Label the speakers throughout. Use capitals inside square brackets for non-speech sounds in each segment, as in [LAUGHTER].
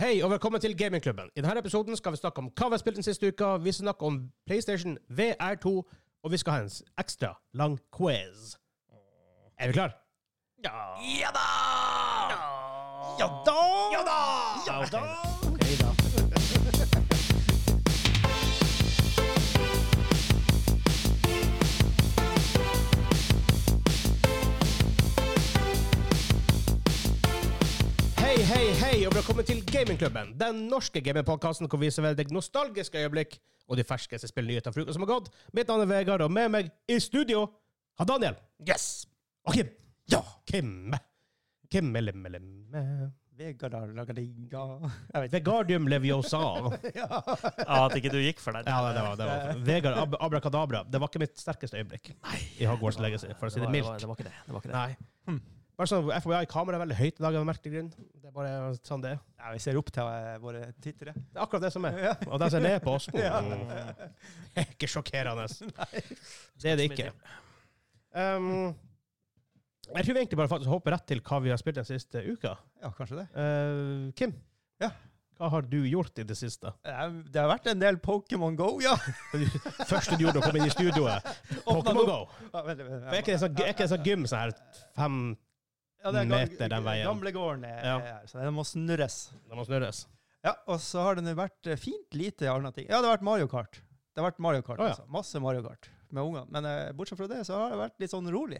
Speaker 1: Hei og velkommen til Gamingklubben. I denne episoden skal vi snakke om hva vi har spilt den siste uka, vi skal snakke om PlayStation VR2, og vi skal ha en s- ekstra lang quiz. Er vi klar? Ja.
Speaker 2: Ja da!
Speaker 1: Ja da!
Speaker 2: Ja da!
Speaker 1: Ja da! Hei, hei, hei, og velkommen til Gamingklubben. Den norske gamingpodkasten hvor vi serverer deg nostalgiske øyeblikk og de ferskeste spillnyheter fra uka som har gått. Mitt navn er Vegard, og med meg i studio har Daniel
Speaker 2: Yes!
Speaker 1: og Kim.
Speaker 2: Ja!
Speaker 1: Kim. Kim eller mellom
Speaker 2: Vegard har laga digga Jeg vet
Speaker 1: Vegardium leviosa.
Speaker 3: Ja, at ikke du gikk for den.
Speaker 1: Ja, det var, det var. Vegard Ab Abrakadabra. Det var ikke mitt sterkeste øyeblikk i Hogwarts Legacy, for å si det
Speaker 3: var-
Speaker 1: mildt.
Speaker 3: Det var ikke det. det, var ikke det.
Speaker 1: Nei. Bare sånn, FBI kameraet er veldig høyt i dag av en merkelig grunn. Det er bare sånn det er.
Speaker 2: Ja, vi ser opp til eh, våre
Speaker 1: [LAUGHS]
Speaker 2: tittere.
Speaker 1: Det er akkurat det som er. Og de som er ned på oss,
Speaker 2: [LAUGHS] Ja.
Speaker 1: mm, det er ikke sjokkerende. Det er det ikke. Um, jeg tror vi egentlig bare faktisk hopper rett til hva vi har spilt den siste uka.
Speaker 2: Ja, kanskje det.
Speaker 1: Eh, Kim,
Speaker 2: Ja.
Speaker 1: hva har du gjort i det siste?
Speaker 2: Det er- Det har vært en del Pokémon Go, ja.
Speaker 1: Første du gjorde da du kom inn i studioet, [LAUGHS] Pokémon Go.
Speaker 2: Ja, vent, vent, vent.
Speaker 1: Er ikke det en sånn, er ikke det en sånn gym sånn her fem
Speaker 2: Ja, det er gam-
Speaker 1: meter den veien?
Speaker 2: Gamlegården er
Speaker 1: Ja.
Speaker 2: her, så den må snurres.
Speaker 1: Det må snurres.
Speaker 2: Ja, og så har den jo vært eh, fint lite annet ting. Ja, det har vært Mario Kart. Det har vært Mario Kart,
Speaker 1: Å, ja.
Speaker 2: altså. Masse Mario Kart med ungene. Men eh, bortsett fra det, så har det vært litt sånn rolig.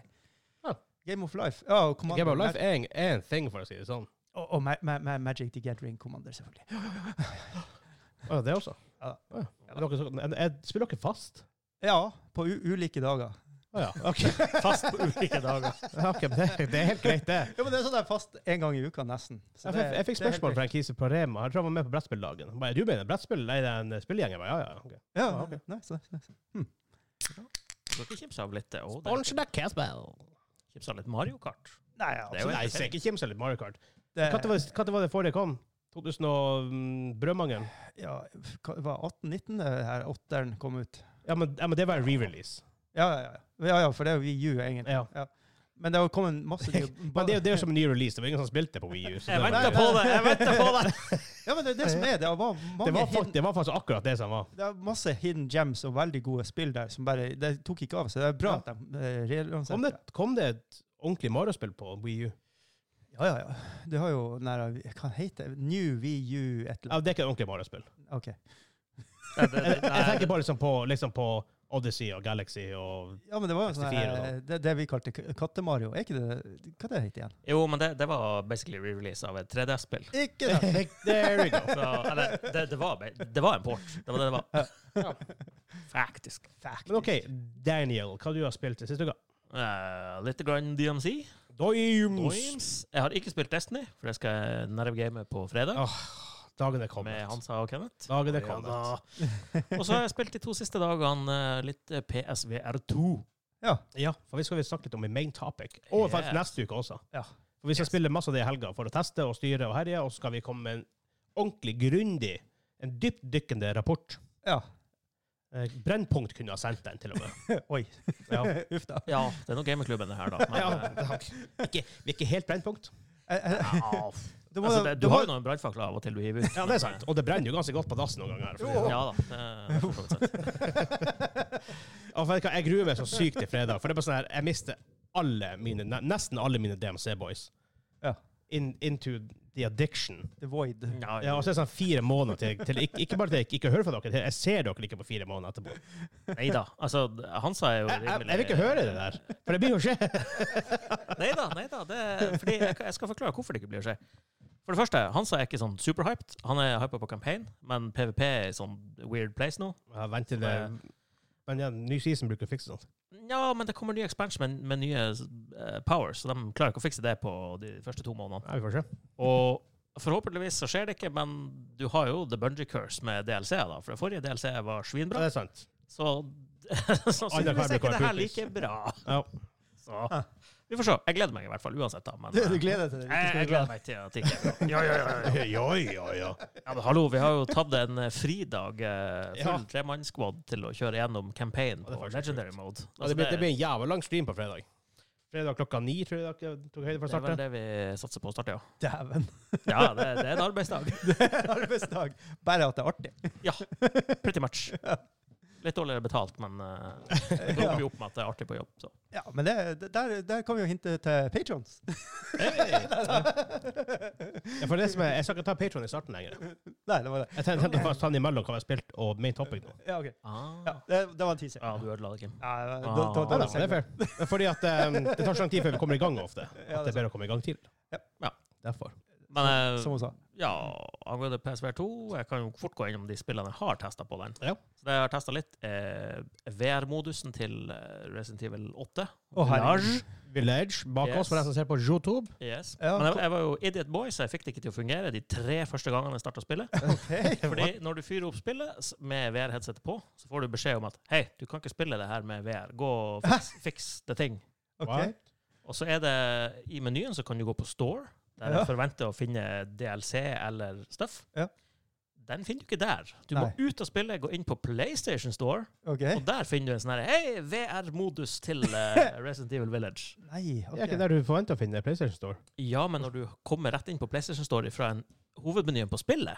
Speaker 1: Ja.
Speaker 2: Game of Life. Ja, og Commando.
Speaker 1: Game of Life er en, er en thing, for å si det sånn.
Speaker 2: Og, og Ma Ma Ma Magic the Gathering Commander, selvfølgelig.
Speaker 1: Å, det også?
Speaker 2: Ja.
Speaker 1: Å, ja. Er dere, så- er- er- spiller dere fast?
Speaker 2: Ja, på u ulike dager.
Speaker 1: Å ja.
Speaker 2: [LAUGHS]
Speaker 1: OK,
Speaker 3: Fast på ulike dager.
Speaker 1: [LAUGHS] Ja, ok, men det, det er helt greit, det.
Speaker 2: Ja, men det er sånn der fast en gang i uka, nesten. Så
Speaker 1: Jeg,
Speaker 2: det-
Speaker 1: jeg, jeg fikk
Speaker 2: det er helt
Speaker 1: spørsmål
Speaker 2: greit.
Speaker 1: fra en kise på Rema. Jeg tror han var med på brettspilldagen. Han ba, Er du med i en brettspill? Nei, det er en spillegjeng. Jeg ba, Ja, ja. ok.
Speaker 2: Ja,
Speaker 1: Ah,
Speaker 2: ok. Nei, så, så- så.
Speaker 3: Dere kimsa av litt, eh, å, dere
Speaker 1: Sponsen er Casbell.
Speaker 3: kimsa av litt Mario [LAUGHS] Kart.
Speaker 2: Nei, ja,
Speaker 3: Det er jo
Speaker 2: absolutt.
Speaker 1: Nei, se, ikke kimse litt Mario Kart.
Speaker 2: Det-
Speaker 1: Når var, hva det var det forrige kom? 2000 og mm, Brødmangelen?
Speaker 2: ja, hva- det var 18-19 det her åtteren kom ut.
Speaker 1: Ja, men, ja, men det var en re-release.
Speaker 2: Ja, ja, ja. ja, ja for det er jo VU, egentlig.
Speaker 1: Ja.
Speaker 2: Men det har kommet masse
Speaker 1: [LAUGHS]
Speaker 2: nye
Speaker 1: Men det, er jo- det er jo som en ny release. Det var ingen som spilte på Wii U. så det
Speaker 3: Jeg
Speaker 1: var-
Speaker 3: venter på det! jeg venter på det!
Speaker 2: Ja, men det er det som er. Det var mange
Speaker 1: Det var,
Speaker 2: hidden-
Speaker 1: fakt- det var faktisk akkurat det som var.
Speaker 2: Det er masse hidden gems og veldig gode spill der som bare Det tok ikke av, så det er bra
Speaker 1: Ja.
Speaker 2: at de eh, relanserte
Speaker 1: Kom det, kom det et ordentlig Mario-spill på Wii U?
Speaker 2: Ja, ja, ja. Du har jo den der Hva heter det? New VU et eller
Speaker 1: Ja, det er ikke et ordentlig Mario-spill.
Speaker 2: annet. OK.
Speaker 3: [LAUGHS] Nei, det,
Speaker 1: Jeg, [LAUGHS]
Speaker 3: det,
Speaker 1: jeg tenker
Speaker 3: nei,
Speaker 1: bare liksom på, liksom på Odyssey og Galaxy og
Speaker 2: Ja, men det var jo sånn
Speaker 1: 64
Speaker 2: her, det, det vi kalte k- Katte-Mario. Er ikke det Hva det heter igjen?
Speaker 3: jo, men det, det var basically re-release av et 3DS-spill.
Speaker 2: Ikke det!
Speaker 1: There we go.
Speaker 3: Så, eller, det, det, var, ba- det var en port. Det var det det var. Faktisk.
Speaker 1: Men OK, Daniel, hva du har spilt i siste uka?
Speaker 3: Eh, litt grann DMC.
Speaker 1: Doims!
Speaker 3: Dreams. Jeg har ikke spilt Destiny, for det skal jeg nervegame på fredag
Speaker 1: Åh, dagen er
Speaker 3: med
Speaker 1: kommet.
Speaker 3: Hansa og Kenneth.
Speaker 1: Dagen er
Speaker 3: Ja
Speaker 1: kommet.
Speaker 3: da. Og så har jeg spilt de to siste dagene eh, litt eh, PSVR2.
Speaker 2: Ja.
Speaker 1: Ja, for vi skal vi snakke litt om i main topic. Og faktisk
Speaker 3: Yes.
Speaker 1: neste uke også.
Speaker 2: Ja.
Speaker 1: For vi skal spille masse av det i helga for å teste og styre og herje, og så skal vi komme med en ordentlig grundig, en dyptdykkende rapport.
Speaker 2: ja. [LAUGHS]
Speaker 1: Eh, Brennpunkt kunne ha sendt den, til og med.
Speaker 2: Oi.
Speaker 1: Ja.
Speaker 2: [LAUGHS] Uff da.
Speaker 3: Ja, det er nå gamingklubben det [LAUGHS] her, da. Men,
Speaker 1: Ja,
Speaker 3: eh,
Speaker 1: takk. ikke, vi er ikke helt brennpunkt.
Speaker 2: Eh, eh,
Speaker 3: ja, f-
Speaker 2: Du må,
Speaker 3: altså, det,
Speaker 2: du
Speaker 3: du
Speaker 2: må,
Speaker 3: har jo noen brannfakler av og til du hiver ut.
Speaker 1: Ja, det er sant. Og det brenner jo ganske godt på dassen noen ganger. for å si det sånn.
Speaker 3: [LAUGHS] Ja da. Det, [LAUGHS] er for så vidt sant.
Speaker 1: Ja, for Altså, vet du hva, jeg gruer meg så sykt til fredag. For det er bare sånn her, jeg mister alle mine, ne- nesten alle mine DMC-boys.
Speaker 2: Ja.
Speaker 1: In, into the addiction.
Speaker 2: The Void. [LAUGHS]
Speaker 3: Ja,
Speaker 1: Ja, og så er det sånn fire måneder til, til ikke, ikke bare til jeg ikke- ikke hører fra dere, til jeg ser dere ikke på fire måneder etterpå.
Speaker 3: Nei da. Altså, Hansa er jo
Speaker 1: Jeg, jeg,
Speaker 3: rimelig
Speaker 1: jeg vil ikke høre det der, for det blir jo skje.
Speaker 3: Nei da. Nei da. Det, fordi jeg, jeg skal forklare hvorfor det ikke blir å skje. For det første, Hansa er ikke sånn superhyped. Han er hypa på campaign, men PVP er i sånn weird place nå. Eh,
Speaker 1: Ja, vent til det. Men ja, ny season bruker å fikse sånt.
Speaker 3: Ja, men det kommer ny expansion med, med nye eh, powers, så de klarer ikke å fikse det på de første to månedene.
Speaker 1: Ja, vi får se.
Speaker 3: Og forhåpentligvis så skjer det ikke, men du har jo The Bungee Curse med DLC-er, da. For det forrige DLC var
Speaker 1: Ja,
Speaker 3: svinbra.
Speaker 1: det er sant.
Speaker 3: Så [LAUGHS] sannsynligvis er
Speaker 1: blir
Speaker 3: ikke det her
Speaker 1: Cookies.
Speaker 3: like bra.
Speaker 1: Ja.
Speaker 3: Så vi får se. Jeg gleder meg i hvert fall uansett, da. Men
Speaker 2: Du, du
Speaker 3: eh,
Speaker 2: gleder deg til det?
Speaker 3: jeg, jeg gleder meg til at det ikke er bra. Ja, ja, ja, ja.
Speaker 1: Ja, ja, ja.
Speaker 3: Ja, men hallo, vi har jo tatt en eh, fridag, eh,
Speaker 1: Ja.
Speaker 3: full tremannssquad, til å kjøre gjennom campaign
Speaker 1: det er
Speaker 3: på
Speaker 1: faktisk
Speaker 3: legendary mode.
Speaker 1: Ja, det,
Speaker 3: Altså,
Speaker 1: blir, det
Speaker 3: det,
Speaker 1: blir en jævla lang stream på fredag. Fredag klokka ni, tror jeg dere tok høyde for å
Speaker 3: Det er vel
Speaker 1: starte.
Speaker 3: det vi satser på å starte, ja.
Speaker 2: Dæven.
Speaker 3: Ja, det, [LAUGHS] det er en arbeidsdag.
Speaker 2: [LAUGHS] Det er arbeidsdag. Bare at det er artig.
Speaker 3: Ja, pretty much. Litt dårligere betalt, men
Speaker 2: [LAUGHS]
Speaker 3: eh, [LAUGHS] det
Speaker 2: Ja,
Speaker 3: kommer vi opp med at det er artig på jobb. Så.
Speaker 2: ja men det, det- der, der kan vi jo hinte til patrons.
Speaker 3: [LAUGHS]
Speaker 2: [LAUGHS]
Speaker 1: Ja, for det som er, jeg skal ikke ta Patron i starten lenger.
Speaker 2: Nei, det var det.
Speaker 1: Jeg tenkte tenkte faktisk han imellom hva vi har spilt, og main topic nå.
Speaker 2: Ja, ok. Ja,
Speaker 3: Ah.
Speaker 2: det, det var en teaser.
Speaker 3: Ja, du ødela det, Kim.
Speaker 2: Ja, da, da,
Speaker 3: Ah.
Speaker 2: da,
Speaker 1: Ja,
Speaker 2: da,
Speaker 1: da, det er fair. Men Fordi at eh, det tar så lang tid før vi kommer i gang ofte.
Speaker 2: Ja,
Speaker 1: At
Speaker 2: det
Speaker 1: det
Speaker 2: er
Speaker 1: er bedre å komme i gang tidlig.
Speaker 2: Ja.
Speaker 3: Ja.
Speaker 1: Derfor.
Speaker 3: Men eh,
Speaker 2: som hun sa.
Speaker 3: ja, angående PSVR2, jeg kan jo fort gå innom de spillene jeg har testa på den.
Speaker 1: Ja.
Speaker 3: Så det jeg har testa litt, er VR-modusen til eh, Resident Evil 8.
Speaker 2: Å, herregud.
Speaker 1: Village bak
Speaker 3: Yes.
Speaker 1: oss, for deg som ser på YouTube.
Speaker 3: Yes.
Speaker 2: Ja,
Speaker 3: Men jeg, jeg var jo idiot boy, så jeg fikk det ikke til å fungere de tre første gangene jeg starta spillet.
Speaker 2: Ok.
Speaker 3: Fordi når du fyrer opp spillet s- med VR-headset på, så får du beskjed om at hei, du kan ikke spille det her med VR. Gå og fiks, fiks det ting.
Speaker 2: Ok.
Speaker 3: Og så er det i menyen så kan du gå på Store, der
Speaker 2: Ja.
Speaker 3: du forventer å finne DLC eller stuff.
Speaker 2: Ja.
Speaker 3: Den finner du ikke der. Du
Speaker 2: Nei.
Speaker 3: må ut av spillet, gå inn på PlayStation Store,
Speaker 2: ok.
Speaker 1: Eh.
Speaker 3: og der finner du en sånn her Hei, VR-modus
Speaker 1: [LAUGHS]
Speaker 3: til eh, Resident Evil Village.
Speaker 2: Nei, ok.
Speaker 1: Det er ikke der du forventer å finne PlayStation Store.
Speaker 3: Ja, men når du kommer rett inn på PlayStation Store fra en hovedmenyen på spillet,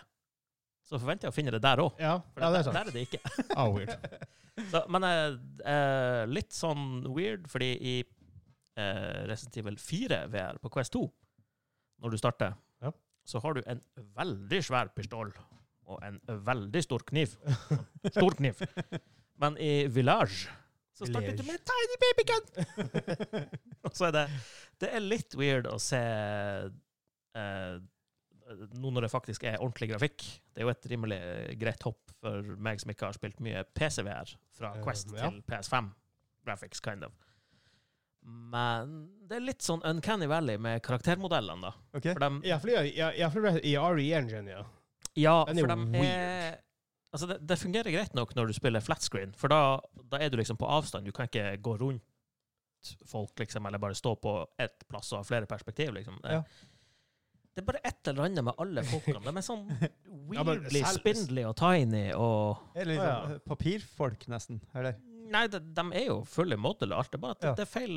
Speaker 3: så forventer jeg å finne det der òg.
Speaker 1: Ja,
Speaker 3: For
Speaker 1: ja det er
Speaker 3: der, [LAUGHS]
Speaker 1: sant.
Speaker 3: der er det ikke.
Speaker 1: Ah, weird.
Speaker 3: Så, men eh, eh, litt sånn weird, fordi i eh, Resident Evil 4 VR på Quest 2, når du starter,
Speaker 1: Ja.
Speaker 3: så har du en veldig svær pistol og en veldig stor kniv. Stor kniv. Men i Village så starter du
Speaker 1: Village.
Speaker 3: med en tiny baby gun! [LAUGHS] og så er det Det er litt weird å se eh, nå når det faktisk er ordentlig grafikk. Det er jo et rimelig greit hopp for meg som ikke har spilt mye PCVR, fra
Speaker 1: Eh,
Speaker 3: Quest
Speaker 1: ja.
Speaker 3: til PS5. Graphics, kind of. Men det er litt sånn Uncanny Valley med karaktermodellene, da.
Speaker 2: Ok.
Speaker 3: For dem,
Speaker 1: Ja, fordi, ja, ja, fordi i RE-engine, ja.
Speaker 3: ja,
Speaker 1: Den er jo
Speaker 3: for dem er
Speaker 1: weird.
Speaker 3: Altså, det, det fungerer greit nok når du spiller flat screen, for da, da er du liksom på avstand. Du kan ikke gå rundt folk, liksom, eller bare stå på ett plass og ha flere perspektiv, liksom. Det,
Speaker 2: Ja.
Speaker 3: det er bare et eller annet med alle folkene. De er sånn
Speaker 1: [LAUGHS] Ja, men
Speaker 3: weirdly
Speaker 1: selv-
Speaker 3: spindly og tiny og
Speaker 2: Er det
Speaker 1: Å,
Speaker 2: litt sånn,
Speaker 1: ja.
Speaker 2: eh, papirfolk, nesten? Eller?
Speaker 3: Nei, de, de er jo fulle modell og alt. Det er bare at det-
Speaker 2: Ja.
Speaker 3: det er feil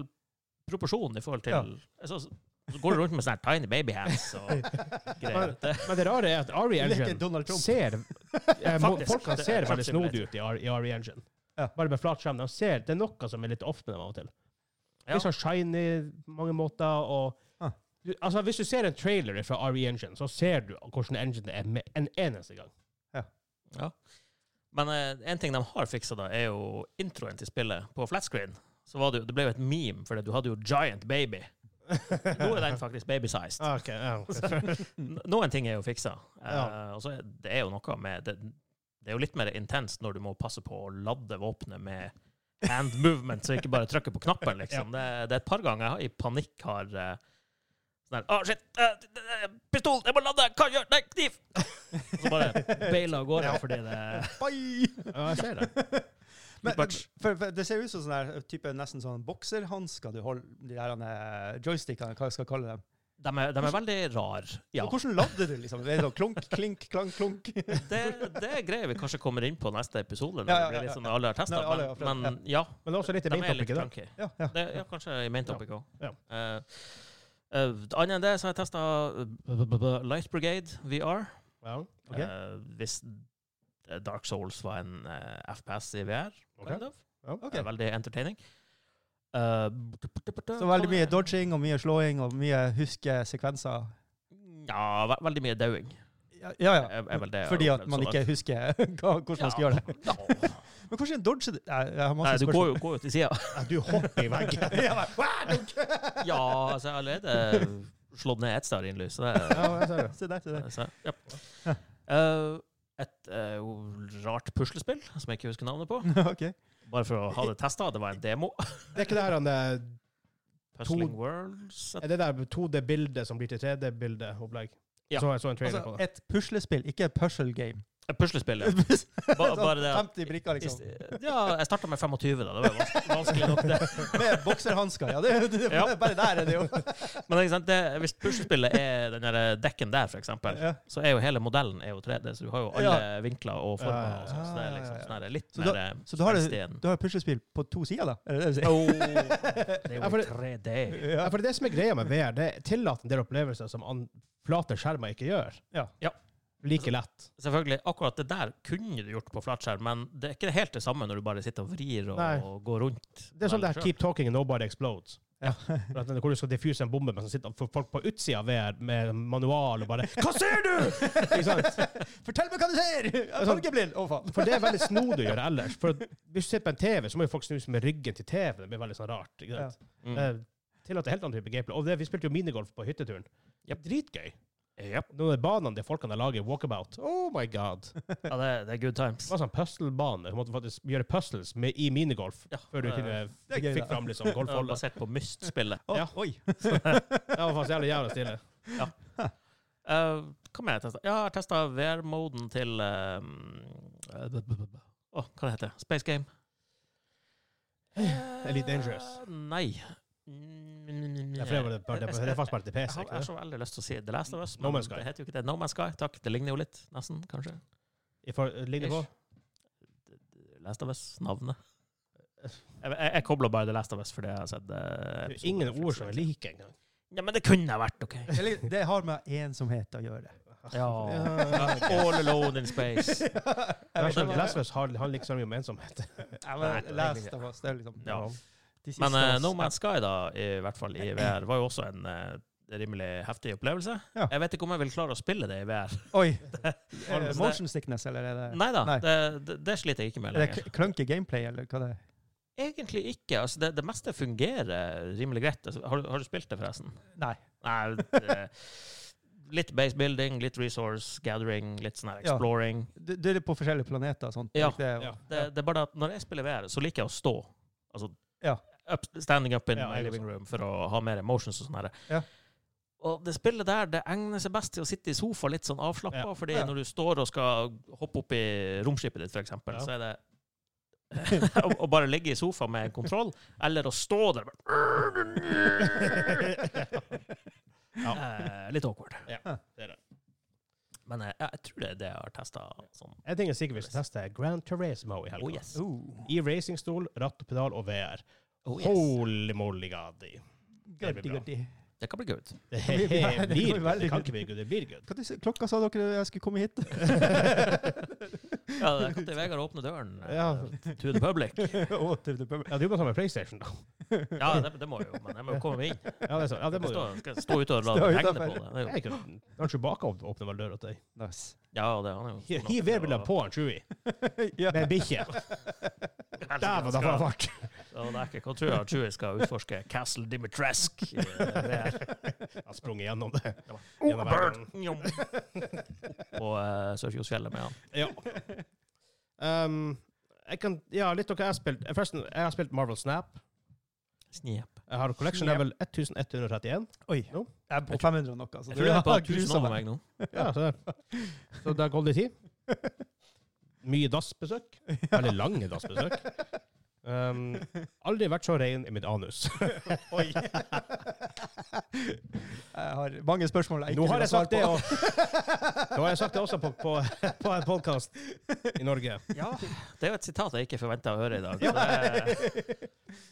Speaker 3: proporsjon i forhold til
Speaker 2: Ja.
Speaker 3: altså, så- Så går du rundt med sånne her tiny baby hands
Speaker 1: [LAUGHS]
Speaker 3: og greier. Det,
Speaker 1: Men det rare er at E
Speaker 2: Leker
Speaker 1: RE-engine
Speaker 2: Donald Trump.
Speaker 1: ser eh, mo-
Speaker 3: Faktisk,
Speaker 1: Folkene
Speaker 3: det er
Speaker 1: ser veldig
Speaker 3: faktisk mulig.
Speaker 1: snodige ut i RE-engine.
Speaker 2: Ja.
Speaker 1: Bare med flat skjerm. De ser, det er noe som er litt off med dem av og til.
Speaker 3: Ja.
Speaker 1: Litt sånn shiny på mange måter. Og,
Speaker 2: Ah.
Speaker 1: du, altså, hvis du ser en trailer fra RE-engine, så ser du hvordan engine er med en eneste gang.
Speaker 3: men eh, en ting de har fiksa, da, er jo introen til spillet på flatscreen. Så var det, jo- det ble jo et meme, for du hadde jo Giant
Speaker 1: [LAUGHS]
Speaker 3: Baby. Nå er den faktisk baby-sized.
Speaker 1: Ah, ok, ja, ok.
Speaker 3: N- Noen ting er jo fiksa. Eh,
Speaker 1: Ja.
Speaker 3: og så er det er jo noe med det, det er jo litt mer intenst når du må passe på å lade våpenet med hand movement, så ikke bare trykke på knappen,
Speaker 1: [LAUGHS]
Speaker 3: liksom. Det, det er et par ganger jeg har- i panikk har eh, sånn her Å, shit! eh, d- d- pistol! Jeg må lade! Hva gjør Nei,
Speaker 1: [LAUGHS]
Speaker 3: kniv! Og så bare beila av gårde fordi det
Speaker 2: Bye!
Speaker 1: [LAUGHS] Ja, jeg ser det.
Speaker 2: [LAUGHS] Men,
Speaker 3: Pretty much.
Speaker 2: for, for, det ser ut som sånn her, type, nesten sånn bokserhansker du holder, de her eh, joystickene, hva jeg skal kalle dem.
Speaker 3: De er, de er veldig rare. Ja.
Speaker 2: Og hvordan lader du, liksom? Det er sånn klunk, klink, klang, klunk.
Speaker 3: Det, det er greier vi kanskje kommer inn på neste episode, når
Speaker 2: Ja, ja,
Speaker 3: det blir
Speaker 2: ja,
Speaker 3: litt sånn alle har testa.
Speaker 2: Når alle har prøvd,
Speaker 3: Men, men ja,
Speaker 1: Men det er også litt i
Speaker 3: de
Speaker 1: main
Speaker 3: er
Speaker 1: topic
Speaker 3: litt
Speaker 1: i dag.
Speaker 3: clunky.
Speaker 2: Ja, ja.
Speaker 3: Det, ja, kanskje i main topic òg.
Speaker 1: Ja.
Speaker 3: eh, annet enn det så har jeg eh, testa Light Brigade VR.
Speaker 1: Ja, ok.
Speaker 3: Eh, hvis eh, Dark Souls var en eh, FPS i VR,
Speaker 1: Ok.
Speaker 3: kind of.
Speaker 1: Ja.
Speaker 2: Ok.
Speaker 3: Det er veldig entertaining. Eh,
Speaker 2: Så veldig mye dodging og mye slåing og mye huskesekvenser.
Speaker 3: Ja, ve veldig mye dauing.
Speaker 2: Ja, ja. ja.
Speaker 3: Er- er vel det jeg har
Speaker 2: Fordi at
Speaker 3: opplevd
Speaker 2: man
Speaker 3: så
Speaker 2: ikke husker [LAUGHS] hva, hvordan man skal
Speaker 3: Ja.
Speaker 2: gjøre det.
Speaker 3: [LAUGHS] Ja.
Speaker 2: Men hvordan dodger du? Nei, Jeg har
Speaker 3: Nei,
Speaker 2: masse
Speaker 3: du går
Speaker 2: spørsmål.
Speaker 3: jo, går jo til sida.
Speaker 1: Ja, Du hopper i veggen.
Speaker 2: [LAUGHS] Ja, men- Wow, dunk!
Speaker 3: Ja, altså, jeg har allerede slått ned ett stearinlys, så det
Speaker 1: Ja, jeg ser det.
Speaker 2: Se der, se der.
Speaker 3: Så, ja. Eh, et eh, rart puslespill som jeg ikke husker navnet på.
Speaker 2: [LAUGHS] Ok.
Speaker 3: Bare for å ha det testa. Det var en demo.
Speaker 1: Det er ikke det her han eh,
Speaker 3: Puzzling Worlds
Speaker 1: Er det der 2D-bildet som blir til 3D-bilde-opplegg?
Speaker 3: Ja.
Speaker 1: Så jeg så en trailer
Speaker 2: Altså,
Speaker 1: på det.
Speaker 2: et puslespill, ikke et puzzle game.
Speaker 3: Et puslespill, ja. Ba,
Speaker 2: [LAUGHS]
Speaker 3: bare det at
Speaker 2: 50 brikker, liksom.
Speaker 3: Ja, jeg starta med 25, da. Det var jo vanskelig, vanskelig nok, det.
Speaker 2: [LAUGHS] Med bokserhansker. Ja, det, det,
Speaker 3: Ja.
Speaker 2: bare der er
Speaker 3: [LAUGHS]
Speaker 2: det jo.
Speaker 3: Men ikke sant? Det, hvis puslespillet er den der dekken der, for eksempel,
Speaker 2: Ja.
Speaker 3: så er jo hele modellen er jo 3D, så du har jo alle vinkler og former.
Speaker 2: Ja, ja,
Speaker 3: og sånt, så det er
Speaker 2: ja,
Speaker 3: liksom
Speaker 2: ja, ja.
Speaker 3: sånn her litt
Speaker 2: Så da-
Speaker 3: mer eh,
Speaker 2: Så du har,
Speaker 3: spenstig enn-
Speaker 2: du har puslespill på to sider, da? Er det det du sier?
Speaker 3: Åh, det er
Speaker 1: Ja, for
Speaker 3: jo i
Speaker 1: det-
Speaker 3: 3D.
Speaker 1: Ja,
Speaker 2: Ja.
Speaker 1: for det er det som er greia med VR. Det tillater en del opplevelser som an- flate skjermer ikke gjør.
Speaker 2: Ja.
Speaker 3: Ja.
Speaker 1: Like lett.
Speaker 3: Selvfølgelig, akkurat det der kunne du gjort på flatskjerm, men det er ikke helt det samme når du bare sitter og vrir og,
Speaker 1: Nei.
Speaker 3: og går rundt.
Speaker 1: Det er sånn det her
Speaker 3: Selv.
Speaker 1: Keep Talking and Nobody Explodes.
Speaker 2: Ja.
Speaker 1: For at Hvor du skal diffuse en bombe, men så sitter folk på utsida av VR med manual og bare Hva ser [LAUGHS] du?! Ikke sant?
Speaker 2: [LAUGHS] Fortell meg hva du ser!
Speaker 3: Sånn.
Speaker 2: Fargeblind! Å, faen.
Speaker 1: For det er veldig snodig å gjøre ellers. For at hvis du sitter på en TV, så må jo folk snu seg med ryggen til TV. Det blir veldig sånn rart. ikke sant?
Speaker 3: Mm.
Speaker 1: Eh, Tillater helt annen type gameplay. Og det, vi spilte jo minigolf på hytteturen.
Speaker 3: Japp.
Speaker 1: Dritgøy.
Speaker 3: Ja,
Speaker 1: Noen av banene de folkene lager i walkabout. Oh my god.
Speaker 3: ja det, det er good times.
Speaker 1: Det var sånn puzzlebane. Du måtte faktisk gjøre puzzles med, i minigolf
Speaker 3: Ja,
Speaker 1: før du
Speaker 3: det-
Speaker 1: kunne
Speaker 2: det er gøy,
Speaker 1: fikk
Speaker 2: da.
Speaker 1: fram liksom
Speaker 3: Det var
Speaker 1: golfholdet.
Speaker 3: Basert på Myst-spillet.
Speaker 2: Å,
Speaker 1: Ja. [LAUGHS]
Speaker 2: Oi.
Speaker 1: Det var faktisk jævlig jævla stille.
Speaker 3: Eh, hva mer har jeg testa? Ja, jeg har testa VR-moden til eh, eh, b- b- b- Åh, hva det heter det? Space Game?
Speaker 1: Elite Dangerous.
Speaker 3: Eh, Nei. Mm,
Speaker 1: Ja, for det var det- bare- det var- det er faktisk bare til
Speaker 3: Jeg
Speaker 1: PC.
Speaker 3: har,
Speaker 1: ikke
Speaker 3: jeg har
Speaker 1: det?
Speaker 3: så veldig lyst til å si The Last of Us,
Speaker 1: No
Speaker 3: men
Speaker 1: Man's Sky.
Speaker 3: det heter jo ikke det. No Man's Sky, takk. Det ligner jo litt, nesten, kanskje.
Speaker 1: I for, ligner på?
Speaker 3: Last of Us-navnet. Jeg, jeg, jeg kobler bare The Last of Us fordi jeg har sett
Speaker 1: Det
Speaker 3: eh,
Speaker 1: er
Speaker 3: episoden
Speaker 1: ingen
Speaker 3: av Netflix,
Speaker 1: ord som er
Speaker 3: liksom.
Speaker 1: like engang.
Speaker 3: Ja, men det kunne jeg [LAUGHS] vært, OK?
Speaker 2: Eller, Det har med ensomhet å gjøre.
Speaker 3: Ja.
Speaker 1: ok.
Speaker 3: All alone in space.
Speaker 1: Jeg
Speaker 2: Jeg
Speaker 1: vet ikke,
Speaker 3: det-
Speaker 1: Last of Us sånn har- handler ikke så mye om ensomhet.
Speaker 3: Nei,
Speaker 2: har
Speaker 3: det er
Speaker 2: lest
Speaker 3: egentlig-
Speaker 2: av oss. Det er liksom
Speaker 3: Ja.
Speaker 2: de siste
Speaker 3: Men eh,
Speaker 2: av oss.
Speaker 3: No Man's Sky, da, i hvert fall i VR, var jo også en eh, rimelig heftig opplevelse.
Speaker 2: Ja.
Speaker 3: Jeg vet ikke om jeg vil klare å spille det i VR. [LAUGHS]
Speaker 2: Oi!
Speaker 3: Har du-
Speaker 2: Eh, Motion sickness, eller er det
Speaker 3: Nei da,
Speaker 2: Nei.
Speaker 3: det, det, det sliter jeg ikke med
Speaker 2: Er det
Speaker 3: lenger.
Speaker 2: kl- klunky gameplay, eller hva det er?
Speaker 3: Egentlig ikke. Altså, det, det meste fungerer rimelig greit. Altså, har, du- har du spilt det, forresten?
Speaker 2: Nei.
Speaker 3: Nei, det, litt base building, litt resource gathering, litt sånn her
Speaker 2: Ja.
Speaker 3: exploring.
Speaker 2: Du, du er på forskjellige planeter og sånt?
Speaker 3: Ja.
Speaker 2: ikke det?
Speaker 1: Ja. [LAUGHS]
Speaker 3: Det, det er bare at når jeg spiller VR, så liker jeg å stå. Altså,
Speaker 2: Ja.
Speaker 3: up, standing up in
Speaker 1: Ja,
Speaker 3: my
Speaker 1: jeg
Speaker 3: living room for å ha mer emotions og sånn her.
Speaker 2: Ja.
Speaker 3: Og det spillet der det egner seg best til å sitte i sofa litt sånn avslappa,
Speaker 1: Ja.
Speaker 3: fordi
Speaker 2: Ja.
Speaker 3: når du står og skal hoppe opp i romskipet ditt, f.eks.,
Speaker 1: Ja.
Speaker 3: så er det å, [LAUGHS] å bare ligge i sofa med kontroll, eller å stå der bare [LAUGHS] eh, Litt awkward.
Speaker 1: Det er det.
Speaker 3: Men eh, jeg, jeg tror det er det jeg har testa. Sånn.
Speaker 1: En ting er sikkert vi skal teste, er Gran Turismo i helga.
Speaker 3: Oh yes.
Speaker 2: Oh.
Speaker 1: I racingstol, ratt og pedal og VR.
Speaker 3: Oh, yes.
Speaker 1: Holy moly gadi. Det blir
Speaker 2: Gørdi,
Speaker 1: bra.
Speaker 2: gørdi.
Speaker 3: Det kan bli good.
Speaker 1: Det,
Speaker 2: Det
Speaker 1: blir,
Speaker 2: blir bra. Det blir
Speaker 1: good. det
Speaker 2: veldig
Speaker 1: kan
Speaker 2: good.
Speaker 1: ikke bli good, det blir good.
Speaker 2: Hva du sa- klokka sa dere jeg skulle [LAUGHS] komme hit?
Speaker 3: Ja, der kan til Vegard åpne døren eh,
Speaker 1: Ja.
Speaker 3: to the public.
Speaker 2: Å, til det
Speaker 1: Ja, du må ta med PlayStation, da.
Speaker 3: Ja, det, det må jeg jo, men jeg må jo komme meg inn.
Speaker 1: Ja, det er sånn. Ja, det
Speaker 3: Jeg
Speaker 1: må du.
Speaker 3: stå, skal stå ute og
Speaker 2: Stå
Speaker 3: la det
Speaker 2: utenfor.
Speaker 3: regne på det. det er jo,
Speaker 1: Jeg kan- Han Chewbacca åp- åpner vel døra til deg.
Speaker 2: Nice.
Speaker 3: ja, det han er jo stor
Speaker 1: Hiv
Speaker 3: nok til å-
Speaker 1: vedbildet på han Chewie
Speaker 2: ja.
Speaker 1: med bikkje.
Speaker 3: Helvete,
Speaker 1: Dæven, da får han
Speaker 3: skal-
Speaker 1: fart!
Speaker 3: Ja, det er ikke hva tror jeg at Chewie skal utforske Castle Dimitrescu. eh, det er-
Speaker 1: Han sprang gjennom det.
Speaker 3: Oh, a
Speaker 1: Gjennom
Speaker 3: bird!
Speaker 1: verden.
Speaker 3: Njom. På uh, Sørfjordsfjellet med han.
Speaker 1: Ja. Um, jeg kan, ja, litt av hva jeg har spilt. Forresten, jeg har spilt Marvel Snap.
Speaker 3: Snep.
Speaker 1: Jeg har collection level 1131.
Speaker 2: Oi.
Speaker 1: Jo.
Speaker 2: Jeg er på 500 og noe. altså. Så
Speaker 3: Jeg
Speaker 2: du [LAUGHS]
Speaker 3: tror jeg er på
Speaker 2: har
Speaker 3: 1000
Speaker 2: grusa
Speaker 3: over
Speaker 2: meg.
Speaker 3: meg nå.
Speaker 1: Ja, så, der. så det har gått litt tid. Mye dassbesøk. Veldig lange dassbesøk. Um, aldri vært så rein i mitt anus.
Speaker 2: Oi. [LAUGHS] jeg har mange spørsmål jeg
Speaker 1: Nå
Speaker 2: ikke
Speaker 1: har
Speaker 2: vil
Speaker 1: jeg
Speaker 2: svare
Speaker 1: sagt det,
Speaker 2: på.
Speaker 1: og, nå har jeg sagt det også på, på, på en podkast i Norge.
Speaker 3: Ja, det er jo et sitat jeg ikke forventa å høre i dag. Så det,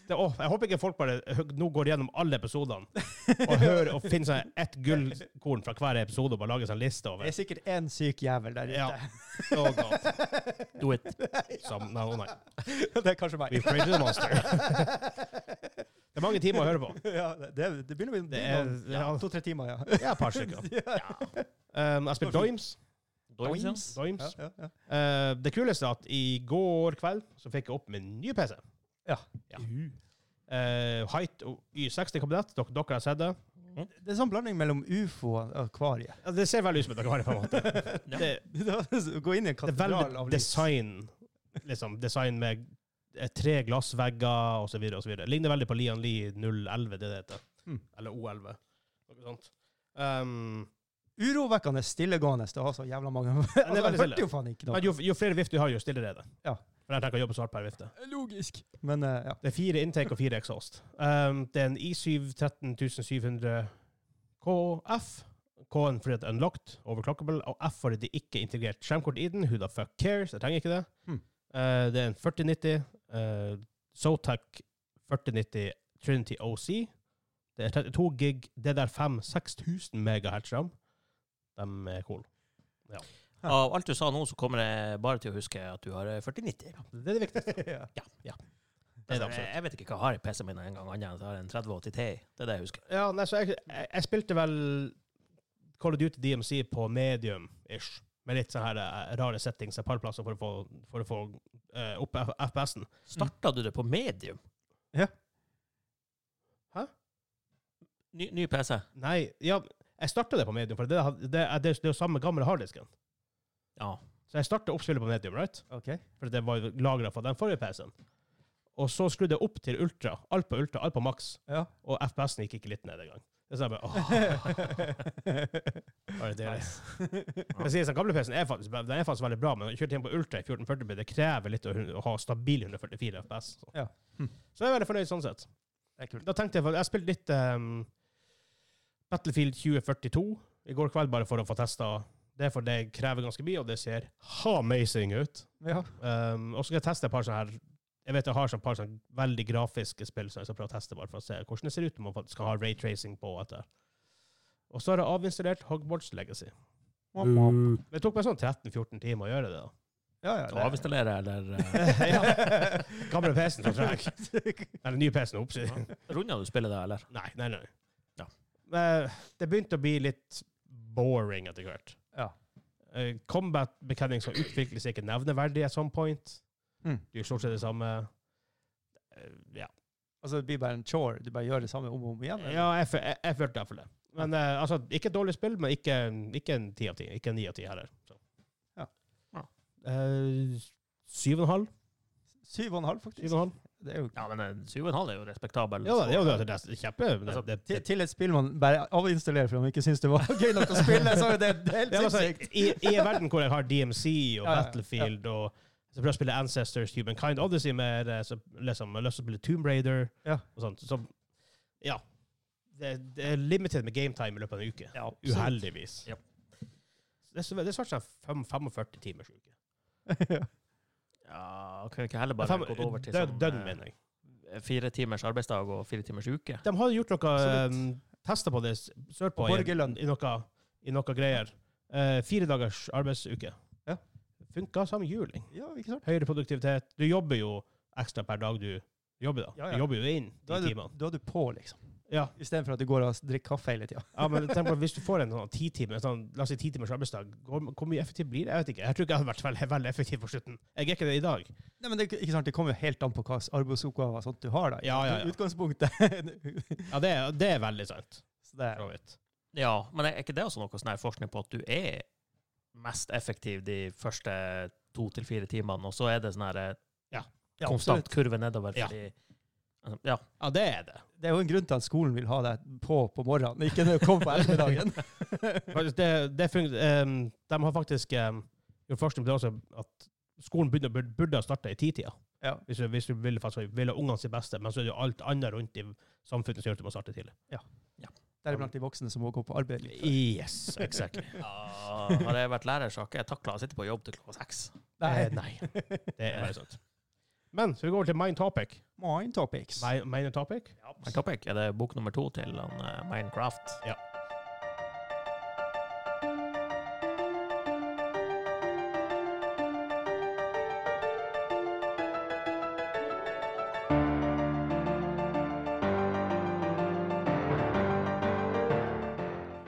Speaker 1: Det, åh, jeg håper ikke folk bare hø- nå går gjennom alle episodene og hører og finner seg ett gullkorn fra hver episode og bare lager seg en liste
Speaker 2: Det
Speaker 1: over.
Speaker 2: er sikkert én syk jævel der ute. [LAUGHS]
Speaker 1: Ja. Oh God.
Speaker 3: do it.
Speaker 1: Som, nei, å nei.
Speaker 2: [LAUGHS] det er kanskje meg.
Speaker 1: We pray to the monster. Det er mange timer å høre på.
Speaker 2: [LAUGHS] ja, det, det begynner å bli
Speaker 1: Det er-
Speaker 2: noen- ja,
Speaker 1: ja.
Speaker 2: to-tre timer, ja.
Speaker 1: Ja, et par stykker.
Speaker 3: Ja.
Speaker 1: Um, jeg har spilt Doims.
Speaker 3: Doins, ja.
Speaker 1: Doims.
Speaker 2: Ja, ja,
Speaker 1: Eh, det kuleste er at i går kveld så fikk jeg opp min nye PC.
Speaker 2: Ja.
Speaker 1: ja. Eh, Height og Y60-kabinett. Dere, dere har sett det.
Speaker 2: ja. Det er sånn blanding mellom ufo og akvarie.
Speaker 1: [LAUGHS] Ja, Det ser veldig ut som et akvarium. på en måte.
Speaker 3: Ja.
Speaker 1: Det,
Speaker 2: Gå inn i en
Speaker 1: det er
Speaker 2: katedral
Speaker 1: veldig
Speaker 2: av lys.
Speaker 1: design. Liksom, design med eh, tre glassvegger osv. Ligner veldig på
Speaker 2: Hmm.
Speaker 1: Lian Li 011, det det heter.
Speaker 2: Mm.
Speaker 1: Eller O11. Noe sånt. Um,
Speaker 2: urovekkende stillegående til å ha så jævla mange [LAUGHS] altså,
Speaker 1: veldig
Speaker 2: Jeg
Speaker 1: stille.
Speaker 2: hørte jo faen ikke noe.
Speaker 1: Men jo, jo flere vifter du har, jo stillere er det.
Speaker 2: Ja.
Speaker 1: For jeg tenker å jobbe svart per vifte.
Speaker 2: Logisk. Men eh, ja.
Speaker 1: Det er fire intake og fire exhaust. Um, det er en i7 13700 KF. K-en fordi det er unlocked, overclockable, og F fordi det ikke er integrert skjermkort i den. Who the fuck cares? Jeg trenger ikke det.
Speaker 2: Hmm.
Speaker 1: Uh, det er en 4090 uh, Zotac 4090 Trinity OC. Det er 32 gig DDR5 6000 megahertz ram. De er cool.
Speaker 2: Ja.
Speaker 3: Av alt du sa nå, så kommer jeg bare til å huske at du har eh, 4090.
Speaker 1: Det er det [LAUGHS] viktigste.
Speaker 2: ja.
Speaker 3: Ja, ja.
Speaker 1: Det er det
Speaker 3: Altså, jeg,
Speaker 1: absolutt.
Speaker 3: jeg vet ikke hva jeg har i PC-en min engang, annet enn at jeg har en 3080 Ti. Det er det jeg husker.
Speaker 1: Ja, nei, så jeg, jeg, jeg spilte vel Call of Duty DMC på medium-ish. Med litt sånne her, eh, rare settings et par plasser for å få, for å få eh, opp F- FPS-en.
Speaker 3: Starta du det på medium?
Speaker 2: Ja.
Speaker 1: Hæ?
Speaker 3: Ny, ny PC?
Speaker 1: Nei, ja, jeg starta det på medium, for det, har- det, er- det, er- det er jo samme gamle harddisken.
Speaker 3: Ja.
Speaker 1: Så jeg starta oppspillet på medium, right?
Speaker 2: OK.
Speaker 1: For det var lagra fra den forrige PC-en. Og så skrudde jeg opp til ultra. Alt på ultra, alt på maks.
Speaker 2: Ja.
Speaker 1: Og FPS-en gikk ikke litt ned engang. Så jeg bare, åh, var det deilig. Jeg sier, den gamle PC-en er faktisk, den er faktisk veldig bra, men å kjøre ting på Ultra i 1440p, det krever litt å, å ha stabil 144 FPS. Så.
Speaker 2: Ja. Hm.
Speaker 1: så jeg er veldig fornøyd sånn sett.
Speaker 2: Det er kult.
Speaker 1: Da tenkte jeg, jeg spilte litt ehm, Battlefield 2042 i går kveld, bare for å få testa. Det er for det krever ganske mye, og det ser amazing ut.
Speaker 2: [LAUGHS] Ja.
Speaker 1: Ehm, og så skal jeg teste et par sånne her Jeg vet jeg har sånn par sånn veldig grafiske spill som jeg skal prøve å teste, bare for å se hvordan det ser ut når man faktisk skal ha raytracing på. og alt det der. Og så har jeg avinstallert Hogwarts Legacy. Det tok meg sånn 13-14 timer å gjøre det. da.
Speaker 2: Ja, ja.
Speaker 3: Å avinstallere, eller [LAUGHS] eh,
Speaker 1: Ja. Gamle PC-en som treg. Eller nye PC-en oppsi.
Speaker 3: Runda du spillet da, eller?
Speaker 1: Nei, nei, nei.
Speaker 3: Ja.
Speaker 1: Men eh, det begynte å bli litt boring etter hvert.
Speaker 2: Ja.
Speaker 1: Eh, Combat mechanics som utvikles ikke nevneverdig at some point.
Speaker 2: Mm.
Speaker 1: Det er jo stort sett det samme. Eh, Ja,
Speaker 2: Altså, det blir bare en chore. Du bare gjør det samme om og om igjen. eller?
Speaker 1: ja jeg, fø- jeg, jeg følte iallfall det. Men eh, altså, ikke et dårlig spill, men ikke, ikke en ti av ti. Ikke en ni av ti heller. Så.
Speaker 2: Ja.
Speaker 3: Ja.
Speaker 1: Eh, Syv og en halv.
Speaker 2: Syv og en halv,
Speaker 1: Syv
Speaker 2: faktisk.
Speaker 1: og en halv.
Speaker 2: Det er jo
Speaker 3: Ja, men eh, 7,5 er jo respektabel.
Speaker 1: Ja, da,
Speaker 3: så-
Speaker 1: det er jo det er kjempe... Det,
Speaker 3: Altså,
Speaker 1: det,
Speaker 2: til, til et spill man bare avinstallerer fordi man ikke syns
Speaker 1: [LAUGHS]
Speaker 2: det var gøy nok å spille, så er det helt
Speaker 1: Ja, altså,
Speaker 2: sinnssykt.
Speaker 1: i, I en verden hvor jeg har [LAUGHS] DMC og
Speaker 2: Ja, ja, ja.
Speaker 1: Battlefield og så prøver jeg å spille Ancestors, Humankind Odyssey med eh, så liksom, jeg har lyst til å spille Tomb Raider
Speaker 2: Ja.
Speaker 1: og sånt. Så, ja. Det, det er limited med gametime i løpet av en uke.
Speaker 3: Ja, absolutt.
Speaker 1: Uheldigvis.
Speaker 3: Ja.
Speaker 1: Det er, så- det er snart sånn fem- 45 timers uke.
Speaker 3: Ja, kan vi ikke heller bare
Speaker 1: Fem-
Speaker 3: gått over til
Speaker 1: døgn,
Speaker 3: sånn,
Speaker 1: døgn,
Speaker 3: eh,
Speaker 1: mener jeg.
Speaker 3: fire timers arbeidsdag og fire timers uke?
Speaker 1: De har gjort noe
Speaker 2: Absolutt.
Speaker 1: um, tester på det s- sørpå
Speaker 2: Og
Speaker 1: i,
Speaker 2: borgerlønn.
Speaker 1: i, noe, i noe greier. Eh, fire dagers arbeidsuke.
Speaker 2: Ja.
Speaker 1: Funka som juling.
Speaker 2: Ja, ikke sant?
Speaker 1: høyere produktivitet. Du jobber jo ekstra per dag du jobber, da.
Speaker 2: Ja, ja.
Speaker 1: Du jobber jo inn
Speaker 2: Da
Speaker 1: de
Speaker 2: er du,
Speaker 1: timene.
Speaker 2: da er du på, liksom.
Speaker 1: Ja.
Speaker 2: Istedenfor at du går og drikker kaffe hele tida.
Speaker 1: ja, men tenk på at hvis du får en sånn ti timer, sånn, la oss si ti timers arbeidsdag, hvor, hvor mye effektiv blir det? Jeg vet ikke. Jeg tror ikke jeg hadde vært veldig, veldig effektiv på slutten. Jeg er ikke det i dag.
Speaker 2: Nei, men det, er ikke- ikke sant? det kommer jo helt an på hva slags arbeidsoppgaver og sånt du har. da.
Speaker 1: Ja, ja, ja.
Speaker 2: I Utgangspunktet. [LAUGHS]
Speaker 1: Ja, det, er- det er veldig sant.
Speaker 2: så det
Speaker 1: for
Speaker 2: er
Speaker 1: så vidt.
Speaker 3: Ja, men er ikke det også noe sånn her forskning på at du er mest effektiv de første to til fire timene, og så er det sånn her eh,
Speaker 2: ja,
Speaker 3: konstant
Speaker 2: absolutt.
Speaker 3: kurve nedover?
Speaker 1: Ja.
Speaker 3: Fordi, altså, ja.
Speaker 1: Ja, det er det.
Speaker 2: Det er jo en grunn til at skolen vil ha deg på på morgenen, ikke når du kommer på
Speaker 1: [LAUGHS]
Speaker 2: ettermiddagen.
Speaker 1: Faktisk, det, det fung- ehm, de har faktisk um, gjort forskning på det også, at skolen burde, burde, burde ha starta i titida.
Speaker 2: Ja.
Speaker 1: Hvis du, hvis du vil, faktisk, vil ha ungene sitt beste, men så er det jo alt annet rundt i samfunnet som gjør at du må starte tidlig.
Speaker 2: Deriblant de voksne som må gå på arbeid. litt før.
Speaker 1: Yes, exactly.
Speaker 3: Ja, Har jeg vært lærer, så har ikke jeg takla å sitte på jobb til klokka seks.
Speaker 1: Eh, nei. Det er veldig sant. Men så vi går over til main topic.
Speaker 2: [LAUGHS] Mind topics.
Speaker 1: Main, main topic?
Speaker 3: Men Topic, er det bok nummer to til han, eh, Minecraft?
Speaker 1: Ja.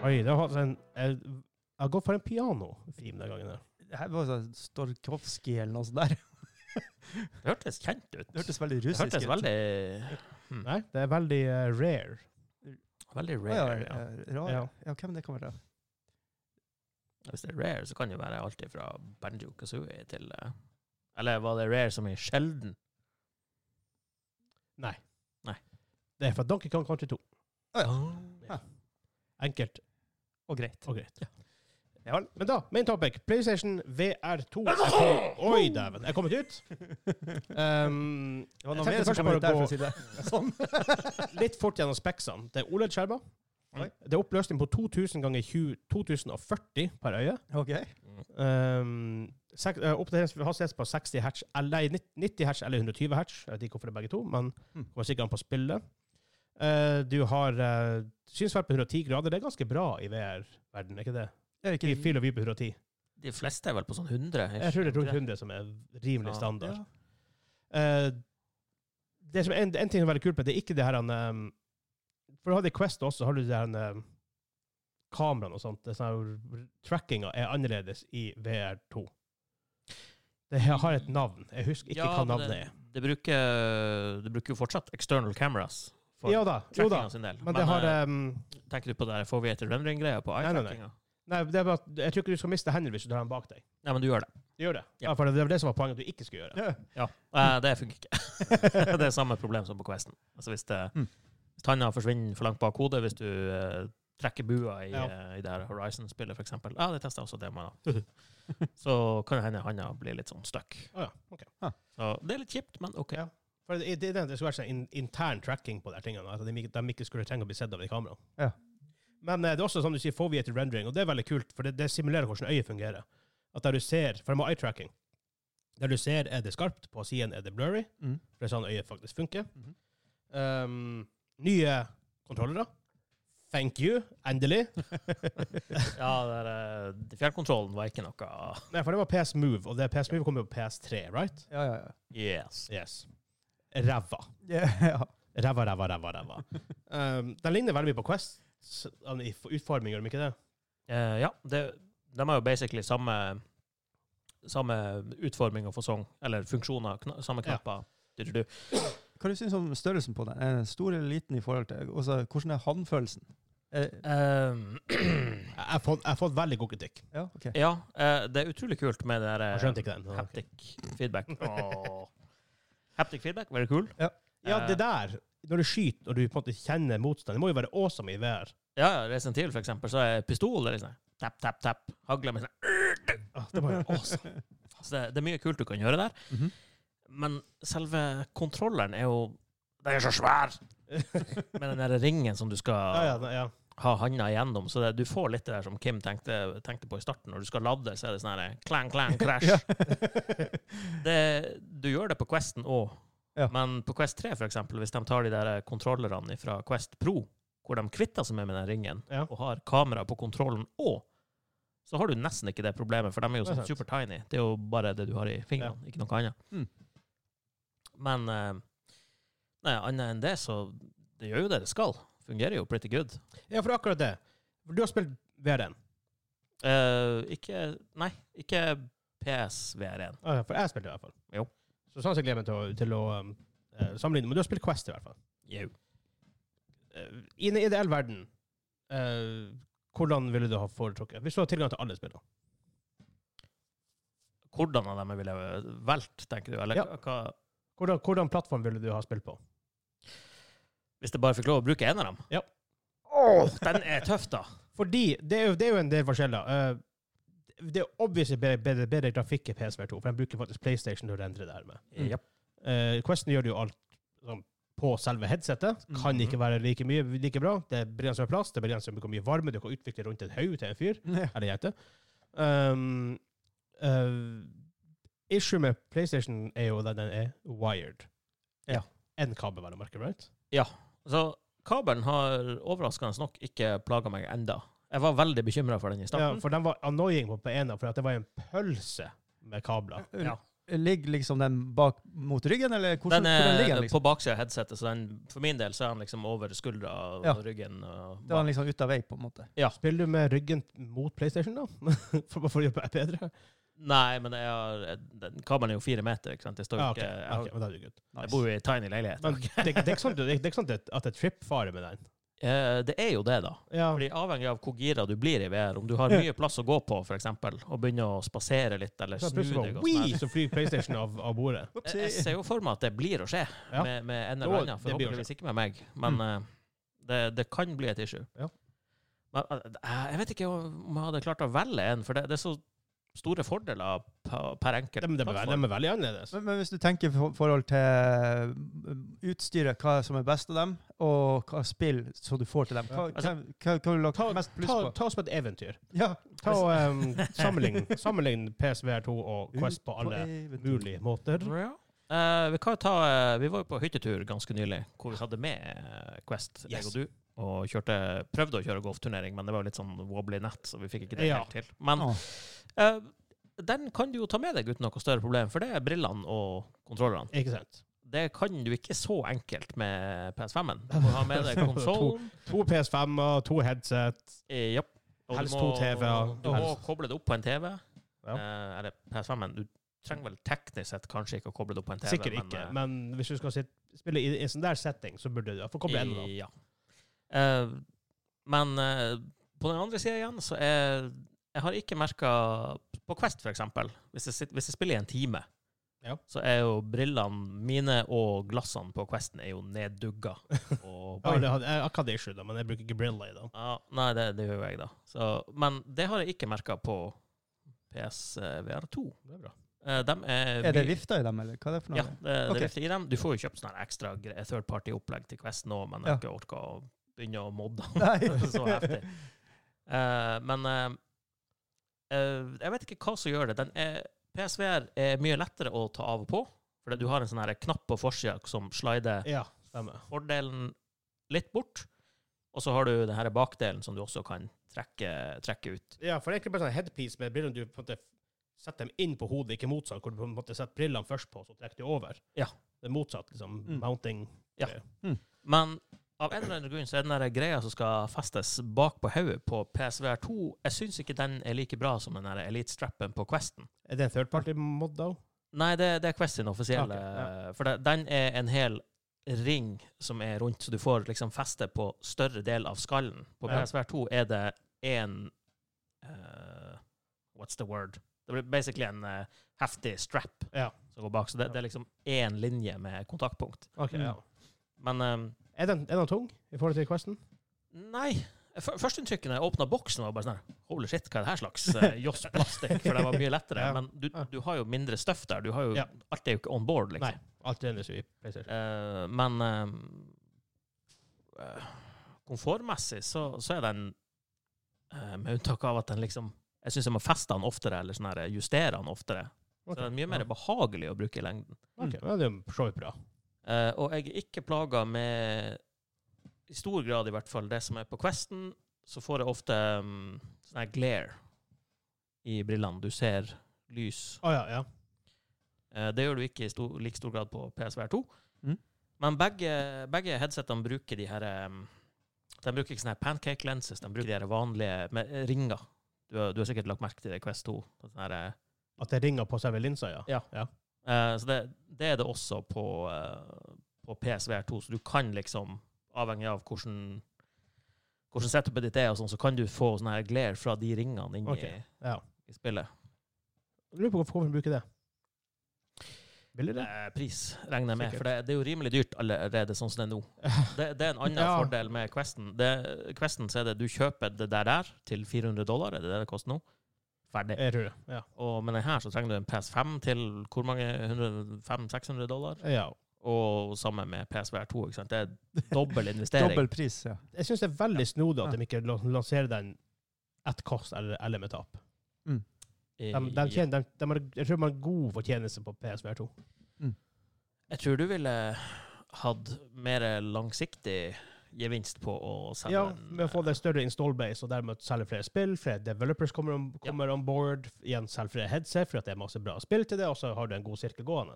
Speaker 1: Oi, det har en Jeg jeg har gått for en pianofilm den gangen. her.
Speaker 2: Det her var sånn Storkovskij eller noe
Speaker 1: [LAUGHS]
Speaker 2: sånt der.
Speaker 3: Det hørtes kjent ut.
Speaker 2: Det hørtes veldig
Speaker 3: Det
Speaker 2: russisk
Speaker 3: hørtes
Speaker 2: ut.
Speaker 3: veldig,
Speaker 2: Mm.
Speaker 1: Nei, det er veldig eh, rare.
Speaker 3: veldig
Speaker 2: Å, ja,
Speaker 3: rare. Ja.
Speaker 2: eh, rar.
Speaker 1: Ja.
Speaker 2: ja, hvem det kommer fra?
Speaker 3: Hvis det er rare, så kan det jo være alt fra Banjo Kazooie til eh, Eller var det rare som i sjelden?
Speaker 1: Nei.
Speaker 3: Nei.
Speaker 1: Det er fra Donkey Kong Country 2.
Speaker 2: Å, ja.
Speaker 1: Enkelt.
Speaker 2: og greit.
Speaker 1: Og
Speaker 2: [LAUGHS]
Speaker 1: greit.
Speaker 2: Ja vel.
Speaker 1: Men da, main topic. PlayStation VR2. Jeg kom- Oi, dæven. Jeg er kommet ut. Um,
Speaker 2: Det
Speaker 1: Jeg
Speaker 2: var noe
Speaker 1: tenkte
Speaker 2: mer som
Speaker 1: først
Speaker 2: kom
Speaker 1: bare
Speaker 2: ut der,
Speaker 1: gå-
Speaker 2: for å si det
Speaker 1: [LAUGHS]
Speaker 2: sånn.
Speaker 1: litt fort gjennom speksene. Det er OLED-skjermer.
Speaker 3: Oi.
Speaker 1: Det er oppløsning på 2000 ganger 20 2040 per øye.
Speaker 2: Ok.
Speaker 1: Um, sek, eh, oppdaterings- hastighet på 60 hertz, eller nei, 90 hertz eller 120 hertz. Jeg vet ikke hvorfor det er begge to, men
Speaker 2: Hmm.
Speaker 1: kommer sikkert an på spillet. Eh, du har uh, synsfelt på 110 grader. Det er ganske bra i VR-verden, er ikke det?
Speaker 2: Er
Speaker 1: I fil og vy på 110.
Speaker 3: De fleste er vel på sånn 100?
Speaker 1: Jeg tror det er rundt 100 som er
Speaker 3: Ja.
Speaker 1: rimelig standard. Eh, det som er en, en ting som er veldig kult med det, er ikke det her han, ehm, For du hadde i Quest også, har du det her um, kameraene og sånt. det er sånn her- Trackinga er annerledes i VR2. Det her har et navn. Jeg husker ikke hva
Speaker 3: men
Speaker 1: navnet
Speaker 3: det,
Speaker 1: er.
Speaker 3: det bruker det bruker jo fortsatt external cameras for
Speaker 1: Ja da. Jo da.
Speaker 3: trackinga sin del.
Speaker 1: Men det har
Speaker 3: eh,
Speaker 1: ehm,
Speaker 3: Tenker du på det der foveated rendering-greia på
Speaker 1: Nei, nei, nei.
Speaker 3: eye-trackinga?
Speaker 1: Nei, det er bare, at jeg tror ikke du skal miste hendene hvis du tar dem bak deg.
Speaker 3: Nei, men du gjør det.
Speaker 1: [LAUGHS] Du gjør det. Ja,
Speaker 3: Ja.
Speaker 1: for det var det som var poenget, at du ikke skulle gjøre det.
Speaker 2: Ja.
Speaker 3: Eh, det funker ikke. [LAUGHS] det er samme problem som på Questen. Altså hvis, det,
Speaker 2: Mm.
Speaker 3: hvis tanna forsvinner for langt bak hodet, hvis du eh, trekker bua i,
Speaker 1: Ja.
Speaker 3: eh, i det her Horizon-spillet, f.eks. Ja, det tester jeg også det med.
Speaker 1: [LAUGHS]
Speaker 3: da. Så kan det hende handa blir litt sånn stuck.
Speaker 1: Å ja, ok.
Speaker 3: Så det er litt kjipt, men OK.
Speaker 1: Ja. For det, det, det skulle vært sånn in- intern tracking på de her tingene. At de, ikke- de ikke skulle trenge å bli sett av de kameraene.
Speaker 2: Ja.
Speaker 1: Men eh, det er også, som du sier, foveated rendering, og det er veldig kult, for det, det simulerer hvordan øyet fungerer. At der du ser, For de har eye-tracking. Der du ser, er det skarpt. På siden er det blurry.
Speaker 2: Mm.
Speaker 1: For det er sånn øyet faktisk funker.
Speaker 2: Mhm.
Speaker 1: Um, nye kontrollere. Thank you. Endelig.
Speaker 3: Ja, det er, eh, fjernkontrollen var ikke noe
Speaker 1: Nei, for det var PS Move, og det PS Move kommer jo på PS3, right?
Speaker 2: Ja, ja, ja.
Speaker 3: Yes.
Speaker 1: Yes. Ræva.
Speaker 2: Ja, ja.
Speaker 1: Ræva, ræva, ræva, ræva. [LAUGHS] um, den ligner veldig mye på Quest s- an- i f- utforming, gjør de [CLEARS THROAT] ikke det?
Speaker 3: Eh, ja, det, de har jo basically samme, samme utforming og fasong, eller funksjoner, kna samme
Speaker 1: Ja.
Speaker 3: knapper. Du, du, du.
Speaker 2: Hva du synes om størrelsen på den? Er den stor eller liten i forhold til Og så hvordan er håndfølelsen? Er,
Speaker 3: Eh,
Speaker 1: Jeg jeg har fått, jeg har fått veldig god kritikk.
Speaker 2: ja, ok.
Speaker 3: ja, eh, det er utrolig kult med det
Speaker 1: Jeg
Speaker 3: der
Speaker 1: skjønte
Speaker 3: eh,
Speaker 1: ikke den. Sånn, Ok.
Speaker 3: haptic feedback. Åh. Haptic feedback, very cool.
Speaker 2: Ja.
Speaker 1: Ja,
Speaker 3: Eh,
Speaker 1: det der, når du skyter og du på en måte kjenner motstand, det må jo være awesome i VR.
Speaker 3: ja, ja, Resident Evil, for eksempel, så er pistol det er liksom Tapp, tapp, tapp. Hagla med sånn.
Speaker 1: Ah, det må jo være awesome.
Speaker 3: Så det, det er mye kult du kan gjøre der.
Speaker 2: Mhm.
Speaker 3: Men selve kontrolleren er jo Den er
Speaker 1: [LAUGHS]
Speaker 3: så svær! Med den der ringen som du skal
Speaker 1: Ja, ja, ja.
Speaker 3: ha handa igjennom. Så det, du får litt det der som Kim tenkte, tenkte på i starten. Når du skal lade, så er det sånn her
Speaker 1: [LAUGHS]
Speaker 3: klang, klang, crash. [LAUGHS] det, du gjør det på Questen òg.
Speaker 2: Ja.
Speaker 3: Men på Quest 3, for eksempel, hvis de tar de der eh, kontrollerne fra Quest Pro, hvor de kvitter seg med den ringen,
Speaker 1: Ja.
Speaker 3: og har kamera på kontrollen òg, så har du nesten ikke det problemet, for de er jo
Speaker 1: Det er
Speaker 3: sånn
Speaker 1: sant.
Speaker 3: super tiny. Det er jo bare det du har i fingrene, ikke noe annet.
Speaker 2: Mm.
Speaker 3: Men eh, nei, annet enn det, så det gjør jo det det skal. Fungerer jo pretty good.
Speaker 1: ja, for akkurat det. Du har spilt VR1.
Speaker 3: Eh, ikke Nei, ikke PSVR1.
Speaker 1: Ah, ja, For jeg spilte det i hvert fall.
Speaker 3: Jo.
Speaker 1: Så sånn sett gleder jeg meg til å, til å um, eh, sammenligne. Men du har spilt Quest i hvert fall.
Speaker 3: Jau.
Speaker 1: Eh, I en ideell verden, eh, hvordan ville du ha foretrukket? Hvis du hadde tilgang til alle spillene.
Speaker 3: Hvordan av dem jeg ville valgt, tenker du? Eller
Speaker 1: Ja.
Speaker 3: hva- hva
Speaker 1: Hvordan, hvordan plattform ville du ha spilt på?
Speaker 3: Hvis jeg bare fikk lov å bruke en av dem?
Speaker 1: Ja.
Speaker 3: Åh, den er tøff, da!
Speaker 1: Fordi det er jo, det er jo en del forskjeller. Eh, det er obviously bedre, bedre, bedre grafikk i PSVR2, for den bruker faktisk PlayStation til å rendre det her med.
Speaker 2: Mm.
Speaker 3: Japp.
Speaker 1: Eh, Questen gjør det jo alt sånn, på selve headsetet. Kan
Speaker 3: Mhm.
Speaker 1: ikke være like mye like bra. Det er begrenset med plass, det er begrenset med hvor mye varme du kan utvikle rundt en haug til en fyr.
Speaker 2: [LAUGHS] Ja.
Speaker 1: Eller jente. Um, eh, issue med PlayStation er jo at den er wired.
Speaker 2: Ja.
Speaker 1: En kabel, vel å merke, right?
Speaker 3: Så kabelen har overraskende nok ikke plaga meg enda. Jeg var veldig bekymra for den i
Speaker 1: Ja,
Speaker 3: starten.
Speaker 1: for den var annoying på ena, for at det var en pølse med kabler.
Speaker 3: Ja.
Speaker 2: Ligger liksom den bak mot ryggen, eller hvordan,
Speaker 3: Den eh, er
Speaker 2: hvordan ligger den? liksom?
Speaker 3: på baksida av headsetet, så den, for min del så er den liksom over skuldra og
Speaker 2: Ja.
Speaker 3: ryggen. Og
Speaker 2: Det var
Speaker 3: bak.
Speaker 2: liksom ut av vei, på en måte.
Speaker 1: Spiller du med ryggen mot PlayStation, da? [LAUGHS] for, for å gjøre det bedre?
Speaker 3: Nei, men jeg har, den kabelen er jo fire meter, ikke sant? Jeg, står
Speaker 1: Ja,
Speaker 3: jo
Speaker 1: Ah, ok.
Speaker 3: ikke, jeg, har-
Speaker 1: Ok, men da er det good.
Speaker 3: jeg bor jo i ei tiny leilighet.
Speaker 1: Men det, det er ikke sånn, det, det er ikke sånn at det er trip-fare med den.
Speaker 3: Eh, det er jo det, da.
Speaker 1: Ja.
Speaker 3: Fordi Avhengig av hvor gira du blir i VR, om du har
Speaker 1: Ja.
Speaker 3: mye plass å gå på, for eksempel, og begynner å spasere litt eller
Speaker 1: Så
Speaker 3: snu
Speaker 1: plutselig
Speaker 3: deg
Speaker 1: bare,
Speaker 3: og sånn her.
Speaker 1: «Wii!» så flyr PlayStation av, av bordet.
Speaker 3: Jeg, jeg ser jo for meg at det blir å skje,
Speaker 1: Ja.
Speaker 3: med, med en
Speaker 1: Jo,
Speaker 3: eller annen.
Speaker 1: det blir å Mm.
Speaker 3: Forhåpentligvis ikke med meg, men eh, det, det kan bli et issue.
Speaker 1: Ja.
Speaker 3: Jeg vet ikke om jeg hadde klart å velge en, for det, det er så store fordeler per per enkelt.
Speaker 1: De, de, er,
Speaker 3: plattform.
Speaker 1: de er veldig annerledes.
Speaker 2: Men, men hvis du tenker i forhold til um, utstyret, hva som er best av dem, og hva spill som du får til dem, hva,
Speaker 3: Ja.
Speaker 2: hva, hva, hva vil du lage
Speaker 1: Ta,
Speaker 2: mest pluss
Speaker 1: ta,
Speaker 2: på?
Speaker 1: ta oss på et eventyr.
Speaker 2: Ja,
Speaker 1: Ta og um, [LAUGHS] Sammenlign sammenlign PSVR2
Speaker 2: [LAUGHS]
Speaker 1: og Quest på alle mulige måter.
Speaker 3: Ja. Eh, vi kan jo ta eh, Vi var jo på hyttetur ganske nylig, hvor vi hadde med eh, Quest, jeg
Speaker 1: Yes.
Speaker 3: og du. Og kjørte, prøvde å kjøre golfturnering, men det var jo litt sånn wobbly nett, så vi fikk ikke det
Speaker 1: Ja.
Speaker 3: helt til. Men
Speaker 2: Åh.
Speaker 3: eh, den kan du jo ta med deg uten noe større problem, for det er brillene og kontrollerne.
Speaker 1: Ikke sant?
Speaker 3: Det kan du ikke så enkelt med PS5-en. Du må ha med
Speaker 1: [LAUGHS]
Speaker 3: deg konsollen.
Speaker 1: To PS5-er, to headset.
Speaker 3: Eh, japp. Og
Speaker 1: Helst
Speaker 3: du må,
Speaker 1: to TV-er.
Speaker 3: Du må
Speaker 1: Helst.
Speaker 3: koble det opp på en TV.
Speaker 1: Ja.
Speaker 3: Eh, eller PS5-en. Du trenger vel teknisk sett kanskje ikke å koble det opp på en TV.
Speaker 1: Sikkert ikke,
Speaker 3: eh,
Speaker 1: men hvis du skal sitt, spille i i en sånn der setting, så burde du få koble enda. da.
Speaker 3: Ja. Eh, men eh, på den andre sida igjen, så er Jeg har ikke merka På Quest, for eksempel, hvis jeg, sitter- hvis jeg spiller i en time,
Speaker 1: Ja.
Speaker 3: så er jo brillene mine og glassene på Questen er jo neddugga.
Speaker 1: [LAUGHS]
Speaker 3: Og
Speaker 1: Ja, det hadde- Jeg har ikke hatt issue, da, men jeg bruker ikke briller i det.
Speaker 3: Ja, nei, det, det gjør jo jeg, da. Så, men det har jeg ikke merka på PSVR2.
Speaker 1: Det er bra.
Speaker 3: Eh, dem er,
Speaker 2: Er det
Speaker 3: mye-
Speaker 2: vifta i dem, eller hva er det for noe?
Speaker 3: Ja, det,
Speaker 2: Ok.
Speaker 3: det vifter i dem. Du får jo kjøpt sånne ekstra gre- third party-opplegg til Quest nå, men jeg har ikke orka å begynne å
Speaker 2: [LAUGHS]
Speaker 3: modde den.
Speaker 2: Nei.
Speaker 3: [LAUGHS] så heftig. Eh, men eh, eh, jeg vet ikke hva som gjør det. Den eh, er, PSVR er mye lettere å ta av og på, fordi du har en sånn her knapp på forsida som slider
Speaker 1: Ja, stemmer.
Speaker 3: fordelen litt bort, og så har du den her bakdelen som du også kan trekke, trekke ut.
Speaker 1: Ja, for det er egentlig bare sånn headpiece med brillene du på en måte setter dem inn på hodet, ikke motsatt, hvor du på en måte setter brillene først på, så trekker du over.
Speaker 3: Ja.
Speaker 1: Det er motsatt, liksom.
Speaker 2: Mm.
Speaker 1: Mounting.
Speaker 3: Men av en eller annen grunn så er den der greia som skal festes bak på hodet på PSVR2, jeg syns ikke den er like bra som den der elite-strappen på Questen.
Speaker 1: Er det en third party mod, da?
Speaker 3: Nei, det, det er Quest sin offisielle.
Speaker 1: Ok, ja.
Speaker 3: For det, den er en hel ring som er rundt, så du får liksom feste på større del av skallen. På
Speaker 1: Ja.
Speaker 3: PSVR2 er det en eh, What's the word? Det blir basically en eh, heftig strap
Speaker 1: Ja.
Speaker 3: som går bak. Så det, det er liksom én linje med kontaktpunkt.
Speaker 1: Ok,
Speaker 2: Mm.
Speaker 1: ja.
Speaker 3: Men eh,
Speaker 1: Er den, er den tung i forhold til Questen?
Speaker 3: nei. F- Førsteinntrykket da jeg åpna boksen, var bare sånn Holy shit, hva er det her slags uh,
Speaker 1: [LAUGHS]
Speaker 3: Joss Plastic? For det var mye lettere.
Speaker 1: Ja.
Speaker 3: Men du, du har jo mindre støff der. Du har jo,
Speaker 1: Ja.
Speaker 3: Alt er jo ikke on board, liksom.
Speaker 1: Nei. Alt det eneste i PlayStation.
Speaker 3: Eh, men eh, eh, komfortmessig så, så er den eh, Med unntak av at den liksom Jeg syns jeg må feste den oftere, eller sånn her, justere den oftere. Så den er mye mer behagelig å bruke i lengden.
Speaker 1: Ok, ja, det er jo for så vidt bra.
Speaker 3: Eh, og jeg er ikke plaga med, i stor grad i hvert fall, det som er på Questen. Så får jeg ofte mm, sånn her glare i brillene. Du ser lys
Speaker 1: Å ja, ja.
Speaker 3: Eh, Det gjør du ikke i stor, like stor grad på PSVR2.
Speaker 2: Mm.
Speaker 3: Men begge, begge headsetene bruker de her um, De bruker ikke sånne her pancake lenses, de bruker de her vanlige med eh, ringer. Du har, du har sikkert lagt merke til det i Quest 2. på sånne her, eh,
Speaker 1: At det ringer på selve linsa, ja.
Speaker 3: Ja.
Speaker 1: ja.
Speaker 3: eh, så det, det er det også på, eh, på PSVR2, så du kan liksom, avhengig av hvordan hvordan setupet ditt er, og sånn, så kan du få sånn her glare fra de ringene inni
Speaker 1: Ok, ja.
Speaker 3: i spillet.
Speaker 1: Jeg Lurer på hvorfor man bruker det. Billigere?
Speaker 3: Eh, Pris regner jeg med,
Speaker 1: Sikkert.
Speaker 3: for det, det er jo rimelig dyrt allerede sånn som det er
Speaker 1: [LAUGHS]
Speaker 3: nå. Det, det er en annen
Speaker 1: Ja.
Speaker 3: fordel med Questen. Det, questen så er det du kjøper det der der til 400 dollar, er det det det koster nå? Ferdig.
Speaker 1: Jeg tror det. Ja.
Speaker 3: Og med den her så trenger du en PS5 til hvor mange? 105-600 dollar?
Speaker 1: ja.
Speaker 3: Og sammen med PSVR2, ikke sant?
Speaker 1: [LAUGHS]
Speaker 3: Det er dobbel investering.
Speaker 2: Dobbel pris, ja.
Speaker 1: Jeg syns det er veldig snodig at de ikke la- lanserer den at kost eller, eller med tap.
Speaker 3: I-
Speaker 1: De, de tjener, de, de har, jeg tror man har god fortjeneste på PSVR2.
Speaker 3: Jeg tror du ville hatt mer langsiktig gevinst på å selge
Speaker 1: Ja,
Speaker 3: en-
Speaker 1: med å få det større install base og dermed selge flere spill, flere developers kommer, om,
Speaker 3: Ja.
Speaker 1: kommer on board, igjen selge flere headset for at det er masse bra spill til det, og så har du en god sirkel gående.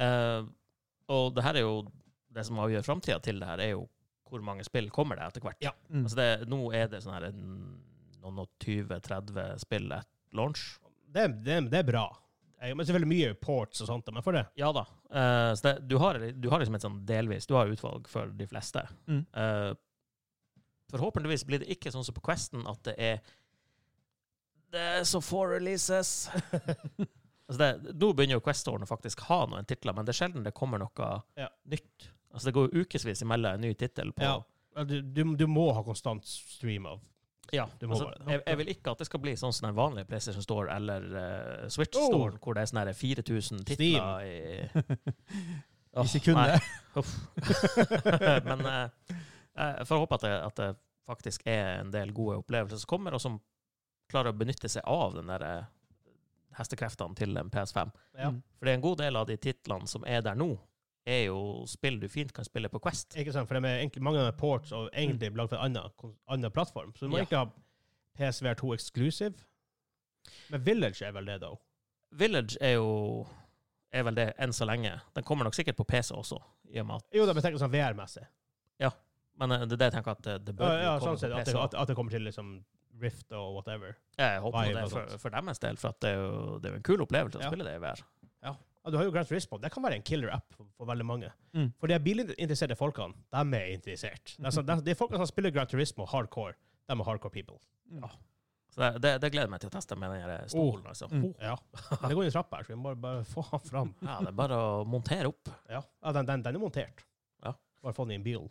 Speaker 3: Eh, og det her er jo det som avgjør framtida til det her, er jo hvor mange spill kommer det etter hvert.
Speaker 2: Mm.
Speaker 3: Altså det, nå er det sånn her en- noen og 20-30 spill etter launch.
Speaker 1: Det, er- det, er- det er bra. Eh, Men selvfølgelig mye ports og sånt, men for det.
Speaker 3: Ja da. Eh, så det, du, har, du har liksom et sånn delvis Du har utvalg for de fleste.
Speaker 2: Mm.
Speaker 3: Eh, forhåpentligvis blir det ikke sånn som på Questen at det er Det er så få
Speaker 1: [LAUGHS]
Speaker 3: releases. altså det, nå begynner jo Quest-årene faktisk ha noen titler, men det er sjelden det kommer noe
Speaker 1: Ja.
Speaker 3: nytt. Altså det går jo ukevis imellom en ny tittel på
Speaker 1: Ja. Ja, Du, du, du må ha konstant stream av.
Speaker 3: Ja,
Speaker 1: Det må
Speaker 3: altså,
Speaker 1: være det.
Speaker 3: jeg, jeg vil ikke at det skal bli sånn som den vanlige PlayStation Store eller eh, Switch
Speaker 1: Oh.
Speaker 3: Store, hvor det er sånn her 4000 titler i,
Speaker 1: [LAUGHS]
Speaker 3: Åh,
Speaker 2: sekundet. [LAUGHS]
Speaker 3: nei, uff. [LAUGHS] Men eh, eh, for å håpe at det, at det faktisk er en del gode opplevelser som kommer, og som klarer å benytte seg av den der eh, hestekreftene til en PS5.
Speaker 1: Ja,
Speaker 2: Mm.
Speaker 3: For det er en god del av de titlene som er der nå, er jo spill du fint kan spille på Quest.
Speaker 1: Ikke sant? For de er egentlig, mange av dem er ports og egentlig lagd for en annen, kon- annen plattform. Så du må
Speaker 3: Mm. Ja.
Speaker 1: ikke ha PSVR2 exclusive. Men Village er vel det, da?
Speaker 3: Village er jo er vel det enn så lenge. Den kommer nok sikkert på PC også, i og med at
Speaker 1: Jo da, men tenk sånn VR-messig.
Speaker 3: Men eh, det er det jeg tenker at det, det
Speaker 1: Ja,
Speaker 3: bør
Speaker 1: ja,
Speaker 3: komme
Speaker 1: sånn sett.
Speaker 3: på
Speaker 1: At
Speaker 3: PC
Speaker 1: det,
Speaker 3: også.
Speaker 1: at, at det kommer til liksom Rift og whatever.
Speaker 3: Jeg håper jo
Speaker 1: Vive
Speaker 3: det
Speaker 1: og
Speaker 3: for,
Speaker 1: sånt.
Speaker 3: for deres del, for at det er jo, det er jo en kul opplevelse å
Speaker 1: Ja.
Speaker 3: spille det i VR.
Speaker 1: Ja, du har jo Grand Turismo. Det kan være en killer app for, for veldig mange.
Speaker 2: Mm.
Speaker 1: For de bilinteresserte folkene, de er interessert. Det er, sånn, de, de folkene som spiller Grand Turismo hardcore, de er hardcore people.
Speaker 2: Mm.
Speaker 3: Så det, det, det gleder jeg meg til å teste med den her
Speaker 1: Oh.
Speaker 3: stolen. Altså.
Speaker 2: Mm.
Speaker 3: Ho.
Speaker 1: Ja. Men det går i trappa her, så vi må bare, bare få han fram.
Speaker 3: Ja, det er bare å montere opp.
Speaker 1: Ja, ja den, den, den er montert.
Speaker 3: Ja.
Speaker 1: Bare få den i en bil.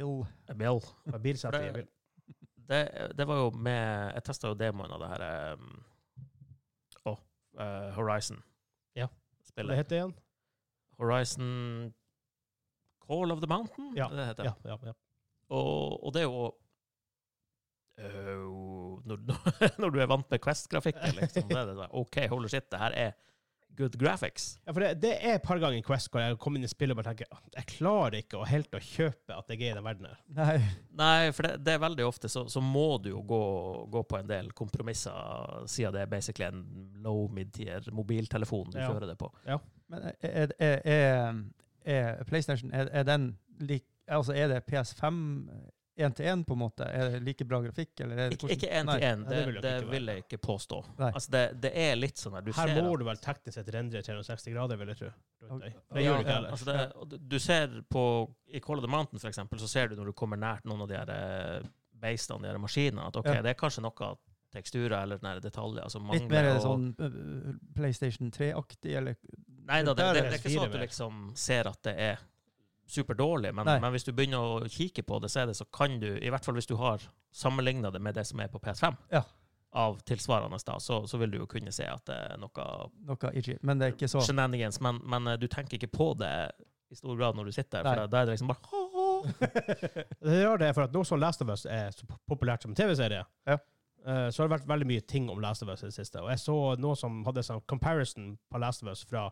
Speaker 2: Bill.
Speaker 3: Eh, Bill.
Speaker 1: Bare bilsett i en bil.
Speaker 3: Det, det var jo med Jeg testa jo demoen av det her um, Å, eh, Horizon.
Speaker 1: Ja. Hva
Speaker 3: Spillet.
Speaker 1: heter det igjen?
Speaker 3: Horizon Call of the Mountain?
Speaker 1: Ja,
Speaker 3: er det det heter.
Speaker 1: Ja, ja, ja.
Speaker 3: Og, og det er jo Au, når, når [LAUGHS] du er vant med Quest-grafikken, liksom, det er det sånn OK, holy shit, det her er good graphics.
Speaker 1: ja for det, det er et par ganger i Quest hvor jeg kom inn i spillet og bare tenker «Åh, jeg klarer ikke å helt å kjøpe at jeg er i den verden her.
Speaker 2: Nei.
Speaker 3: Nei, for det, det er veldig ofte så, så må du jo gå, gå på en del kompromisser, siden det er basically en low mid-tier mobiltelefon du
Speaker 1: Ja.
Speaker 3: kjører det på.
Speaker 2: Men er, er, er, er PlayStation er, er den lik Altså, er det PS5 én til én, på en måte? Er det like bra grafikk, eller er det
Speaker 3: Ikke- Ikke én til én,
Speaker 1: nei,
Speaker 3: det,
Speaker 1: det vil det
Speaker 3: det
Speaker 1: ikke være.
Speaker 3: vil jeg ikke påstå.
Speaker 2: Nei.
Speaker 3: Altså, det, det er litt sånn her du
Speaker 1: Her
Speaker 3: ser
Speaker 1: må
Speaker 3: at-
Speaker 1: du vel teknisk sett rendre 360 grader, vil jeg tro. rundt deg.
Speaker 2: Det
Speaker 1: Det gjør
Speaker 2: Ja,
Speaker 1: du ikke
Speaker 3: Altså
Speaker 1: heller.
Speaker 3: det, og du- du ser på I Call of the Mountain, for eksempel, så ser du når du kommer nært noen av de her eh, beistene, de her maskinene, at OK,
Speaker 2: Ja.
Speaker 3: det er kanskje noe teksturer eller sånne her detaljer som mangler.
Speaker 2: Litt mer
Speaker 3: og-
Speaker 2: sånn øh, PlayStation 3-aktig, eller
Speaker 3: Nei da,
Speaker 2: der
Speaker 3: det, det,
Speaker 2: er
Speaker 3: det er ikke
Speaker 1: fire
Speaker 3: sånn at du
Speaker 1: mer.
Speaker 3: liksom ser at det er superdårlig, men,
Speaker 2: Nei.
Speaker 3: men hvis du begynner å kikke på det, så er det så kan du, i hvert fall hvis du har sammenligna det med det som er på PS5,
Speaker 2: Ja.
Speaker 3: av tilsvarende, da, så, så vil du jo kunne se at det er noe
Speaker 2: noe itchy. Men det er ikke så
Speaker 3: shenanigans, men, men eh, du tenker ikke på det i stor grad når du sitter der, for
Speaker 2: Nei.
Speaker 3: da- da er det liksom bare
Speaker 1: [LAUGHS] Det rare er for at nå som Last of Us er så pop- populært som TV-serie,
Speaker 2: Ja.
Speaker 1: eh, så har det vært veldig mye ting om Last of Us i det siste. Og jeg så noe som hadde sånn comparison på Last of Us fra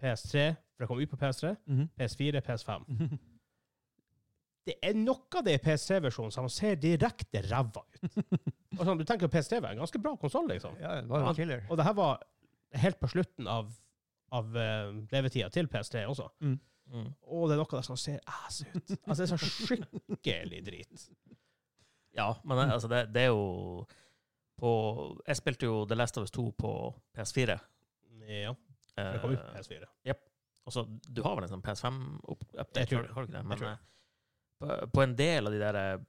Speaker 1: PS3, for det kom ut på PS3,
Speaker 2: Mhm.
Speaker 1: PS4, PS5.
Speaker 2: Mhm.
Speaker 1: Det er noe av det i PS3-versjonen som ser direkte ræva ut. Og sånn, du tenker jo PS3 var en ganske bra konsoll, liksom.
Speaker 2: Ja, det var jo
Speaker 1: Ja.
Speaker 2: en killer.
Speaker 1: Og det her var helt på slutten av, av eh, levetida til PS3 også.
Speaker 3: mm.
Speaker 1: Og det er noe der som ser ass ut. Altså, det er så skikkelig drit.
Speaker 3: Ja, men det- altså, det, det er jo på Jeg spilte jo The Last of Us 2 på PS4.
Speaker 1: Ja.
Speaker 3: eh,
Speaker 1: Det kom ut på PS4.
Speaker 3: og så, du har vel en sånn
Speaker 1: Jeg
Speaker 3: PS5-update?
Speaker 1: tror
Speaker 3: Har,
Speaker 1: det.
Speaker 3: har du ikke det?
Speaker 1: Jeg
Speaker 3: Men
Speaker 1: tror
Speaker 3: eh, på, på en del av de der eh,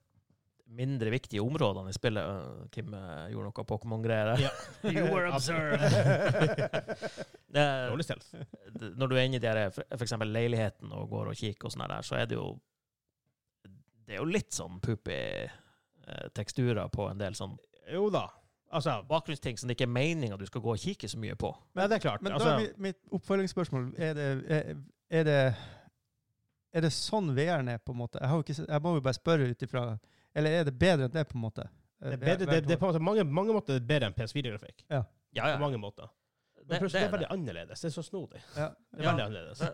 Speaker 3: mindre viktige områdene i spillet eh, Kim eh, gjorde noe Pokémon-greier der.
Speaker 1: Ja.
Speaker 3: [LAUGHS] You were
Speaker 1: [LAUGHS]
Speaker 3: observed. Eh,
Speaker 1: Dårlig stelt.
Speaker 3: d- når du er inne i de her, eh, for- for eksempel leiligheten og går og kikker, og sånn her, så er det jo det er jo litt sånn poopy eh, teksturer på en del sånn
Speaker 1: Jo da. Altså,
Speaker 3: bakgrunnsting som det ikke er meninga du skal gå og kikke så mye på.
Speaker 1: men det er klart.
Speaker 2: Men da
Speaker 1: altså,
Speaker 2: er mi- mitt oppfølgingsspørsmål er det, er, er det er det sånn VR-en er, på en måte? Jeg, har jo ikke, sett- jeg må jo bare spørre ut ifra Eller er det bedre enn det, på en måte? Eh,
Speaker 1: det, er bedre, det, det er på en måte mange, mange måter bedre enn PS4-grafikk.
Speaker 3: Ja,
Speaker 1: På mange måter. Men
Speaker 3: Det,
Speaker 1: plutselig, det er
Speaker 3: er
Speaker 1: veldig annerledes. Det er så snodig.
Speaker 2: ja.
Speaker 1: Det er
Speaker 3: Ja.
Speaker 1: veldig annerledes.
Speaker 3: det.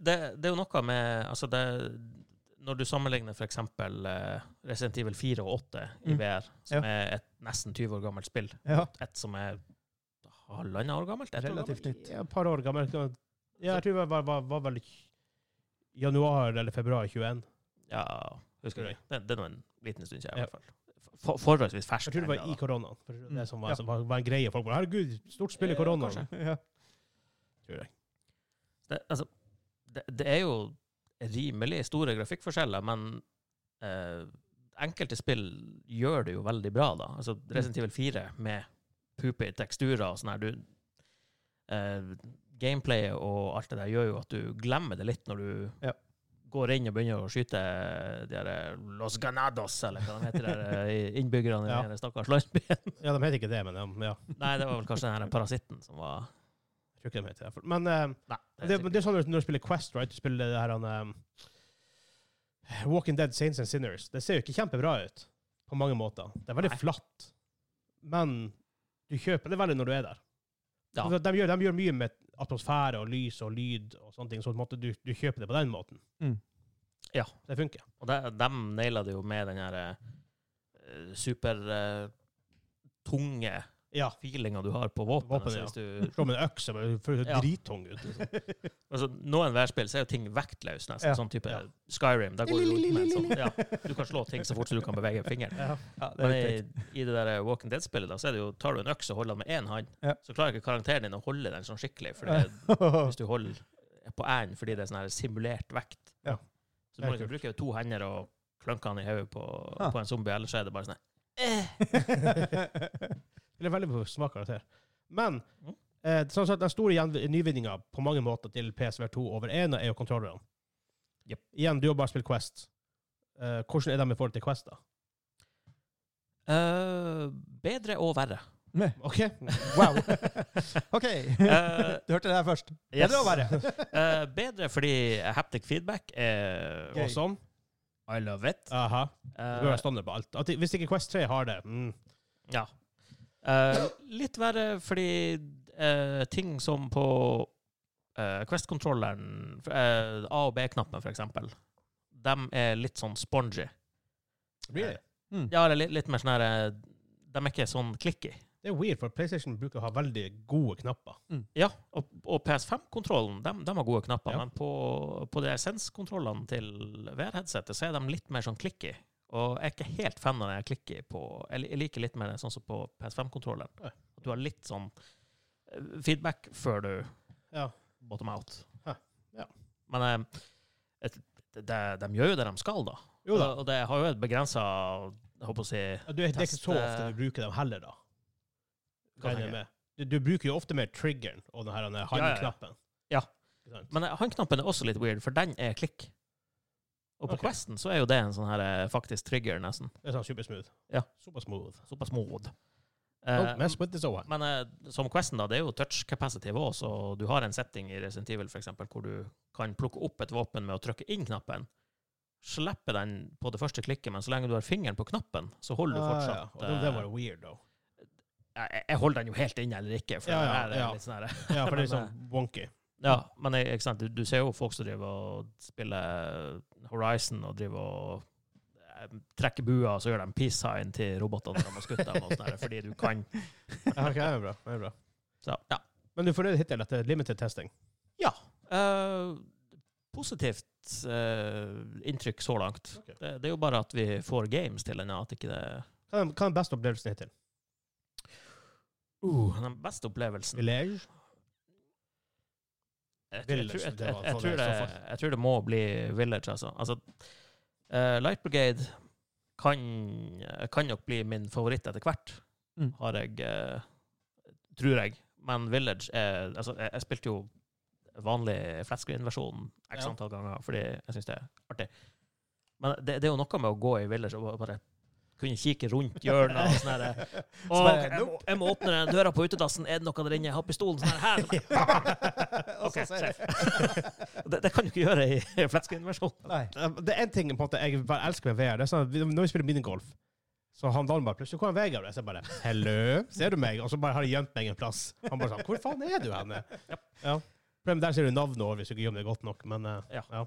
Speaker 3: det, det er jo noe med Altså, det Når du sammenligner f.eks. Uh, Resident Evil 4 og 8 i
Speaker 2: Mm.
Speaker 3: VR, som er et nesten 20 år gammelt spill,
Speaker 2: ja.
Speaker 3: et som er halvannet år gammelt, ett år
Speaker 2: Relativt nytt.
Speaker 1: Ja, et par år gammel. Ja, jeg tror det var, var, var vel januar eller februar 21.
Speaker 3: gammelt. Ja, husker du? Det, det er nå en liten stund siden, i
Speaker 1: Ja.
Speaker 3: hvert fall. For, forholdsvis ferskt.
Speaker 1: Jeg tror det var
Speaker 3: ennå,
Speaker 1: i
Speaker 3: da.
Speaker 1: koronaen. for Det som var,
Speaker 2: Ja. Eh,
Speaker 1: som var, var en greie. Folk bare Herregud, stort spill i koronaen.
Speaker 3: kanskje.
Speaker 2: ja.
Speaker 3: Det, altså, det, det er jo rimelig store grafikkforskjeller, men eh, enkelte spill gjør det jo veldig bra, da. Altså
Speaker 1: Mm.
Speaker 3: Resident Evil 4 med poopy teksturer og sånn her, du eh, Gameplayet og alt det der gjør jo at du glemmer det litt når du
Speaker 2: Ja.
Speaker 3: går inn og begynner å skyte de der Los Ganados, eller hva de heter, de der innbyggerne i
Speaker 1: Ja.
Speaker 3: den stakkars landsbyen. [LAUGHS]
Speaker 1: Ja, de heter ikke det, men de- ja.
Speaker 3: Nei, det var vel kanskje den her parasitten som var
Speaker 1: Jeg tror ikke de heter det. Men eh,
Speaker 3: Nei.
Speaker 1: det, det er sånn når du- når du spiller Quest, right? Du spiller det her han eh, Walking Dead Saints and Sinners. Det ser jo ikke kjempebra ut på mange måter. Det er veldig
Speaker 3: Nei.
Speaker 1: flatt. Men du kjøper det veldig når du er der.
Speaker 3: Ja.
Speaker 1: For De, gjør, de gjør mye med atmosfære og lys og lyd og sånne ting, så på en måte du, du kjøper det på den måten.
Speaker 2: Mm.
Speaker 3: Ja.
Speaker 1: Det funker.
Speaker 3: Og de, naila det jo med den her eh, super eh, tunge
Speaker 1: Ja.
Speaker 3: feelinga du har på våpenet.
Speaker 1: Våpenet,
Speaker 3: så
Speaker 1: ja.
Speaker 3: hvis du,
Speaker 1: Slå med en øks og bare føler
Speaker 3: Ja.
Speaker 1: deg drittung ut. Liksom.
Speaker 3: [LAUGHS]
Speaker 1: [LAUGHS]
Speaker 3: altså, noen værspill så er jo ting vektløs, nesten.
Speaker 2: Ja.
Speaker 3: Sånn type
Speaker 1: Ja.
Speaker 3: Skyrim. Der går du rundt med en sånn. Ja, du kan slå ting så fort som du kan bevege fingeren.
Speaker 1: Ja.
Speaker 2: Ja, det er
Speaker 3: Men
Speaker 2: helt
Speaker 3: i,
Speaker 2: riktig.
Speaker 3: i det der Walking Dead-spillet da, så er det jo, tar du en øks og holder den med én hånd,
Speaker 2: Ja.
Speaker 3: så klarer ikke karakteren din å holde den sånn skikkelig. For det, hvis du holder på æren fordi det er sånn her simulert vekt,
Speaker 2: Ja.
Speaker 3: så må du ikke bruke to hender og klønke han i hodet på,
Speaker 2: Ah.
Speaker 3: på en zombie, ellers så er det bare sånn her.
Speaker 1: Eller veldig på smak av karakter. Men
Speaker 3: Mm.
Speaker 1: eh, sånn sett, den store gjenv- nyvinninga på mange måter til PSVR2 over 1 er jo kontrollerne.
Speaker 3: Jep.
Speaker 1: Igjen, du har bare spilt Quest. Eh, hvordan er de i forhold til Quest, da?
Speaker 3: Eh, bedre og verre.
Speaker 1: OK?
Speaker 3: [LAUGHS]
Speaker 1: Wow.
Speaker 2: OK,
Speaker 3: Eh,
Speaker 2: du hørte det her først.
Speaker 3: yes.
Speaker 1: Bedre og verre.
Speaker 3: Eh, bedre fordi haptic feedback er
Speaker 1: [LAUGHS]
Speaker 2: Gøy.
Speaker 1: Awesome.
Speaker 3: I love it.
Speaker 1: Aha. Du
Speaker 3: Eh,
Speaker 1: er standard på alt. At, de- hvis ikke Quest 3 har det mm.
Speaker 3: Ja. Eh, litt verre fordi eh, ting som på eh, Quest-kontrolleren, eh, A- og B-knappen f.eks., de er litt sånn spongy. Eh,
Speaker 1: Really?
Speaker 2: Mm.
Speaker 3: Ja, eller litt, litt mer sånn her eh, De er ikke sånn clicky.
Speaker 1: Det er weird, for PlayStation bruker å ha veldig gode knapper.
Speaker 3: Ja, og, og PS5-kontrollen, de, har gode knapper,
Speaker 1: Ja.
Speaker 3: men på, på de essenskontrollene til VR-headsetet, så er de litt mer sånn clicky. Og jeg er ikke helt fan av det jeg klikker på. Jeg jeg liker litt mer det sånn som på PS5-kontrolleren.
Speaker 1: Ja.
Speaker 3: At du har litt sånn eh, feedback før du
Speaker 1: Ja.
Speaker 3: bottom out.
Speaker 1: Hæ, ja.
Speaker 3: Men eh, et, de, de gjør jo det de skal, da.
Speaker 1: Jo da.
Speaker 3: Og det har jo et begrensa Håper å si
Speaker 1: Ja, Du, det er ikke så
Speaker 3: Teste-
Speaker 1: ofte du bruker dem heller, da.
Speaker 3: Hva
Speaker 1: Regner
Speaker 3: tenker
Speaker 1: jeg med. Du, du bruker jo ofte mer triggeren og den her den her
Speaker 3: Ja, ja, ja.
Speaker 1: handknappen.
Speaker 3: Ja.
Speaker 1: Ikke sant?
Speaker 3: Men eh, håndknappen er også litt weird, for den er klikk. Og på
Speaker 1: Ok.
Speaker 3: Questen så er jo det en sånn her eh, faktisk trigger, nesten.
Speaker 1: Det er sånn supersmooth.
Speaker 3: Ja.
Speaker 1: Supersmooth.
Speaker 3: Såpass mod.
Speaker 1: Don't
Speaker 3: Eh,
Speaker 1: Oh, mess with this one.
Speaker 3: men eh, som Questen, da, det er jo touch capacitive òg, så du har en setting i Resident Evil for eksempel, hvor du kan plukke opp et våpen med å trykke inn knappen. Slippe den på det første klikket, men så lenge du har fingeren på knappen, så holder du
Speaker 1: Ah, ja.
Speaker 3: fortsatt
Speaker 1: Og den, den
Speaker 3: eh,
Speaker 1: var jo weird, though.
Speaker 3: jeg, jeg holder den jo helt inne eller ikke, for
Speaker 1: Ja,
Speaker 3: det
Speaker 1: ja,
Speaker 3: her er
Speaker 1: ja.
Speaker 3: litt sånn her
Speaker 1: Ja, for det
Speaker 3: Men,
Speaker 1: [LAUGHS] er sånn wonky.
Speaker 3: Ja, men eh, ikke sant? Du, du ser jo folk som driver og spiller eh, Horizon og driver og eh, trekker bua, og så gjør de peace sign til robotene når de har skutt dem, og sånn her, fordi du kan.
Speaker 1: Ja, ok, det er bra. Det er bra.
Speaker 3: Så, ja.
Speaker 1: Men du er fornøyd hittil etter limited testing?
Speaker 3: Eh, positivt eh, inntrykk så langt.
Speaker 1: Ok.
Speaker 3: Det, det er jo bare at vi får games til denne, at ikke det
Speaker 1: Hva er, hva er den beste opplevelsen hittil?
Speaker 3: uh, Den beste opplevelsen
Speaker 1: Village?
Speaker 3: Jeg, jeg,
Speaker 1: Village,
Speaker 3: tror- jeg,
Speaker 1: det
Speaker 3: jeg,
Speaker 1: var
Speaker 3: jeg,
Speaker 1: for
Speaker 3: tror
Speaker 1: meg i
Speaker 3: det,
Speaker 1: så fall.
Speaker 3: jeg tror det må bli Village, altså. altså eh, Light Brigade kan, kan nok bli min favoritt etter hvert,
Speaker 2: Mm.
Speaker 3: har jeg eh, Tror jeg. Men Village er Altså, jeg, jeg spilte jo vanlig flatscreen-versjon x
Speaker 1: Ja.
Speaker 3: antall ganger fordi jeg syns det er artig. Men det, det er jo noe med å gå i Village og bare kunne kikke rundt hjørnet [LAUGHS] og sånn her.
Speaker 2: [LAUGHS]
Speaker 3: Å,
Speaker 2: bare,
Speaker 3: jeg, må- jeg må åpne den døra på utedassen. Er det noe der inne? Jeg har pistolen sånn
Speaker 2: [LAUGHS]
Speaker 3: her. [LAUGHS]
Speaker 2: Og så
Speaker 3: Ok,
Speaker 2: ser jeg.
Speaker 3: [LAUGHS] Det, det kan du ikke gjøre i flatscreen-versjonen.
Speaker 2: Nei.
Speaker 1: Eh, Det er én ting på en måte jeg bare elsker med VR. Det er sånn, at vi- Når vi spiller minigolf, så han Dahlberg plutselig hvor er Vegard? Jeg ser bare 'Hello, ser du meg?' Og så bare har jeg gjemt meg en plass. Han bare sånn 'Hvor faen er du henne?' Ja. Problemet der ser du navnet over hvis du ikke gjemmer deg godt nok, men eh,
Speaker 3: Ja.
Speaker 1: ja.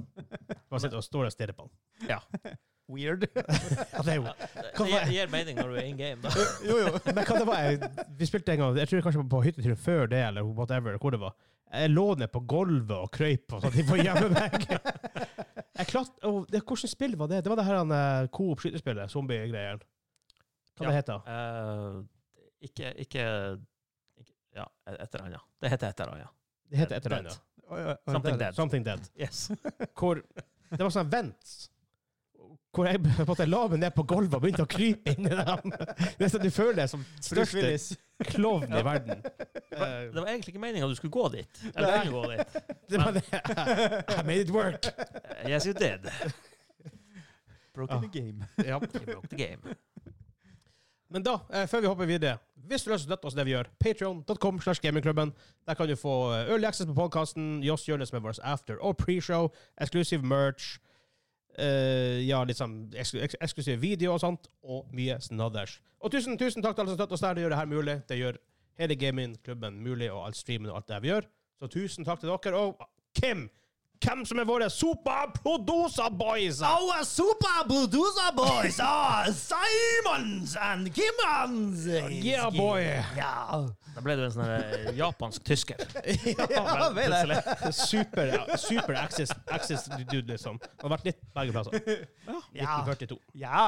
Speaker 1: Bare sitter og står og stirrer på han. [LAUGHS]
Speaker 2: Weird.
Speaker 1: Ja, det er jo
Speaker 3: Det gir, gir mening når du er in game, da.
Speaker 2: Jo,
Speaker 1: [LAUGHS]
Speaker 2: jo.
Speaker 1: Men hva det var jeg, Vi spilte en gang, jeg tror kanskje på hytteturen før det, eller whatever, hvor det var. Jeg lå ned på gulvet og krøyp og sånn, de får gjemme meg. Jeg klart, og det, hvordan spill var det? Det var det her han, eh, Coop skytespillet, zombie-greien. Hva det
Speaker 3: Ja.
Speaker 1: heter det?
Speaker 3: Eh, ikke, ikke, ikke Ja, et eller annet. Det heter et eller annet.
Speaker 1: Det heter et eller annet.
Speaker 2: Oi, oi, oi,
Speaker 3: Something
Speaker 2: der.
Speaker 3: dead.
Speaker 1: Something Dead.
Speaker 3: Yes.
Speaker 1: Hvor, det var sånn vent. Hvor jeg [LAUGHS] på en måte la meg ned på gulvet og begynte å krype inn i dem. Nesten sånn, du føler deg som
Speaker 2: Bruce
Speaker 1: største
Speaker 2: Willis.
Speaker 1: klovn i verden. Eh,
Speaker 3: Det var [LAUGHS] egentlig ikke meningen at du skulle gå dit. Eller
Speaker 1: Nei.
Speaker 3: kunne gå dit.
Speaker 1: det var det. I made it work.
Speaker 3: Eh, Yes, you did.
Speaker 2: Broken the game.
Speaker 1: Ja.
Speaker 3: You broke the game.
Speaker 1: Men da, eh, før vi hopper videre, hvis du har støttet oss i det vi gjør, patreon.com slash gamingklubben. Der kan du få eh, early access på podkasten, Joss Jonis med vår after og pre-show, exclusive merch, eh, ja, liksom eksklu eks- eksklusive video og sånt, og mye snadders. Og tusen, tusen takk til alle som støtter oss der. Det gjør det her mulig. Det gjør hele gamingklubben mulig, og alt streamen og alt det her vi gjør. Så tusen takk til dere, og Kim! Hvem som er våre superproducer-boys!
Speaker 4: Our super producer boys are Simons and Kimmons.
Speaker 1: Yeah, boy!
Speaker 4: Yeah.
Speaker 3: Da ble du en sånn eh,
Speaker 1: [LAUGHS]
Speaker 3: japansk-tysker.
Speaker 2: Ja, vet jeg.
Speaker 1: Super, super access, access dude, liksom. Han har vært litt begge plasser.
Speaker 4: Ja.
Speaker 1: 1942.
Speaker 2: Ja.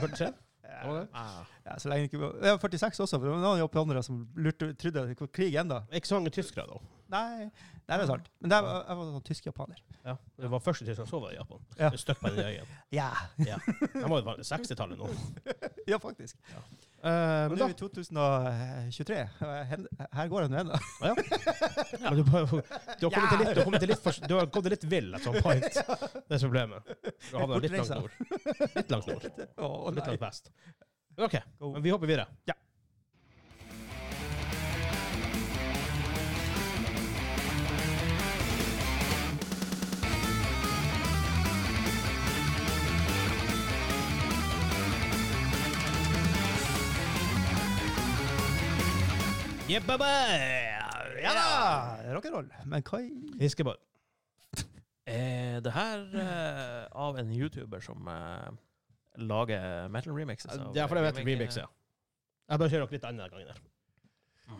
Speaker 1: 43? Var det?
Speaker 2: ja, så lenge det ikke var Jeg var 46 også, for det var noen japanere som lurte, trodde at det var krig ennå.
Speaker 1: Ikke så mange tyskere, da.
Speaker 2: Nei, nei, det er sant. Men der, var- jeg var sånn tysk-japaner.
Speaker 1: Ja. Det var første tysker som var i Japan.
Speaker 2: Ja.
Speaker 1: Støkk på den øyen.
Speaker 2: Ja.
Speaker 1: Han var jo bare 60-tallet nå.
Speaker 2: ja, faktisk.
Speaker 1: Eh, men,
Speaker 2: Men nå
Speaker 1: da,
Speaker 2: er vi 2023. Hen- Her går det nå ennå.
Speaker 1: [LAUGHS] men du, bare, du har kommet til litt, du har kommet til litt, for, du har kommet litt vill at sånn point. Det er problemet. Du havner litt langt nord. Litt langt nord.
Speaker 2: Å,
Speaker 1: Litt
Speaker 2: nei.
Speaker 1: langt vest. OK, men vi hopper videre.
Speaker 2: Ja.
Speaker 1: Jebba,
Speaker 2: Ja da! Rock'n'roll. Men hva i
Speaker 1: Fiskeball.
Speaker 3: Er det her eh, av en YouTuber som eh, lager metal remixes? av
Speaker 1: Ja, for det vet
Speaker 3: gaming,
Speaker 1: vi remix, ja. Jeg bare kjører dere litt annen gangen her.
Speaker 3: eh,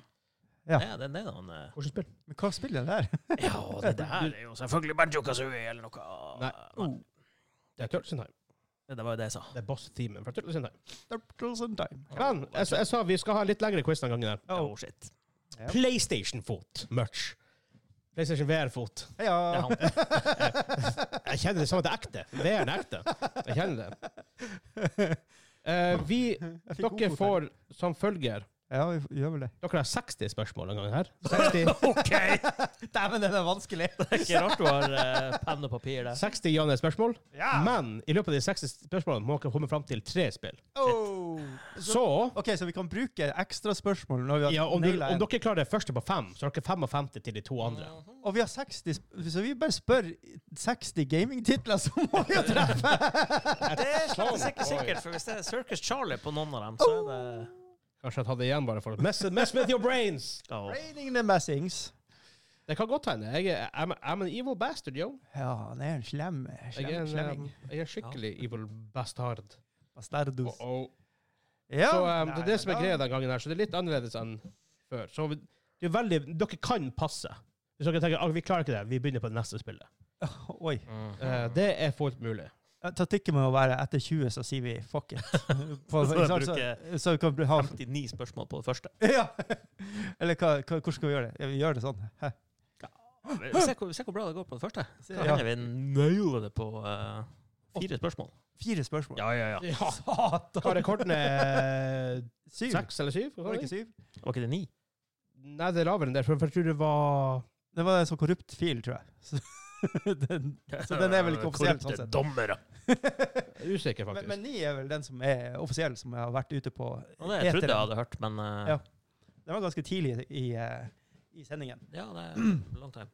Speaker 2: Ja.
Speaker 3: Ja, det, det er noen, eh,
Speaker 1: Hvordan spill?
Speaker 2: Men hva spiller det der?
Speaker 3: [LAUGHS] ja, og det der er jo selvfølgelig Banjo Kazooie eller noe.
Speaker 1: Nei. Mm. Det er Turtles in Time.
Speaker 3: Det var jo det jeg sa.
Speaker 1: Det er boss-teamen fra Turtles in Time.
Speaker 2: Turtles in Time.
Speaker 1: Men jeg, sa- jeg sa vi skal ha en litt lengre quiz den gangen her.
Speaker 3: Oh. shit.
Speaker 2: Ja.
Speaker 1: PlayStation-fot. Merch. PlayStation VR-fot.
Speaker 3: Det er [LAUGHS]
Speaker 2: Ja.
Speaker 3: han.
Speaker 1: Jeg kjenner det som at det er ekte. VR-en er ekte. Jeg kjenner det.
Speaker 2: [LAUGHS]
Speaker 1: Eh, vi,
Speaker 2: Jeg fikk
Speaker 1: dere
Speaker 2: godfot her.
Speaker 1: får som følger
Speaker 2: Ja, vi gjør vel det.
Speaker 1: Dere har 60 spørsmål denne gangen her.
Speaker 2: [LAUGHS]
Speaker 1: 60,
Speaker 3: OK! Det
Speaker 2: Dæven, den er vanskelig!
Speaker 3: [LAUGHS] er ikke rart du har eh, penn og papir der.
Speaker 1: 60 ja-nei-spørsmål.
Speaker 2: Ja!
Speaker 1: Men i løpet av de 60 spørsmålene må dere komme fram til tre spill.
Speaker 2: Oh.
Speaker 1: Så
Speaker 2: OK, så vi kan bruke ekstra spørsmål når vi har
Speaker 1: Ja, om, du,
Speaker 2: naila
Speaker 1: om
Speaker 2: en.
Speaker 1: dere klarer det første på fem, så har dere 55 til de to andre.
Speaker 3: Mm-hmm.
Speaker 2: Og vi har 60 sp- Så vi bare spør 60 gamingtitler,
Speaker 1: [LAUGHS]
Speaker 2: så må vi jo treffe!
Speaker 3: Det er slett ikke sikkert, for hvis det er Circus Charlie på noen av dem, så er det
Speaker 1: Kanskje jeg tar det igjen bare for å mess, mess with your brains!
Speaker 3: oh.
Speaker 2: Raining the Messings.
Speaker 1: [LAUGHS] Det kan godt hende. Jeg er I'm, I'm an evil bastard, yo.
Speaker 2: Ja, han er en slem,
Speaker 1: Jeg
Speaker 2: slem
Speaker 1: er en,
Speaker 2: slemming.
Speaker 1: um, jeg er en skikkelig evil bastard.
Speaker 2: Bastardos.
Speaker 1: Oh, oh.
Speaker 2: Ja.
Speaker 1: Så um, det er det som er
Speaker 2: Nei,
Speaker 1: greia
Speaker 2: men da-
Speaker 1: den gangen her, så det er litt annerledes enn før. Så vi, det er veldig, dere kan passe. Hvis dere tenker at vi klarer ikke det, vi begynner på det neste spillet.
Speaker 2: [LAUGHS] Oi.
Speaker 3: Mm.
Speaker 1: Eh, det er fullt mulig.
Speaker 2: Taktikken må være etter 20, så sier vi
Speaker 1: [LAUGHS]
Speaker 2: fuck it. På-
Speaker 3: Så
Speaker 2: så,
Speaker 3: bruker-
Speaker 2: så, så vi kan bli- ha
Speaker 3: 59 spørsmål på det første.
Speaker 2: [LAUGHS] Ja! Eller hva, hva, hvordan skal vi gjøre det? Ja, vi gjør det sånn. Hæ?
Speaker 3: Se hvor, se hvor bra det går på det første. Da
Speaker 2: Ja.
Speaker 3: hender vi nailer det på eh, fire spørsmål.
Speaker 2: Fire spørsmål.
Speaker 3: Ja, ja, ja.
Speaker 1: Ja.
Speaker 2: Satan!
Speaker 1: Hva er rekorden? Eh,
Speaker 2: Syv?
Speaker 1: Seks eller [LAUGHS] syv?
Speaker 2: Var det ikke syv?
Speaker 3: Var ikke det ni?
Speaker 1: Nei, det er lavere enn det, for for jeg tror det var
Speaker 2: Det var en sånn korrupt fil, tror jeg. Så [LAUGHS] den, Så den er vel ikke offisiell, sånn
Speaker 3: Korrupte
Speaker 2: sett.
Speaker 3: dommere.
Speaker 1: Usikker,
Speaker 2: men,
Speaker 1: faktisk.
Speaker 2: men ni er vel den som er offisiell, som har vært ute på
Speaker 3: Og det jeg trodde jeg
Speaker 2: eteren.
Speaker 3: hadde hørt, men eh,
Speaker 2: Ja. Den var ganske tidlig i, eh, i sendingen.
Speaker 3: ja, det
Speaker 2: [CLEARS THROAT]
Speaker 3: er long time.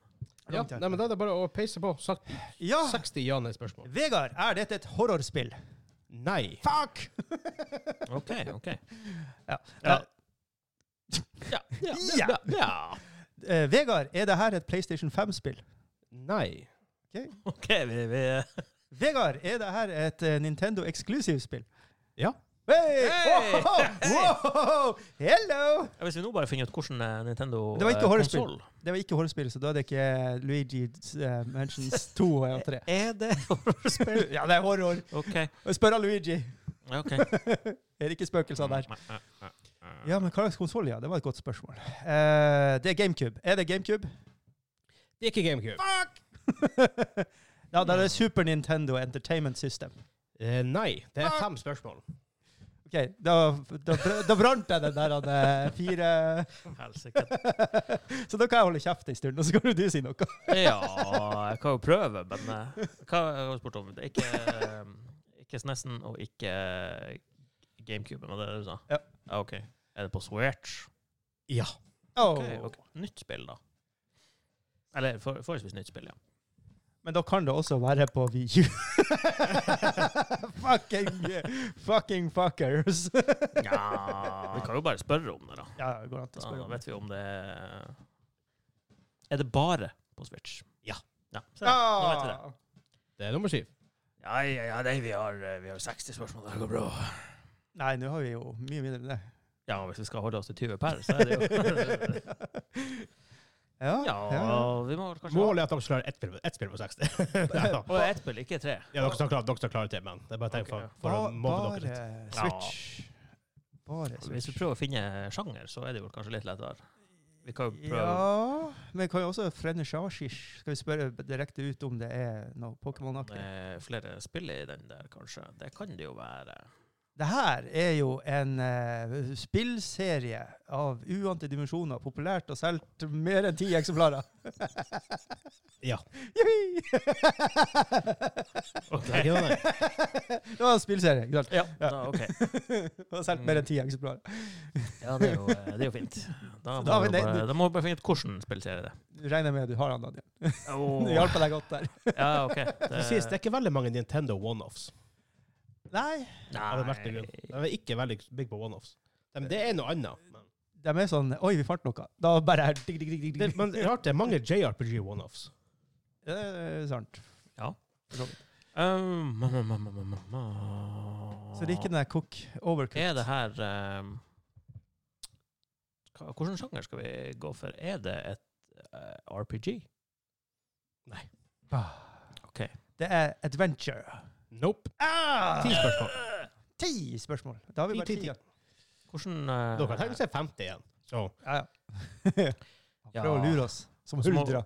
Speaker 1: ja, nei, men da er det bare å peise på. Sagt
Speaker 2: Ja!
Speaker 1: 60 ja-nei-spørsmål.
Speaker 2: Vegard, er dette et horrorspill?
Speaker 1: Nei.
Speaker 2: Fuck!
Speaker 3: OK, OK.
Speaker 2: Ja.
Speaker 3: Ja.
Speaker 2: Eh,
Speaker 3: Ja.
Speaker 2: [LAUGHS]
Speaker 3: ja,
Speaker 2: Ja.
Speaker 3: ja. ja.
Speaker 2: eh, Vegard, er det her et PlayStation 5-spill?
Speaker 1: Nei.
Speaker 3: OK, vi, vi
Speaker 2: Vegard, er det her et eh, Nintendo eksklusivspill?
Speaker 1: Ja.
Speaker 2: Hey!
Speaker 3: Hey!
Speaker 2: [LAUGHS] Wow! Wow! Hello!
Speaker 3: ja, Hvis vi nå bare finner ut hvordan eh, Nintendo
Speaker 2: Det var ikke
Speaker 3: eh,
Speaker 2: horrorspill.
Speaker 3: konsol-
Speaker 2: Det var ikke horrorspill, så da er det ikke Luigi eh, Mansions [LAUGHS] 2 og 3.
Speaker 3: Er det [LAUGHS] horrorspill?
Speaker 2: Ja, det er horror.
Speaker 3: OK.
Speaker 2: Spør av Luigi.
Speaker 3: ja,
Speaker 2: [LAUGHS]
Speaker 3: ok.
Speaker 2: Er det ikke spøkelser der?
Speaker 3: Nei, nei, nei, nei.
Speaker 2: Mm, Ja, men hva slags konsoll, ja? Det var et godt spørsmål. Eh, det er GameCube. Er det [LAUGHS] GameCube?
Speaker 1: Det er ikke GameCube.
Speaker 2: ja, det er Super Nintendo Entertainment System.
Speaker 1: Eh, nei. Det er fem spørsmål.
Speaker 2: Ok, OK, da, da, br- da brant jeg den der han, eh, fire [LAUGHS]
Speaker 3: Helsike.
Speaker 2: Så da kan jeg holde kjeft en stund, og så kan jo du si noe.
Speaker 3: Ja, jeg kan jo prøve, men eh, hva jeg har spurt om? Det er ikke, eh, ikke SNESen og ikke GameCube, men det er det du sa?
Speaker 2: Ja.
Speaker 3: OK. Er det på Switch?
Speaker 1: Ja.
Speaker 2: Oh.
Speaker 3: Ok, ok. Nytt spill, da. Eller for, forholdsvis nytt spill, ja.
Speaker 2: Men da kan det også være på VU. [LAUGHS] fucking, fucking fuckers.
Speaker 3: ja. Vi kan jo bare spørre om det, da.
Speaker 2: ja, det går an til å
Speaker 3: Da
Speaker 2: spørre om det.
Speaker 3: vet vi om det er Er det bare på Switch?
Speaker 1: Ja.
Speaker 3: ja. Se, Nå vet vi det.
Speaker 2: Ah.
Speaker 1: Det er nummer syv.
Speaker 3: Ja, ja, ja, nei, vi har, eh, vi har 60 spørsmål. Det går bra.
Speaker 2: Nei, nå har vi jo mye mindre enn det.
Speaker 3: Ja, hvis vi skal holde oss til 20 per, så er det [LAUGHS] jo
Speaker 2: ja,
Speaker 3: Ja,
Speaker 2: ja.
Speaker 3: vi må vel kanskje
Speaker 1: Målet er at dere skal klare ett spill, ett spill på [LAUGHS] 60. ja,
Speaker 3: Og ett spill, ikke tre.
Speaker 1: dere skal klare, dere skal klare det, men det er bare tegn for,
Speaker 3: Ok,
Speaker 1: for å
Speaker 2: Ba-
Speaker 1: mobbe dere litt.
Speaker 2: Bare Switch. Bare
Speaker 3: Hvis vi
Speaker 2: Switch.
Speaker 3: prøver å finne sjanger, så er det jo kanskje litt lettere. Vi kan jo prøve
Speaker 2: Ja Men kan jo også frenne Shashish. Skal vi spørre direkte ut om det er noe Pokémon-aktig?
Speaker 3: eh, flere spill i den der, kanskje. Det kan det jo være.
Speaker 2: Det her er jo en eh, spillserie av uante dimensjoner, populært og solgt mer enn ti eksemplarer. [LAUGHS]
Speaker 1: Ja.
Speaker 2: Juhi!
Speaker 1: Det er ikke noe, [LAUGHS] nei.
Speaker 2: det var en spillserie, ikke sant? [LAUGHS]
Speaker 3: Ja, da, ok.
Speaker 2: Det var solgt mer enn ti eksemplarer.
Speaker 3: Ja, det er jo, eh, det er jo fint.
Speaker 2: Så
Speaker 3: Da må,
Speaker 2: da har vi
Speaker 3: vi
Speaker 2: det-
Speaker 3: bare, da må vi bare finne ut hvordan spillserie det er.
Speaker 2: Du regner med at du har den, Daniel.
Speaker 3: Oh.
Speaker 2: Det hjalp deg godt der.
Speaker 3: Ja, ok.
Speaker 1: Det sies det er ikke veldig mange Nintendo one-offs.
Speaker 2: Nei,
Speaker 1: Av en merkelig grunn.
Speaker 3: Nei.
Speaker 1: De er ikke veldig big på one-offs. Men det er noe annet. Men
Speaker 2: de er sånn Oi, vi fant noe. Da bare her, digg, digg, digg, digg,
Speaker 1: det,
Speaker 2: digg.
Speaker 1: men det er rart det er mange JRPG one-offs.
Speaker 2: Det er sant.
Speaker 3: Ja.
Speaker 2: For så vidt.
Speaker 3: Um, ma, ma, ma, ma, ma, ma, ma.
Speaker 2: Så det er ikke den der cook overcooked.
Speaker 3: Er det her um, hva- Hvilken sjanger skal vi gå for? Er det et eh, RPG? Ok.
Speaker 2: Det er adventure.
Speaker 1: Nope.
Speaker 3: Ah!
Speaker 1: Ti spørsmål.
Speaker 2: Ti spørsmål! Da har vi
Speaker 1: Ti,
Speaker 2: bare
Speaker 1: ti,
Speaker 2: ti.
Speaker 1: ti.
Speaker 2: igjen.
Speaker 3: Hvordan
Speaker 1: Dere kan tenke seg 50 igjen. Så
Speaker 2: Ja, ja.
Speaker 3: Ja.
Speaker 2: Prøv å lure oss som
Speaker 3: Så må-
Speaker 2: huldra.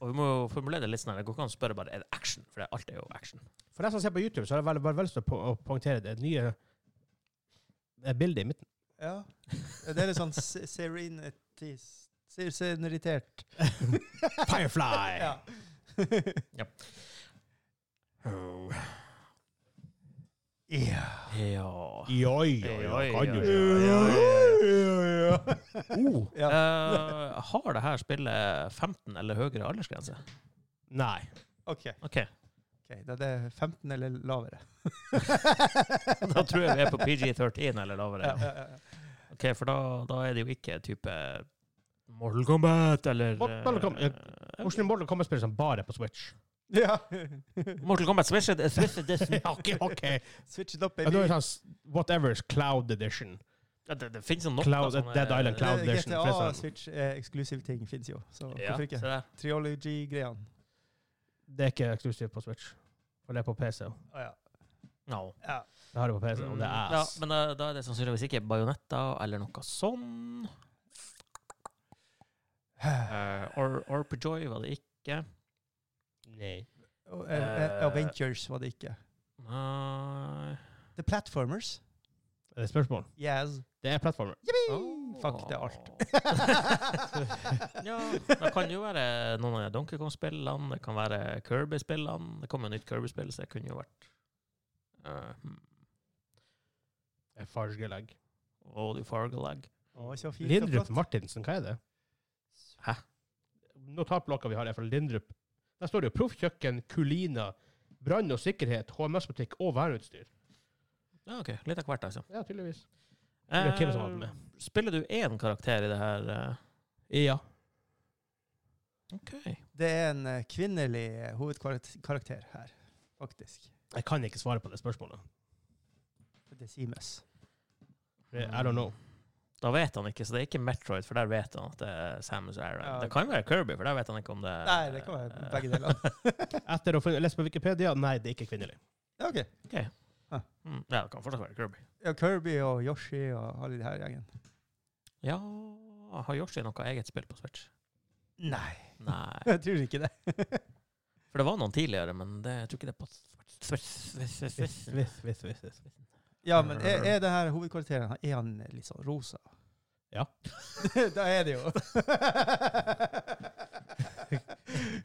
Speaker 3: Og vi må jo formulere det litt sånn her. Det går ikke an å spørre bare er det action, for det, alt er jo action.
Speaker 1: For deg som ser på YouTube, så har jeg veldig, veldig lyst til å po- å poengtere det nye det bildet i midten.
Speaker 2: Ja. Det er litt sånn se- serenity se-
Speaker 3: [LAUGHS]
Speaker 2: Serenitert.
Speaker 1: Firefly!
Speaker 2: Ja. ja.
Speaker 3: Ja.
Speaker 1: Joi, joi, joi. Kan du ikke?
Speaker 2: Oh. ja.
Speaker 3: Eh, har det her spillet 15 eller høyere aldersgrense?
Speaker 1: Nei.
Speaker 2: OK.
Speaker 3: OK,
Speaker 2: ok, Da er det 15 eller lavere.
Speaker 3: [LAUGHS] da tror jeg vi er på PG13 eller
Speaker 2: Ja,
Speaker 3: lavere.
Speaker 2: ja, ja.
Speaker 3: Ok, For da, da er det jo ikke type Mortal Kombat eller
Speaker 1: Mortal Kombat, ja.
Speaker 3: eh,
Speaker 1: Hvordan Mortal Kombat spiller som sånn bare på Switch? [LAUGHS]
Speaker 2: Ja.
Speaker 3: Mortal Kombat Switch, eh, Switch eh, det-
Speaker 1: OK, OK.
Speaker 2: Switch it up,
Speaker 1: Ja, da er
Speaker 2: [LAUGHS] baby.
Speaker 1: det sånn s- Whatever's Cloud Edition.
Speaker 3: Ja, Det, det finnes jo noe
Speaker 1: Cloud-
Speaker 3: sånne-
Speaker 1: Dead Island Cloud.
Speaker 2: Det-
Speaker 1: Edition, for det er
Speaker 2: GTA
Speaker 1: sånn.
Speaker 2: Switch eh, eksklusive ting fins jo, så
Speaker 3: Ja,
Speaker 2: hvorfor
Speaker 3: se
Speaker 2: ikke?
Speaker 3: der.
Speaker 2: Triology-greiene.
Speaker 1: Det er ikke eksklusivt på Switch. For det er på PC.
Speaker 2: Å ja.
Speaker 3: No.
Speaker 2: ja.
Speaker 1: Det har jeg på PC, og det
Speaker 2: Mm,
Speaker 1: er
Speaker 3: ja,
Speaker 1: ass.
Speaker 3: men eh, da, da er det sannsynligvis ikke bajonetter eller noe sånn. Uh, or, Orpejoy var det ikke.
Speaker 1: Nei.
Speaker 2: Og, eh, eh,
Speaker 3: Eh.
Speaker 2: Avengers var det ikke.
Speaker 3: Nei
Speaker 2: The Platformers.
Speaker 1: Er det spørsmål?
Speaker 2: Yes.
Speaker 1: Det er plattformer.
Speaker 3: Oh.
Speaker 2: Fuck, det er alt.
Speaker 3: [LAUGHS] ja, det kan jo være noen av Donkey Kong-spillene, det kan være Kirby-spillene. Det kom jo nytt Kirby-spill, så det kunne jo vært eh, hmm,
Speaker 1: Det er Fargelegg.
Speaker 3: Oldie Fargalag.
Speaker 2: Å, så fint og
Speaker 1: Lindrup
Speaker 2: flott.
Speaker 1: Martinsen, hva er det?
Speaker 3: Hæ?
Speaker 1: Notatblokka vi har, er fra Lindrup. Der står det jo proffkjøkken, kulina, brann og sikkerhet, HMS-butikk og værutstyr.
Speaker 3: Ja, ok. Litt av hvert, altså.
Speaker 1: Ja, tydeligvis. Det er hvem som har den med.
Speaker 3: Eh, Spiller du én karakter i det her? eh?
Speaker 1: Ja.
Speaker 3: OK.
Speaker 2: Det er en eh, kvinnelig eh, hovedkarakter her, faktisk.
Speaker 1: Jeg kan ikke svare på det spørsmålet.
Speaker 2: Det er Simes.
Speaker 1: I don't know.
Speaker 3: Da vet han ikke, så det er ikke Metroid, for der vet han at det er Samus Aran.
Speaker 2: Ja,
Speaker 3: Det
Speaker 2: ok.
Speaker 3: kan være Kirby, for der vet han ikke om det er
Speaker 2: Nei, det kan være begge
Speaker 3: [LAUGHS]
Speaker 2: deler. [LAUGHS]
Speaker 1: Etter å ha funnet- lest på Wikipedia, nei, det er ikke kvinnelig.
Speaker 2: Ja, ok.
Speaker 3: Mm, ja, det kan fortsatt være Kirby.
Speaker 2: Ja, Kirby og Yoshi og alle de her gjengen.
Speaker 3: Ja Har Yoshi noe eget spill på Switch?
Speaker 2: Nei,
Speaker 3: Nei.
Speaker 2: jeg tror ikke det.
Speaker 3: For det var noen tidligere, men det, jeg tror ikke det er på Switch. Switch, Switch, Switch.
Speaker 1: Hvis, hvis, hvis, hvis.
Speaker 2: Ja, men er, er det her hovedkarakteren han- er han litt sånn rosa?
Speaker 1: Ja.
Speaker 3: [LAUGHS]
Speaker 2: da er det jo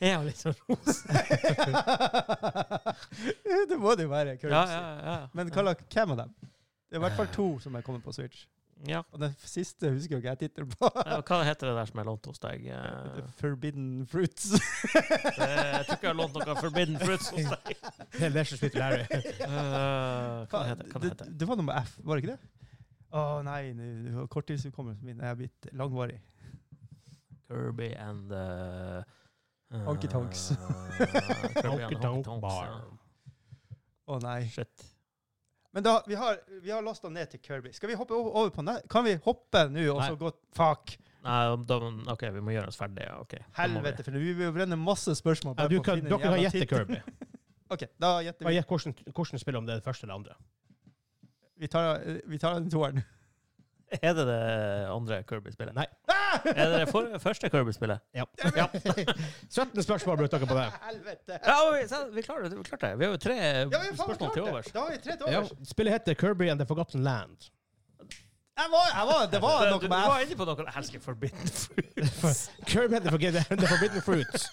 Speaker 3: Er jo litt sånn
Speaker 1: [LAUGHS]
Speaker 3: rosa.
Speaker 2: [LAUGHS] Det må det jo være.
Speaker 3: Ja,
Speaker 2: currency.
Speaker 3: ja, ja.
Speaker 2: Men hva, lag- hvem av dem? Det er i hvert fall to som er kommet på Switch.
Speaker 3: ja.
Speaker 2: Og den siste husker jo ikke jeg tittelen på.
Speaker 3: Ja, Hva heter det der som jeg lånte hos deg? Eh,
Speaker 2: The Forbidden Fruits.
Speaker 3: det- Jeg tror ikke jeg har lånt noe Forbidden Fruits hos deg.
Speaker 1: Det er Leisure Suit Larry.
Speaker 3: Eh, Hva
Speaker 2: Faen,
Speaker 3: heter hva det? heter?
Speaker 2: det? Det var nummer F, var det ikke det? Å nei, nå- korttidshukommelsen min er blitt langvarig.
Speaker 3: Kirby and uh,
Speaker 2: Honky
Speaker 3: [LAUGHS]
Speaker 2: Tonks.
Speaker 3: Kirby and
Speaker 1: Honky
Speaker 3: Honky
Speaker 1: Tonk
Speaker 3: Tonks.
Speaker 1: Bar.
Speaker 3: ja.
Speaker 2: Å nei.
Speaker 3: Shit.
Speaker 2: Men da, vi har, vi har lasta ned til Kirby. Skal vi hoppe over, over på den? Kan vi hoppe nå og så
Speaker 3: Nei.
Speaker 2: gå Fuck!
Speaker 3: Nei, da, OK, vi må gjøre oss ferdige. ja, ok. Da må vi-
Speaker 2: Helvete, for vi vil jo brenne masse spørsmål.
Speaker 1: Ja,
Speaker 2: bare
Speaker 1: du
Speaker 2: på å
Speaker 1: kan,
Speaker 2: finne
Speaker 1: dere
Speaker 2: en
Speaker 1: kan
Speaker 2: jævla
Speaker 1: gjette
Speaker 2: tittel.
Speaker 1: Kirby.
Speaker 2: [LAUGHS] OK, da gjetter
Speaker 1: Bare
Speaker 2: vi.
Speaker 1: gjett hvordan, hvordan spill om det er det første eller andre.
Speaker 2: Vi tar, vi tar den toeren.
Speaker 3: Er det det andre Kirby-spillet?
Speaker 1: Nei.
Speaker 3: Er det det for, første Kirby-spillet?
Speaker 1: Ja. [LAUGHS] 17 spørsmål brukte dere på det.
Speaker 2: Helvete!
Speaker 3: Ja, vi, sa- vi klarer det. Vi klarte det. Vi har jo tre
Speaker 2: Ja, vi har faen
Speaker 3: spørsmål
Speaker 2: klart
Speaker 3: til
Speaker 2: det!
Speaker 3: overs.
Speaker 2: Da har vi tre til
Speaker 1: Ja.
Speaker 2: overs.
Speaker 1: Spillet heter Kirby and the Forgotten Land.
Speaker 2: Jeg var, jeg var, det
Speaker 3: [LAUGHS]
Speaker 2: var
Speaker 3: du,
Speaker 2: noe
Speaker 3: du var
Speaker 2: med F.
Speaker 3: inne på noe Jeg elsker Forbidden Fruit.
Speaker 1: Kirby and the Forgotten [LAUGHS] and the Forbidden Fruits.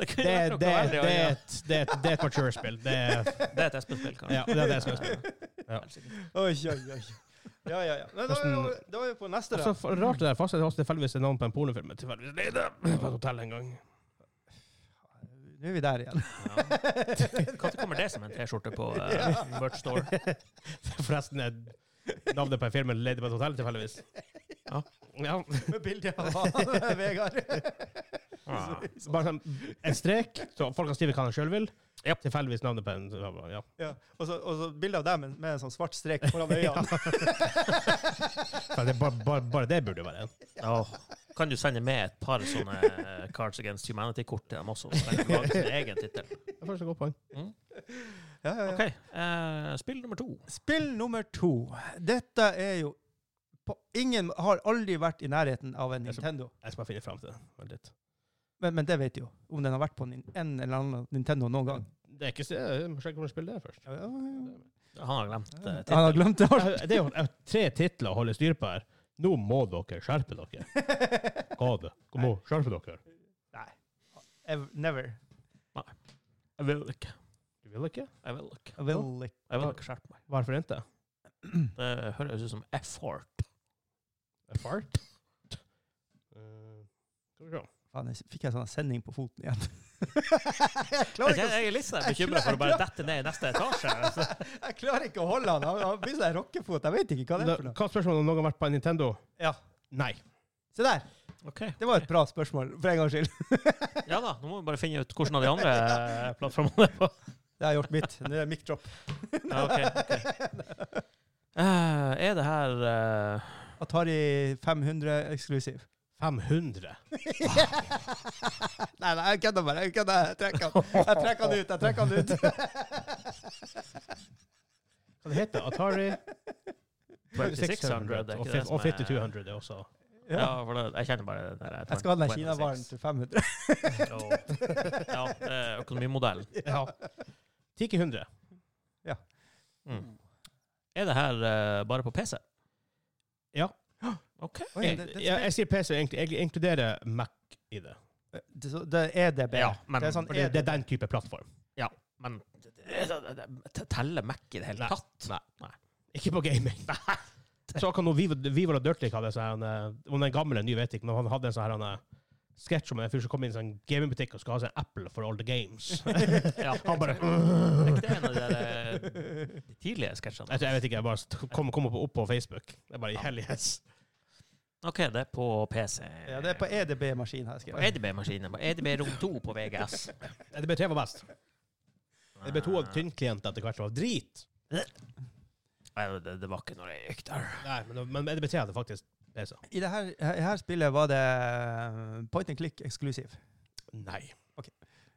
Speaker 3: Det, kunne
Speaker 1: Det, er-
Speaker 3: vært noe
Speaker 1: det, er-
Speaker 3: veldig
Speaker 1: det,
Speaker 3: å
Speaker 1: er
Speaker 3: gjøre.
Speaker 1: et- det, er et- det er et mature-spill. Det er
Speaker 3: det er et Espen-spill, kanskje.
Speaker 1: Ja, det er det jeg skal spørre.
Speaker 3: Ja.
Speaker 2: Oi, oi, oi. Ja, ja, ja. Men da, er vi over- da er vi på neste,
Speaker 1: [LAUGHS] Så
Speaker 2: da.
Speaker 1: f- rart det der fast at det også tilfeldigvis er navn på en pornofilm. men Tilfeldigvis er det [CLEARS THROAT] på et hotell en gang. [LAUGHS]
Speaker 2: Nå er vi der igjen.
Speaker 3: Når kommer det som en T-skjorte på uh, merch store?
Speaker 1: Forresten er navnet på en film ledig på et hotell tilfeldigvis.
Speaker 3: Ja.
Speaker 1: ja.
Speaker 2: Med bilde av [LAUGHS] han, Vegard.
Speaker 3: Ah.
Speaker 1: Så Bare sånn en strek, så folk kan skrive hva de sjøl vil.
Speaker 3: Japp.
Speaker 1: Tilfeldigvis navnet på en ja.
Speaker 2: Ja. Og så- Og så bilde av deg med, med en sånn svart strek foran øynene.
Speaker 1: Så det, er bare, bare, bare det burde jo være en.
Speaker 3: Ja. Kan du sende med et par sånne eh, Cards Against Humanity-kort til dem også? Så kan de lage
Speaker 2: [LAUGHS]
Speaker 3: sin egen tittel.
Speaker 1: Det er faktisk et godt poeng.
Speaker 2: Ja, ja, ja.
Speaker 3: OK. eh, spill nummer to.
Speaker 2: Spill nummer to. Dette er jo på, Ingen har aldri vært i nærheten av en
Speaker 1: Det er så-
Speaker 2: Nintendo.
Speaker 1: Jeg skal bare finne fram til det. Vent litt.
Speaker 2: Men, men det vet du jo. Om den har vært på en, en eller annen Nintendo noen gang.
Speaker 1: Det er ikke så Jeg må sjekke hvordan spillet er først.
Speaker 3: Han har glemt eh,
Speaker 2: Han har
Speaker 3: tittelen.
Speaker 2: glemt det
Speaker 3: [LAUGHS]
Speaker 2: alt.
Speaker 1: Jeg- Det er jo jeg har tre titler å holde styr på her. Nå må dere skjerpe dere. Hva er det? Kom og skjerpe dere.
Speaker 2: Ev- Never.
Speaker 3: Jeg vil ikke.
Speaker 1: Du vil ikke?
Speaker 3: Jeg vil ikke.
Speaker 2: Will.
Speaker 3: Jeg vil ikke skjerpe meg.
Speaker 1: Hvorfor ikke?
Speaker 3: Det høres ut som effort.
Speaker 1: A fart? Eh, Skal vi se.
Speaker 2: Faen, jeg s- fikk jeg sånn sending på foten [LAUGHS] igjen. jeg,
Speaker 3: Jeg,
Speaker 2: klarer ikke,
Speaker 3: jeg er litt
Speaker 2: [LAUGHS]
Speaker 3: sånn
Speaker 2: Jeg
Speaker 3: bekymra for
Speaker 2: klarer-
Speaker 3: å bare dette ned i neste etasje. Altså.
Speaker 2: å- [LAUGHS] jeg klarer ikke å holde han. Han han blir sånn rockefot. Jeg vet ikke hva det er for
Speaker 1: Da-
Speaker 2: noe.
Speaker 1: Hva er spørsmålet om noen har vært på en Nintendo?
Speaker 2: Ja.
Speaker 1: Nei.
Speaker 2: Se der.
Speaker 3: Ok.
Speaker 2: Det var et bra spørsmål, for en gangs skyld.
Speaker 3: Ja da, nå må vi bare finne ut hvordan av de andre eh,
Speaker 2: [LAUGHS]
Speaker 3: plattformene det er på.
Speaker 2: Det har jeg gjort mitt. Nå er det mic drop.
Speaker 3: Ja, ok, ok. Eh, er det her eh,
Speaker 2: Atari 500 eksklusiv. [LAUGHS]
Speaker 1: 500?
Speaker 2: nei, nei, jeg kødder bare. Jeg kødder. Jeg trekker han. Jeg trekker han ut. Jeg trekker han ut.
Speaker 1: Hva det heter Atari
Speaker 2: [LAUGHS]
Speaker 3: 2600? er
Speaker 1: og
Speaker 3: ikke
Speaker 1: fif-
Speaker 3: det som
Speaker 1: og
Speaker 3: er-
Speaker 1: 5200 er også.
Speaker 3: [LAUGHS] Ja,
Speaker 2: Ja.
Speaker 3: for det, jeg kjenner bare den der.
Speaker 2: Jeg skal ha den Kina-varen til 500.
Speaker 3: [LAUGHS] Ja, det er økonomimodellen.
Speaker 1: Ja. 1000.
Speaker 3: Mm. Er det her eh, bare på PC?
Speaker 1: Ja.
Speaker 3: OK.
Speaker 2: Oi,
Speaker 1: Jeg,
Speaker 2: det- det-
Speaker 1: jeg, jeg sier PC, jeg, jeg inkluderer Mac i det.
Speaker 2: Det, så- det er DB.
Speaker 3: Ja, men-
Speaker 2: det er sånn
Speaker 1: For det,
Speaker 2: EDB.
Speaker 1: det er den type plattform.
Speaker 3: Men teller Mac i det hele tatt? Nei.
Speaker 1: Ikke på gaming. [LAUGHS] Så kan noe Vivo, Vivo og Dirtlick hadde sånn eh, Om den gamle ny vet jeg ikke, men han hadde en sånn her han, eh, sketsj om en fyr som kom inn i en sånn gamingbutikk og skulle ha seg en Apple for all the games.
Speaker 3: Ja.
Speaker 1: Han bare
Speaker 3: Er ikke det en av de der, eh, de tidlige
Speaker 2: [LAUGHS]
Speaker 3: sketsjene?
Speaker 1: Jeg, tror- jeg vet ikke, jeg bare st- kom, kom opp, opp på Facebook. Det er bare i
Speaker 3: Ja.
Speaker 1: hellighets.
Speaker 3: OK, det er på PC.
Speaker 2: Ja, det er på EDB-maskin her.
Speaker 3: På
Speaker 2: skrevet.
Speaker 3: EDB-maskinen. På EDB rom 2 på
Speaker 1: [LAUGHS]
Speaker 3: VGS.
Speaker 1: EDB3 var best. E EDB2 hadde tynnklient etter hvert. Det var drit.
Speaker 3: Nei, det, det var ikke når jeg gikk der.
Speaker 1: Nei, men, men E EDB3 hadde faktisk PC.
Speaker 2: I det her, i her spillet var det eh, point and click eksklusiv. [LAUGHS]
Speaker 1: Nei.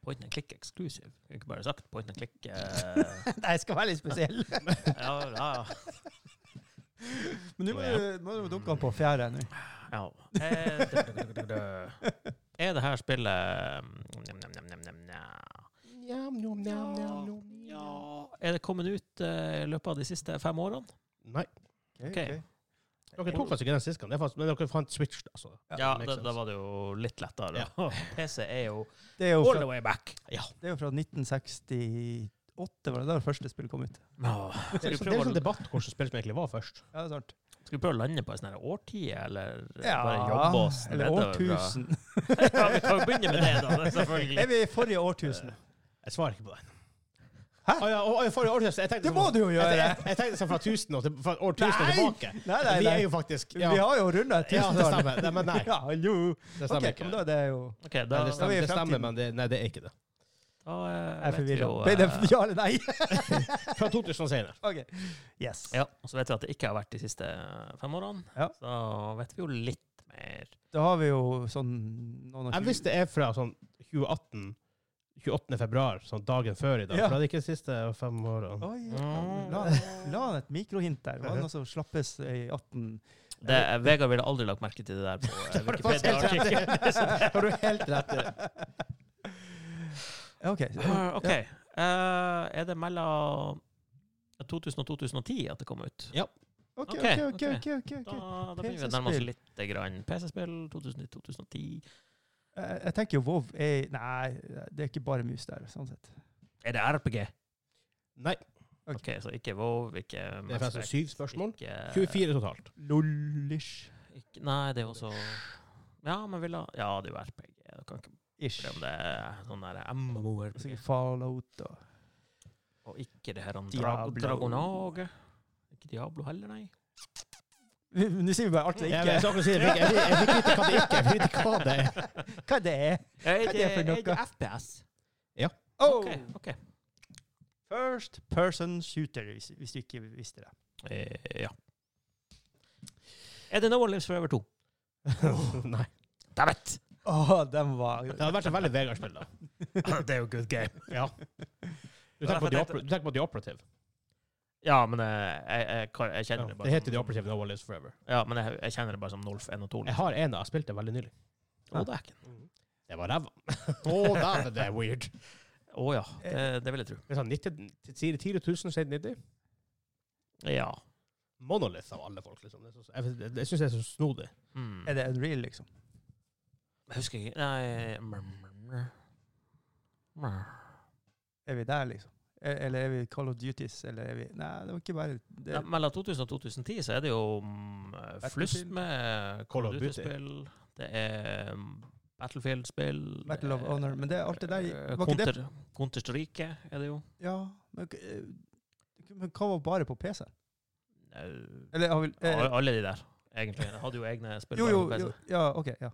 Speaker 3: Point and click exclusive. Jeg kunne ikke bare sagt point and click. eh,
Speaker 1: [LAUGHS]
Speaker 2: Nei, jeg skal være litt spesiell. [LAUGHS]
Speaker 3: ja, ja, ja.
Speaker 2: Men nå må du- nå må du dukke han på fjerde. nå.
Speaker 3: Ja. Eh, du- du- du- du- du. Er det her mm, spillet mm, njam, njam, njam, njam, njam.
Speaker 1: Njam, njam, njam, njam, njam.
Speaker 3: Ja. Er det kommet ut eh, i løpet av de siste fem årene?
Speaker 1: Nei.
Speaker 3: Ok.
Speaker 1: Dere tok faktisk ikke den sist gang, det er faktisk- men dere fant Switch, da. Så.
Speaker 3: Ja,
Speaker 1: makes
Speaker 3: da,
Speaker 1: sense.
Speaker 3: da var det jo
Speaker 2: [LAUGHS]
Speaker 3: litt lettere. PC er jo
Speaker 2: Det er jo
Speaker 3: all the
Speaker 2: fra,
Speaker 3: way back. Ja.
Speaker 2: det er jo fra 1968, var det da det første spillet kom ut?
Speaker 1: Det er
Speaker 3: Skal vi
Speaker 1: jo det er
Speaker 3: prøve,
Speaker 1: jo sånn
Speaker 3: å-
Speaker 1: debatt hvordan spillet som egentlig var først.
Speaker 2: Ja, det er sant.
Speaker 3: skal vi prøve å lande på en sånn her årtid, eller
Speaker 2: Ja,
Speaker 3: bare jobbe oss
Speaker 2: Eller
Speaker 3: nedover fra-
Speaker 2: årtusen.
Speaker 3: ja, vi kan jo begynne med det, da. det er
Speaker 2: Er
Speaker 3: Selvfølgelig.
Speaker 2: vi i forrige årtusen?
Speaker 1: Jeg svarer ikke på den.
Speaker 2: Hæ?
Speaker 1: Å ja, å, å, forrige årtusen. Jeg tenkte
Speaker 2: Det
Speaker 1: sånn-
Speaker 2: må du jo
Speaker 1: Jeg,
Speaker 2: gjøre!
Speaker 1: jeg, jeg tenkte sånn fra 1000 og til, fra år 1000 og
Speaker 2: Nei!
Speaker 1: tilbake.
Speaker 2: Nei, nei,
Speaker 1: Vi
Speaker 2: nei.
Speaker 1: er jo faktisk ja,
Speaker 2: Vi har jo runda et
Speaker 1: ja, det
Speaker 2: tusentallet.
Speaker 1: stemmer. Nei, men nei,
Speaker 2: [LAUGHS] Ja, jo.
Speaker 1: det
Speaker 2: Ok,
Speaker 1: stemmer
Speaker 2: men
Speaker 1: ikke.
Speaker 2: da er det jo
Speaker 3: Ok, da,
Speaker 1: Nei, det
Speaker 2: Da er vi i
Speaker 1: stemmer, det
Speaker 2: fremtiden.
Speaker 1: stemmer men det, nei, det er ikke det.
Speaker 3: da eh,
Speaker 2: Jeg er
Speaker 3: vet vi
Speaker 2: forvirra.
Speaker 3: jo,
Speaker 2: Ble det
Speaker 3: eh,
Speaker 2: ja eller nei? [LAUGHS]
Speaker 1: Fra 2000 og senere.
Speaker 2: OK. Yes.
Speaker 3: Ja, og så vet vi at det ikke har vært de siste eh, fem årene.
Speaker 2: Ja.
Speaker 3: Så vet vi jo litt mer.
Speaker 2: Da har vi jo sånn noen og
Speaker 1: Jeg
Speaker 2: tjue-
Speaker 1: visste det er fra sånn 2018 28. februar, sånn dagen før i dag.
Speaker 2: Ja.
Speaker 1: For det er ikke de siste fem årene.
Speaker 2: Oi,
Speaker 3: Mm.
Speaker 2: la, la han et mikrohint der? Var det noe som slappes i 18?
Speaker 3: Det, Vegard ville aldri lagt merke til det der på
Speaker 1: [LAUGHS]
Speaker 3: eh,
Speaker 1: Det var faktisk helt
Speaker 3: Wikipedia-artikkelen.
Speaker 1: rett. Det har du helt rett i.
Speaker 3: [LAUGHS]
Speaker 2: OK. så-
Speaker 3: Ah, OK. Eh, er det mellom 2000 og 2010 at det kom ut?
Speaker 2: OK,
Speaker 3: Ok,
Speaker 2: OK, OK.
Speaker 3: ok.
Speaker 2: ok, ok, ok.
Speaker 3: Da, da begynner vi å
Speaker 2: PC-spill.
Speaker 3: nærme oss litt grann. PC-spill 2009-2010.
Speaker 2: Eh, Jeg jeg tenker jo WoW er Nei, det er ikke bare mus der, sånn sett.
Speaker 3: Er det RPG?
Speaker 1: Nei,
Speaker 3: OK, så ikke WoW, ikke
Speaker 1: det er faktisk syv spørsmål.
Speaker 3: Ikke-
Speaker 1: 24
Speaker 2: [LAUGHS]
Speaker 1: totalt.
Speaker 2: Lollish.
Speaker 3: Ikke, nei, det er jo også Ja, men vil ha Ja, det er jo RPG. Du kan ikke
Speaker 2: Ish.
Speaker 3: glemme det er sånn der MMO-RPG.
Speaker 2: Sikkert Fallout og
Speaker 3: Og ikke det her om
Speaker 2: Diablo.
Speaker 3: Drag Dragonage. Ikke Diablo heller, nei.
Speaker 2: Nå sier vi bare alt det
Speaker 1: Jeg vet
Speaker 2: ikke
Speaker 1: akkurat å si det, jeg fikk- jeg fikk vite hva det ikke jeg fikk vite hva det
Speaker 3: [LAUGHS]
Speaker 1: er.
Speaker 2: [LAUGHS] Hva det er.
Speaker 3: Er
Speaker 2: Hva er det for noe?
Speaker 3: FPS?
Speaker 2: Oh,
Speaker 3: OK. ok.
Speaker 2: First person shooter, hvis, hvis du ikke visste det.
Speaker 3: Eh, ja. Er det No One Lives Forever 2?
Speaker 1: Nei.
Speaker 3: Dævet!
Speaker 2: Å, den var
Speaker 1: Det hadde vært en veldig Vegard-spill, da.
Speaker 3: det er jo good game. Ja,
Speaker 1: Du tenker på The Opera- du tenker på The Operative.
Speaker 3: ja men eh, jeg, jeg, kan- jeg
Speaker 1: Ja,
Speaker 3: kjenner det bare
Speaker 1: det heter The
Speaker 3: som-
Speaker 1: Operative No One Lives Forever.
Speaker 3: Ja, men jeg, jeg kjenner det bare som Nolf 1 og 2.
Speaker 1: Jeg har en av, jeg spilte veldig nylig.
Speaker 3: Å, det er ikke
Speaker 1: Det var ræva. Å, dæven, [LAUGHS] det er weird.
Speaker 3: Å ja,
Speaker 2: Eh.
Speaker 3: det, det vil jeg tro.
Speaker 1: Det er sånn 90, sier 10 000, sier 90.
Speaker 3: Ja.
Speaker 1: Monolith av alle folk, liksom. Det er så, jeg det- det syns jeg er så snodig.
Speaker 3: Mm.
Speaker 2: Er det unreal, liksom?
Speaker 3: Jeg husker ikke Nei mr, mr, mr. Mr.
Speaker 2: Er vi der, liksom? E- Eller er vi Call of Duties, eller er vi Nei, det var ikke bare det.
Speaker 3: Nei, Mellom 2000 og 2010 så er det jo mm, flust
Speaker 2: Battlefield.
Speaker 1: Call
Speaker 3: med Call
Speaker 1: of
Speaker 3: of
Speaker 1: Duty.
Speaker 3: Duty-spill. Det er mm, Battlefield-spill.
Speaker 2: Battle of
Speaker 3: det er,
Speaker 2: Honor, men det er alt det der-
Speaker 3: eh,
Speaker 2: var ikke det-
Speaker 3: Counter- Counter-Strike er det jo.
Speaker 2: Ja, men, k- eh, men hva var bare på PC?
Speaker 3: Eh,
Speaker 2: Eller har vi eh,
Speaker 3: al- Alle de der, egentlig. Jeg hadde jo egne spill.
Speaker 2: Jo, jo,
Speaker 3: bare på
Speaker 2: jo.
Speaker 3: PC.
Speaker 2: Ja, OK. ja.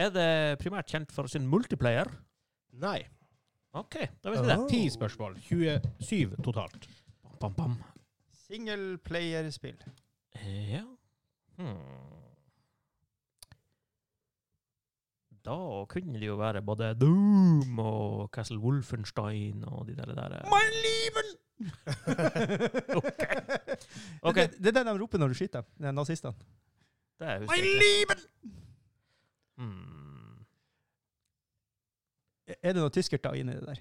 Speaker 3: Er det primært kjent for sin multiplayer?
Speaker 1: Nei.
Speaker 3: OK, da vet vi det.
Speaker 2: Oh.
Speaker 1: Ti spørsmål. 27 totalt.
Speaker 3: Bam, bam, bam.
Speaker 2: Singleplayerspill.
Speaker 3: Ja. Hmm. Da kunne det jo være både Doom og Castle Wolfenstein og de der. der.
Speaker 2: Mein Lieben!
Speaker 3: [LAUGHS]
Speaker 2: [LAUGHS]
Speaker 3: Ok. Ok.
Speaker 2: Det, det er den de roper når du skyter, de nazistene.
Speaker 3: Det er
Speaker 2: Mein
Speaker 3: husker jeg
Speaker 2: Lieben!
Speaker 3: ikke. Hmm.
Speaker 2: Er det noe tyskerta inni det der?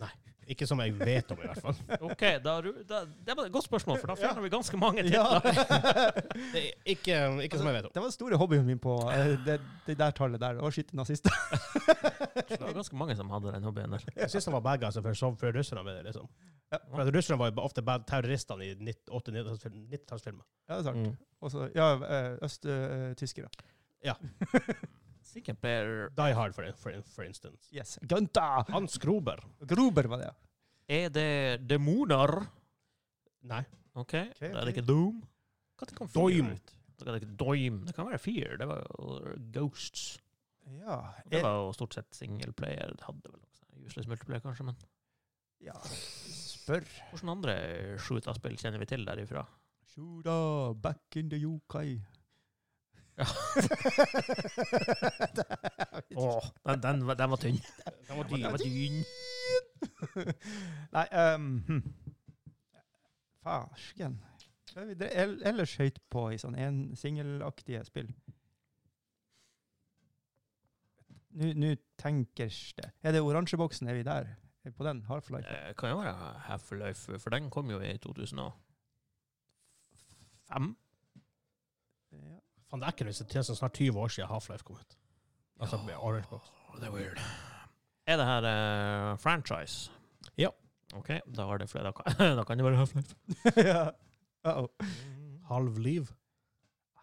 Speaker 1: Nei. Ikke som jeg vet om, i hvert fall.
Speaker 2: [LAUGHS]
Speaker 3: OK, da, ru- da, det var et godt spørsmål, for da fjerner vi ganske mange
Speaker 2: Ja.
Speaker 3: titler.
Speaker 1: [LAUGHS] Det er Ikke, ikke som jeg vet om.
Speaker 2: [LAUGHS] Det var den store hobbyen min på eh, det, det der tallet der, å skyte nazister.
Speaker 3: [LAUGHS]
Speaker 2: [LAUGHS]
Speaker 3: Det var ganske mange som hadde den hobbyen der.
Speaker 1: Jeg syns han var bad guys før, som før russerne med det, liksom.
Speaker 2: Ja.
Speaker 1: For at russerne var jo ofte bad terroristene i altså, 90-tallsfilmer.
Speaker 2: Ja, det er sant.
Speaker 3: Mm.
Speaker 2: Og så, ja, eh, øst-tyskere.
Speaker 3: Sikkert player.
Speaker 1: Die Hard, for, for, for instance.
Speaker 2: yes. Ganta!
Speaker 1: Hans Gruber.
Speaker 2: Gruber var det, ja.
Speaker 3: Er det demoner?
Speaker 1: Nei.
Speaker 3: OK, da er
Speaker 2: ok.
Speaker 3: det ikke Doom. Hva kom
Speaker 1: Doom.
Speaker 3: Fear ut? Da er det ikke Doom. Det kan være Fear. Det var jo Ghosts.
Speaker 2: Ja.
Speaker 3: Og Det
Speaker 2: Eh,
Speaker 3: var jo stort sett singleplayer. Det hadde vel også useless multiplayer, kanskje, men
Speaker 2: eh, ja. Spør.
Speaker 3: hvordan andre shooter-spill kjenner vi til derifra?
Speaker 2: Shura, back in the UK. [LAUGHS]
Speaker 3: Ja. [LAUGHS] Åh, den, den, var- den var tynn.
Speaker 1: Den var
Speaker 3: [LAUGHS] Den
Speaker 1: dyr.
Speaker 3: var tynn.
Speaker 2: [LAUGHS] Nei, um, hm. Farsken. Hva er vi dre- el- Ellers høyt på i sånn en singelaktige spill. Nå nå tenkers det. Er det oransjeboksen? Er vi der? på den? Half-Life?
Speaker 3: Eh, kan jo være Half-Life, for den kom jo i 2005.
Speaker 2: Ja.
Speaker 1: Faen, det er ikke det til som snart 20 år siden Half-Life kom ut. Altså, med Orange Box.
Speaker 3: Det er weird. Er det her eh, franchise?
Speaker 1: Ja.
Speaker 3: OK, da har det flere. [LAUGHS] Da kan, da kan det være [LAUGHS] Half-Life.
Speaker 2: [LAUGHS] ja. Uh -oh.
Speaker 1: Halv liv.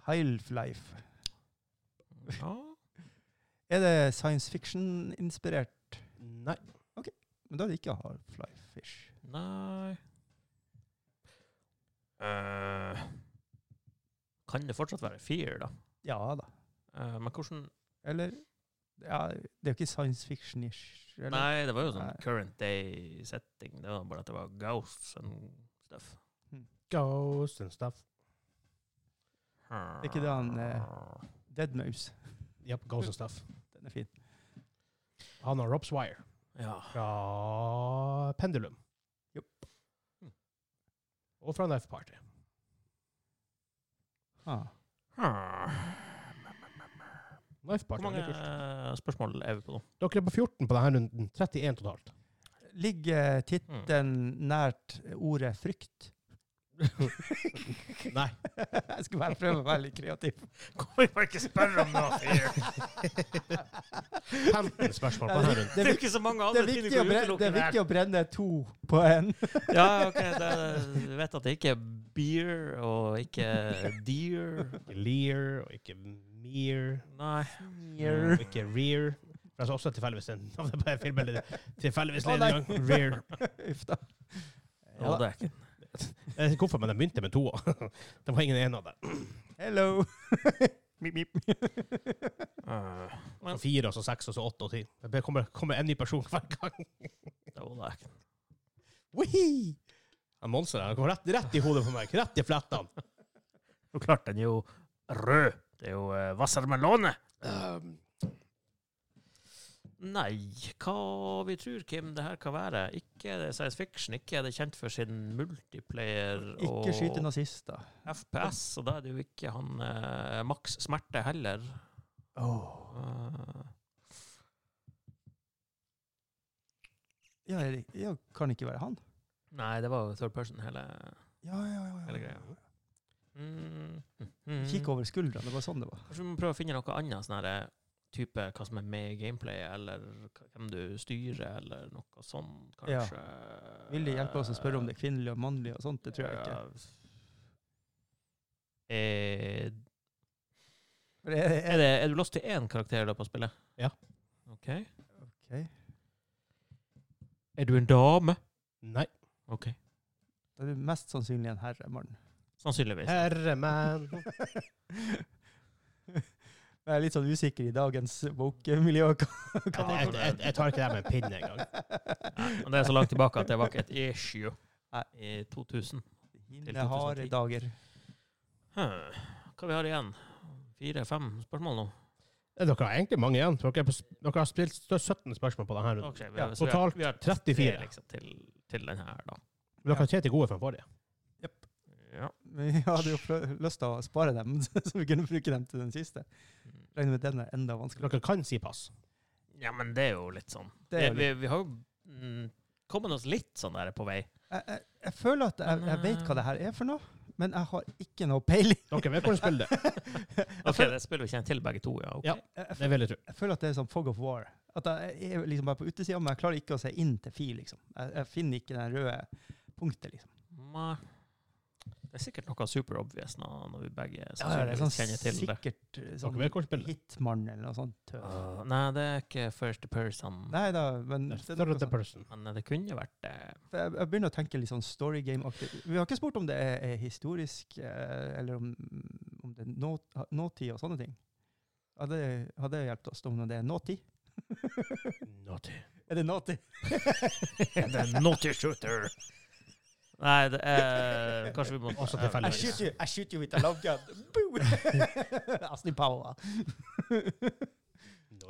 Speaker 2: Half-Life.
Speaker 3: Ja.
Speaker 2: Er det science fiction-inspirert?
Speaker 1: Nei.
Speaker 2: Men da er det ikke Half-Life-ish.
Speaker 3: Nei Eh, Kan det fortsatt være Fear, da?
Speaker 2: Ja da.
Speaker 3: Eh, men hvordan
Speaker 2: Eller ja, Det er jo ikke science fiction-ish. eller?
Speaker 3: Nei, det var jo sånn
Speaker 2: Nei.
Speaker 3: current day setting. Det var bare at det var ghosts and stuff.
Speaker 1: Ghost and stuff.
Speaker 2: ikke det han, eh, Dead Mouse.
Speaker 1: Yep, ghost and stuff.
Speaker 2: Den er fin.
Speaker 1: Han har Rob Swire
Speaker 3: Ja.
Speaker 1: fra Pendulum. Hm.
Speaker 2: Jupp.
Speaker 1: Og fra Knife Party.
Speaker 2: Ah.
Speaker 1: Knife Party
Speaker 3: Hvor mange
Speaker 1: er kult.
Speaker 3: eh, spørsmål er vi på nå? [LAUGHS]
Speaker 1: Dere er på 14 på denne runden. 31 totalt.
Speaker 2: Ligger tittelen nært ordet
Speaker 3: [LAUGHS]
Speaker 2: frykt?
Speaker 1: Nei.
Speaker 2: [LAUGHS] Jeg skal bare prøve å være litt kreativ.
Speaker 3: Kan vi bare ikke spørre om noe? Fear?
Speaker 1: 15 spørsmål på denne runden.
Speaker 2: Det er sånn
Speaker 3: Det er jo
Speaker 2: vik-
Speaker 3: ikke så mange
Speaker 2: det
Speaker 3: andre
Speaker 2: er
Speaker 3: ting du
Speaker 2: viktig å
Speaker 3: kan
Speaker 2: brenne, det
Speaker 3: utelukke
Speaker 2: er
Speaker 3: der.
Speaker 2: viktig å brenne to på én.
Speaker 3: Ja, ok. Det, jeg vet at det ikke er beer og ikke deer.
Speaker 1: Ikke Lear, og ikke Mere,
Speaker 3: Nei.
Speaker 1: og ikke Rear. Det er altså også tilfeldigvis en [LAUGHS] navn på en film, eller tilfeldigvis
Speaker 2: Å,
Speaker 1: en
Speaker 2: nei.
Speaker 1: gang. Rear.
Speaker 2: [LAUGHS] Uff da.
Speaker 3: Ja, det er
Speaker 1: Jeg
Speaker 3: ikke
Speaker 1: vet ikke Eh, hvorfor, men de begynte med to. [LAUGHS] Det var ingen ene av dem.
Speaker 2: Hello! [LAUGHS] Mip, mip.
Speaker 3: Eh,
Speaker 1: Så fire, og så seks, og så åtte og ti. Det kommer, kommer en ny person hver gang. [LAUGHS]
Speaker 3: Det var det ikke.
Speaker 1: Wihi! Ja, Monster der, han kom rett, rett i hodet på meg. Rett i flettene.
Speaker 3: Og klart, den er jo rød. Det er jo uh, Wassermelone. Nei, hva vi tror, Kim, det her kan være. Ikke er det science fiction, ikke er det kjent for sin multiplayer og
Speaker 2: [LAUGHS] Ikke skyte nazister.
Speaker 3: FPS, og da er det jo ikke han eh, Max Smerte heller.
Speaker 2: Oh.
Speaker 3: Eh,
Speaker 2: Ja, Erik, ja, kan ikke være han.
Speaker 3: nei, det var jo third person, hele,
Speaker 2: Ja, ja, ja.
Speaker 3: hele
Speaker 2: ja.
Speaker 3: greia. Mm. Mm.
Speaker 2: Kikk over skuldrene, det var sånn det var.
Speaker 3: Kanskje vi må prøve å finne noe annet sånn her type hva som er med i gameplayet, eller hva- hvem du styrer, eller noe sånt,
Speaker 2: Ja.
Speaker 3: kanskje.
Speaker 2: Vil det hjelpe oss å spørre om det er kvinnelig og mannlig og sånt? Det tror jeg ikke.
Speaker 3: Eh,
Speaker 2: For Er,
Speaker 3: er,
Speaker 2: er,
Speaker 3: det, er du låst til én karakter i løpet av spillet?
Speaker 1: Ja.
Speaker 3: Ok.
Speaker 2: Ok.
Speaker 3: Er du en dame?
Speaker 1: Nei.
Speaker 3: Ok.
Speaker 2: det er mest sannsynlig en herremann.
Speaker 3: Sannsynligvis.
Speaker 1: [LAUGHS] Herremann.
Speaker 2: [LAUGHS] Jeg er litt sånn usikker i dagens woke-miljø. [LAUGHS]
Speaker 1: Jeg, jeg, jeg, jeg tar ikke det med en pinne [LAUGHS] engang.
Speaker 3: Nei, men det er sånn så langt tilbake at det var ikke et issue
Speaker 2: Nei.
Speaker 3: i 2000.
Speaker 2: Mine harde dager. [LAUGHS]
Speaker 3: Hm. Hva vi har igjen? Fire-fem spørsmål nå?
Speaker 1: Nei, Dere har egentlig mange igjen. Dere, er på, sp- dere har spilt stø- 17 spørsmål på denne runden.
Speaker 3: Ok, vi
Speaker 1: Ja,
Speaker 3: har- så vi har-
Speaker 1: totalt
Speaker 3: vi har
Speaker 1: 34.
Speaker 3: tre, liksom, til, til den her, da.
Speaker 1: Dere har tre til gode fra den forrige.
Speaker 3: Ja.
Speaker 2: Vi hadde jo flø- lyst til å spare dem, [LAUGHS] så vi kunne bruke dem til den siste. Regner med at den er enda vanskeligere.
Speaker 1: Dere kan si pass.
Speaker 3: ja, men det er jo litt sånn.
Speaker 2: Det er jo
Speaker 3: vi, vi, vi har jo mm, kommet oss litt sånn der på vei.
Speaker 2: Jeg, jeg, jeg føler at jeg,
Speaker 3: Men,
Speaker 2: jeg vet
Speaker 3: eh,
Speaker 2: hva det her er for noe, men jeg har ikke noe peiling.
Speaker 1: Dere vet hvordan spillet er.
Speaker 3: Ok, det spiller vi kjent til begge to, ja. ok.
Speaker 1: Ja.
Speaker 2: Jeg,
Speaker 1: Det vil jeg tro.
Speaker 2: jeg føler at det er sånn fog of war. At jeg er liksom bare på utesida, men jeg klarer ikke å se inn til fi, liksom. Jeg, jeg finner ikke den røde punktet, liksom.
Speaker 3: Nei. Det er sikkert noe super obvious nå, når vi begge
Speaker 2: det er
Speaker 3: sannsynligvis
Speaker 2: sånn
Speaker 3: kjenner til det.
Speaker 2: sikkert eh, sånn
Speaker 1: Dere vet hvordan spillet er.
Speaker 2: Hitman eller noe sånt. tøv.
Speaker 3: Ah, nei, det er ikke first person.
Speaker 2: Nei da, men det er sånn. noe
Speaker 1: Third
Speaker 2: sånt.
Speaker 1: person.
Speaker 3: Men det kunne vært det.
Speaker 2: For jeg, jeg begynner å tenke litt sånn story game-aktig. Vi har ikke spurt om det er, er historisk, eh, eller om, om det er nå, ha- nåtid og sånne ting. Hadde, hadde det hjulpet oss om det er nåtid?
Speaker 1: Naughty.
Speaker 2: Er det nåtid?
Speaker 3: The naughty shooter. Nei, det er Kanskje vi må
Speaker 1: Også
Speaker 2: I
Speaker 1: tilfeldigvis.
Speaker 2: shoot you, I shoot you with a love [LAUGHS] gun. Boo! Austin Power.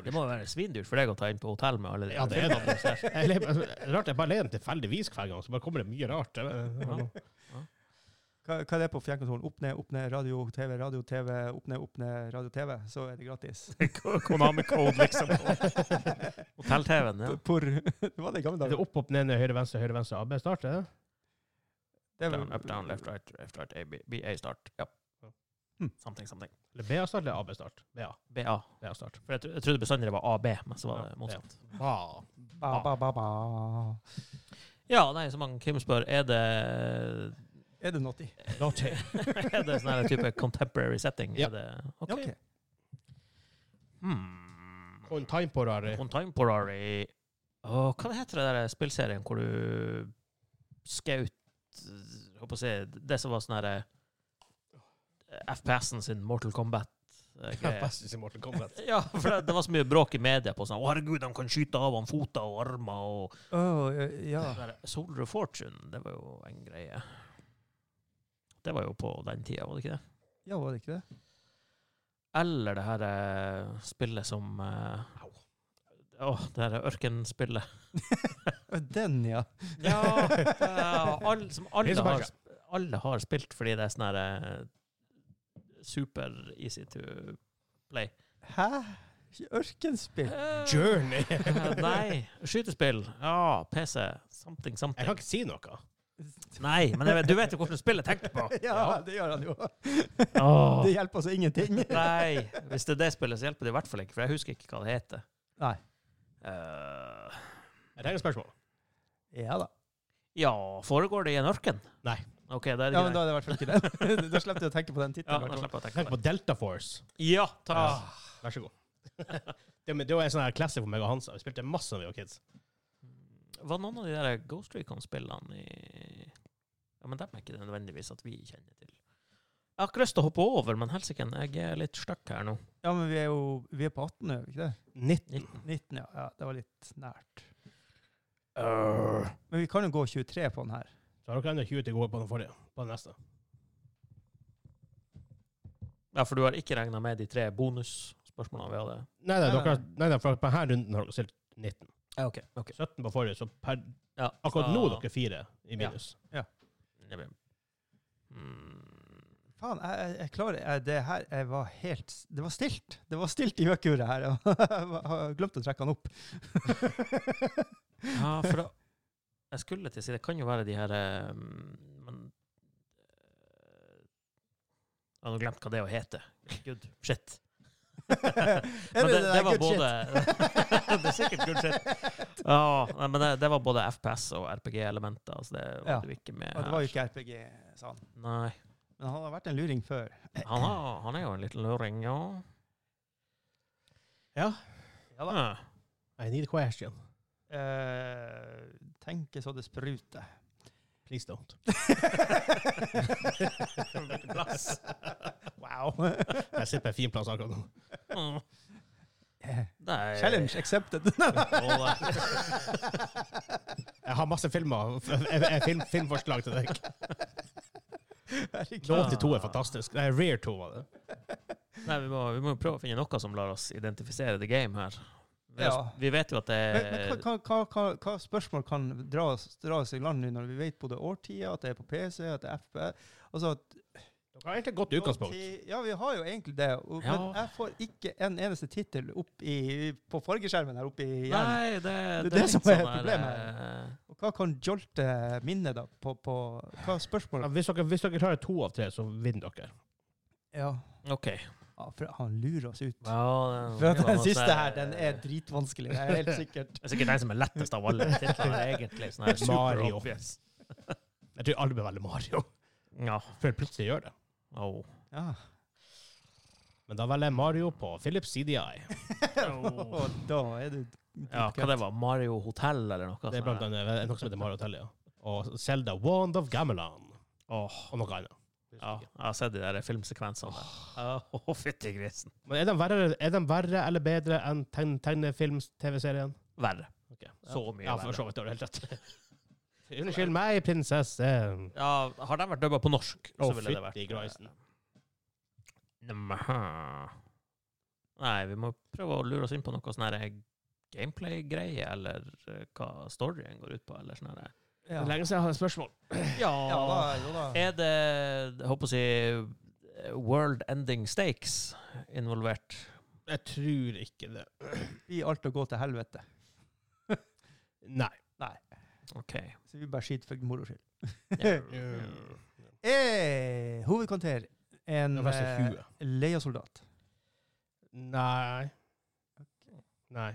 Speaker 3: Det må jo være svindyrt for deg å ta inn på hotell med alle de
Speaker 1: Ja, det er det. Jeg
Speaker 2: Eh,
Speaker 1: le- altså, Rart jeg bare ler dem tilfeldigvis hver gang, så bare kommer det mye rart. Jeg vet-
Speaker 3: Ja.
Speaker 2: Hva, hva er det på fjernkontrollen? Opp ned, opp ned, radio, TV, radio, TV, opp ned, opp ned, radio, TV. Så er det gratis.
Speaker 3: Konami Code, [LAUGHS] liksom. Hotell-TV-en,
Speaker 2: [LAUGHS]
Speaker 3: ja.
Speaker 2: Por, det var det i gamle
Speaker 1: Er det
Speaker 2: dager.
Speaker 1: opp, opp, ned, ned, høyre, venstre, høyre, venstre, AB? Starter det?
Speaker 2: Det var-
Speaker 3: Down, up, down, left, right, left, right, A, B, B, A, start. Ja.
Speaker 2: Hmm.
Speaker 3: Something, something.
Speaker 1: Eller BA-start eller AB-start? BA.
Speaker 3: BA.
Speaker 1: BA-start.
Speaker 3: For jeg, tro- jeg trodde bestandig det var AB, men så var
Speaker 1: Ja,
Speaker 3: det motsatt.
Speaker 1: Ba.
Speaker 2: Ba, ba, ba, ba.
Speaker 3: Ja, nei, som han Kim spør, er det [LAUGHS]
Speaker 2: Er det naughty?
Speaker 1: Naughty.
Speaker 3: er det sånn her type contemporary setting?
Speaker 1: Ja.
Speaker 3: Er det,
Speaker 2: Ja,
Speaker 3: ok.
Speaker 2: ok.
Speaker 3: Hmm.
Speaker 1: On time på Rari.
Speaker 3: Contemporary Åh, Hva det heter det der spillserien hvor du skaut eh, håper å si, Det som var sånn eh, herre FPS-en sin Mortal Kombat. eh,
Speaker 1: [LAUGHS]
Speaker 3: greie.
Speaker 1: Fastest i Mortal Kombat.
Speaker 3: Ja, for det, det var så mye bråk i media på sånn Å, herregud, de kan skyte av han foter og armer og
Speaker 2: Åh, eh, ja.
Speaker 3: Sånn der, Soldier of Fortune, det var jo en greie. Det var jo på den tida, var det ikke det?
Speaker 2: ja, var det ikke det?
Speaker 3: Eller det her eh, spillet som eh, Åh, det her ørkenspillet.
Speaker 2: Å, Den, ja.
Speaker 3: [LAUGHS] Ja, eh, all, som alle
Speaker 1: Pils og
Speaker 3: har,
Speaker 1: bæsje.
Speaker 3: alle har spilt fordi det er sånn her eh, super easy to play.
Speaker 2: Hæ? Ørkenspill?
Speaker 3: Eh,
Speaker 1: Journey.
Speaker 3: [LAUGHS] Nei. Skytespill. Ja, PC. Something,
Speaker 1: Jeg
Speaker 3: something.
Speaker 1: kan ikke si noe.
Speaker 3: Nei, men jeg vet, du vet jo hvordan spillet tenkte på.
Speaker 2: [LAUGHS] Ja, det gjør han jo.
Speaker 3: [LAUGHS] Åh.
Speaker 2: Det hjelper altså ingenting.
Speaker 3: Nei. Hvis det er det spillet, så hjelper det i hvert fall ikke, for jeg husker ikke hva det heter.
Speaker 2: Nei.
Speaker 3: Eh,
Speaker 1: Jeg trenger spørsmål.
Speaker 2: Ja da.
Speaker 3: ja, foregår det i en ørken?
Speaker 1: Nei.
Speaker 3: Ok, da er det
Speaker 2: Ja, men
Speaker 3: greit.
Speaker 2: da er det i hvert fall ikke det. [LAUGHS] Da slipper du å tenke på den
Speaker 3: Ja,
Speaker 2: tittelen. i
Speaker 3: da
Speaker 2: hvert fall.
Speaker 3: slipper jeg å tenke
Speaker 1: Tenk
Speaker 3: på det.
Speaker 1: på Delta Force.
Speaker 3: Ja, takk.
Speaker 1: Vær så god.
Speaker 3: [LAUGHS]
Speaker 1: det, men det var en sånn her classic for meg og Hansa. Vi spilte masse da vi var kids.
Speaker 3: Var noen av de der Ghost Recon-spillene i Ja, men dem er ikke det nødvendigvis at vi kjenner til. Jeg har ikke lyst til å hoppe over, men helsike, jeg er litt stuck her nå.
Speaker 2: Ja, men vi er jo vi er på 18, er vi ikke det?
Speaker 1: 19.
Speaker 2: 19, ja. ja. Det var litt nært. Men vi kan jo gå 23 på den her.
Speaker 1: Så har dere enda 20 til gode på den forrige. På den neste.
Speaker 3: Ja, for du har ikke regna med de tre bonusspørsmålene vi hadde?
Speaker 1: Nei, nei,
Speaker 2: Nei,
Speaker 1: dere,
Speaker 2: nei.
Speaker 1: nei, nei for på denne runden har dere stilt 19.
Speaker 3: Ja, ok. ok.
Speaker 1: 17 på forrige, så per,
Speaker 3: Ja,
Speaker 1: akkurat
Speaker 3: da-
Speaker 1: nå er dere fire i
Speaker 3: Ja.
Speaker 1: minus.
Speaker 3: Jeg blir- Mm.
Speaker 2: Faen, jeg, jeg, jeg klarer jeg, Det her jeg var helt s- Det var stilt! Det var stilt i økeuret her. [LAUGHS] Jeg var- har glemt å trekke han opp.
Speaker 3: Ja, for da Jeg skulle til å si det kan jo være de her eh, Men eh, Jeg har nå glemt hva det å hete. Good shit.
Speaker 2: [LAUGHS] er
Speaker 3: Men det, det,
Speaker 2: der
Speaker 3: var
Speaker 2: good shit?
Speaker 3: både [LAUGHS] Det er sikkert good shit.
Speaker 2: [LAUGHS]
Speaker 3: Ja, nei, men det, det var både FPS og RPG-elementer, så det var
Speaker 2: Ja.
Speaker 3: du ikke med
Speaker 2: Ja, det var jo ikke RPG, sa han.
Speaker 3: Nei.
Speaker 2: Men han har vært en luring før.
Speaker 3: Han, har, han er jo en liten luring, ja.
Speaker 1: Ja.
Speaker 3: Ja da.
Speaker 1: I need a question.
Speaker 2: Eh, tenke så det
Speaker 3: [LAUGHS]
Speaker 2: spruter. [LAUGHS]
Speaker 1: Please don't. [LAUGHS]
Speaker 3: Hvilken
Speaker 1: [LAUGHS]
Speaker 3: plass?
Speaker 2: wow.
Speaker 1: Jeg sitter på en fin plass akkurat nå.
Speaker 3: Mm.
Speaker 2: Eh,
Speaker 3: Nei.
Speaker 2: Challenge accepted.
Speaker 3: [LAUGHS]
Speaker 1: Jeg har masse filmer. Jeg- jeg- jeg Film, filmforslag til deg.
Speaker 2: Herregud.
Speaker 1: Lov til to er fantastisk. Nei, Rear 2 var det.
Speaker 3: Nei, vi må, vi må jo prøve å finne noe som lar oss identifisere the game her. Vi, har-
Speaker 2: Ja.
Speaker 3: vi vet jo at det
Speaker 2: Men, men hva, hva- hva, hva, hva spørsmål kan dra oss, dra oss i land nå, når vi vet både årtier, at det er på PC, at det er FP altså at
Speaker 1: Dere har egentlig et godt utgangspunkt.
Speaker 2: årti- Ja, vi har jo egentlig det, og, men
Speaker 3: Ja.
Speaker 2: jeg får ikke en eneste tittel opp i, på fargeskjermen her oppe i hjernen.
Speaker 3: Nei, det, det,
Speaker 2: det
Speaker 3: litt
Speaker 2: som er
Speaker 3: sånn der,
Speaker 2: problemet her.
Speaker 3: eh,
Speaker 2: Og hva kan jolte minnet, da? På, på hva
Speaker 1: Ja,
Speaker 2: spørsmål?
Speaker 1: Hvis dere, hvis dere klarer to av tre, så vinner dere.
Speaker 2: Ja.
Speaker 3: eh, OK.
Speaker 2: ja, for han lurer oss ut.
Speaker 3: Ja, det-
Speaker 2: For at
Speaker 3: det var
Speaker 2: den
Speaker 3: noe
Speaker 2: siste
Speaker 3: sånn
Speaker 2: her, den er dritvanskelig, det er helt sikkert.
Speaker 3: Det er sikkert den som er lettest av alle titlene, egentlig. Sånn her, super
Speaker 1: Mario.
Speaker 3: obvious.
Speaker 1: Jeg tror alle bør velge Mario,
Speaker 3: Ja.
Speaker 1: før plutselig gjør det.
Speaker 2: [LAUGHS]
Speaker 3: Au. [LAUGHS]
Speaker 2: Ja.
Speaker 1: Men da velger jeg Mario på Philips CDI.
Speaker 2: Og da er du
Speaker 3: ja, hva det var? Mario Hotel eller noe?
Speaker 1: Det er blant annet eh, noe som heter Mario Hotel, ja. Og Zelda Wand of Gamelan. Og noe annet.
Speaker 3: Ja, jeg har sett de der filmsekvensene. der. Å, [LAUGHS] fytti grisen.
Speaker 1: Men er de verre, er de verre eller bedre enn tegn- tegnefilms-TV-serien?
Speaker 3: Verre.
Speaker 1: Ok.
Speaker 3: Så mye
Speaker 1: Ja,
Speaker 3: verre.
Speaker 1: for så vidt. Det har du helt rett. [LAUGHS] Unnskyld meg, prinsesse.
Speaker 3: Ja, har den vært dubba på norsk,
Speaker 1: Å,
Speaker 3: så ville det vært eh,
Speaker 1: fytti grisen.
Speaker 3: Nja. Nei, vi må prøve å lure oss inn eh, på noe sånn her gameplay-greie, eller eh, hva storyen går ut på, eller sånn her.
Speaker 1: Det er lenge siden jeg hadde et spørsmål.
Speaker 2: Ja da, jo da.
Speaker 3: Er det jeg håper å si, world ending stakes involvert?
Speaker 1: Jeg tror ikke det. [CLEARS THROAT]
Speaker 2: Vi alt å gå til helvete.
Speaker 1: Nei.
Speaker 3: OK.
Speaker 2: Så vi bare skiter for moro skyld.
Speaker 3: Ja.
Speaker 1: Mm.
Speaker 2: Eh, hovedkvarter. En
Speaker 1: Det var så
Speaker 2: eh,
Speaker 1: huet.
Speaker 2: leia soldat.
Speaker 1: Nei. Nei.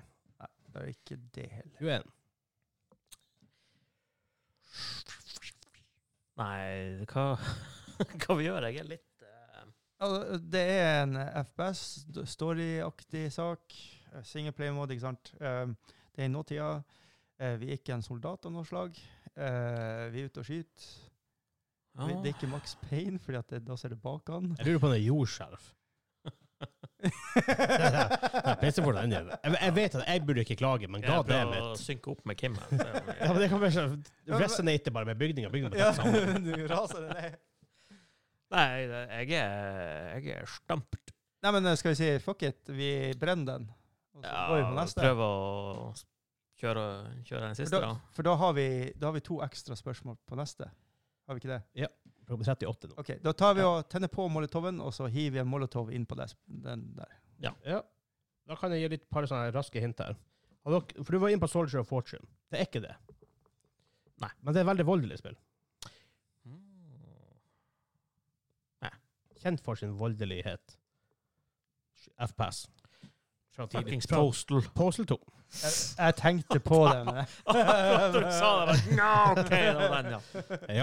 Speaker 2: Det er ikke det heller.
Speaker 1: Hun er en.
Speaker 3: Nei, hva, [LAUGHS] hva vi gjør? Jeg er litt eh,
Speaker 2: Altså, Det er en FPS, st- storyaktig sak. Eh, Singleplay-mode, ikke sant. Um, Det er i nåtida. Eh, Vi er ikke en soldat av noe slag. Eh, Vi er ute og skyter.
Speaker 3: ja.
Speaker 1: Ah.
Speaker 2: Vi- Det er ikke Max Payne, for da ser det bak
Speaker 1: [LAUGHS]
Speaker 2: han.
Speaker 1: Jeg lurer på om det er jordskjelv. [LAUGHS] Nei, PC får den igjen. Jeg, jeg vet at jeg burde ikke klage, men
Speaker 3: Jeg
Speaker 1: god damn
Speaker 3: prøver å
Speaker 1: it.
Speaker 3: synke opp med Kim her. Det er jo-
Speaker 1: Ja, men det kan være sånn Resonate bare med bygninga. Bygninga
Speaker 2: Ja, [LAUGHS]
Speaker 1: bare tetter sammen.
Speaker 2: du raser det ned.
Speaker 3: Nei, jeg er, jeg er stumped.
Speaker 2: Nei, men eh, skal vi si fuck it, vi brenner den. Og så går vi på
Speaker 3: Ja,
Speaker 2: neste.
Speaker 3: prøv å kjøre, kjøre den siste,
Speaker 2: da-
Speaker 3: da.
Speaker 2: For da har, vi, da har vi to ekstra spørsmål på neste. Har vi ikke det?
Speaker 1: 38 nå.
Speaker 2: Ok, Da tar vi og tenner på molotoven, og så hiver vi en molotov inn på des- den der.
Speaker 1: Ja. Da kan jeg gi litt par sånne raske hint her. Har dere- For du var inne på Soldier of Fortune. Det er ikke det.
Speaker 3: Nei.
Speaker 1: Men det er et veldig voldelig spill.
Speaker 3: Mm.
Speaker 1: Kjent for sin voldelighet. FPS. Fra tidlig.
Speaker 3: Fuckings
Speaker 1: Fra
Speaker 3: postal.
Speaker 1: Postal 2.
Speaker 3: [LAUGHS]
Speaker 2: Jeg, jeg tenkte på den. jeg.
Speaker 3: Akkurat du sa det, bare no, OK! Det var den, ja.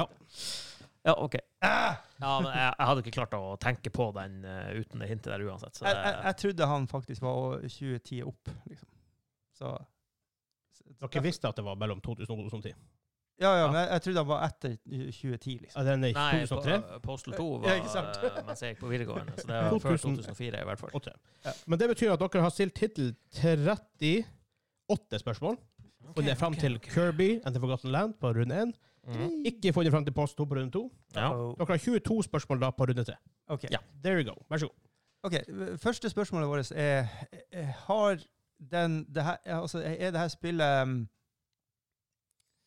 Speaker 1: Ja.
Speaker 3: [LAUGHS] Ja, OK.
Speaker 2: Ah!
Speaker 3: Ja, men jeg, jeg hadde ikke klart å tenke på den eh, uten det hintet der uansett. Så
Speaker 2: Jeg, jeg,
Speaker 3: det,
Speaker 2: jeg trodde han faktisk var å- 2010 opp, liksom. Så
Speaker 1: Dere visste at det var mellom 2000 og 2010?
Speaker 2: Ja, ja, men jeg, jeg trodde han var etter 2010, liksom.
Speaker 1: Ja, den er
Speaker 3: nei,
Speaker 1: 2003
Speaker 3: på- eh, Postal 2 var
Speaker 2: Ja, ikke sant?
Speaker 3: eh, mens jeg gikk på videregående, så det var før
Speaker 1: 2000.
Speaker 3: 2004 i hvert fall.
Speaker 1: og 3. Men det betyr at dere har stilt hittil 38 spørsmål. Funnet fram til Kirby and The Forgotten Land på runde 1.
Speaker 3: Mhm.
Speaker 1: Ikke funnet fram til Post 2 på runde 2.
Speaker 3: Ja.
Speaker 2: Og-
Speaker 1: Dere har 22 spørsmål da på runde 3.
Speaker 2: Ok.
Speaker 3: Ja.
Speaker 1: There you go. Vær så god.
Speaker 2: Ok, Første spørsmålet vårt er eh, Har den det her, ja, altså, Er det her spillet um, [LAUGHS]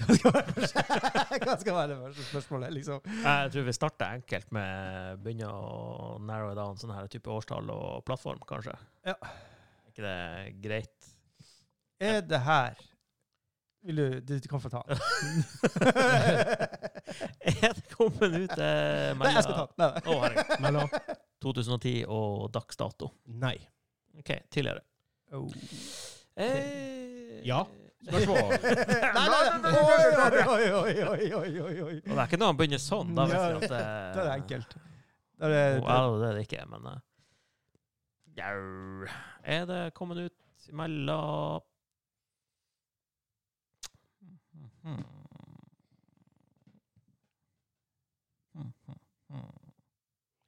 Speaker 2: Hva skal være det første- [LAUGHS] Hva skal være det første spørsmålet? liksom?
Speaker 3: Jeg tror vi starter enkelt med å begynne å narrow down sånne her type årstall og plattform, kanskje.
Speaker 2: Ja.
Speaker 3: Er ikke det greit?
Speaker 2: [LAUGHS] Er det her Vil du Du, du kan få ta den.
Speaker 3: er det kommet ut eh,
Speaker 2: Nei, jeg skal ta den. Nei, nei.
Speaker 3: Å, herregud.
Speaker 1: Mellom [LAUGHS]
Speaker 3: 2010 og dags dato.
Speaker 1: Nei.
Speaker 3: OK, tidligere.
Speaker 2: Oh.
Speaker 3: Eh,
Speaker 1: Ja.
Speaker 3: Spørsmål.
Speaker 2: [LAUGHS] Nei, nei, nei. Oi, oi, oi, oi, oi, oi, oi.
Speaker 3: Og det er ikke når han begynner sånn. Da vet
Speaker 2: Ja,
Speaker 3: vi at det,
Speaker 2: Da er det enkelt. Da er det, da-
Speaker 3: Wow, det er det ikke, men eh, Jau. Er det kommet ut mellom Mhm.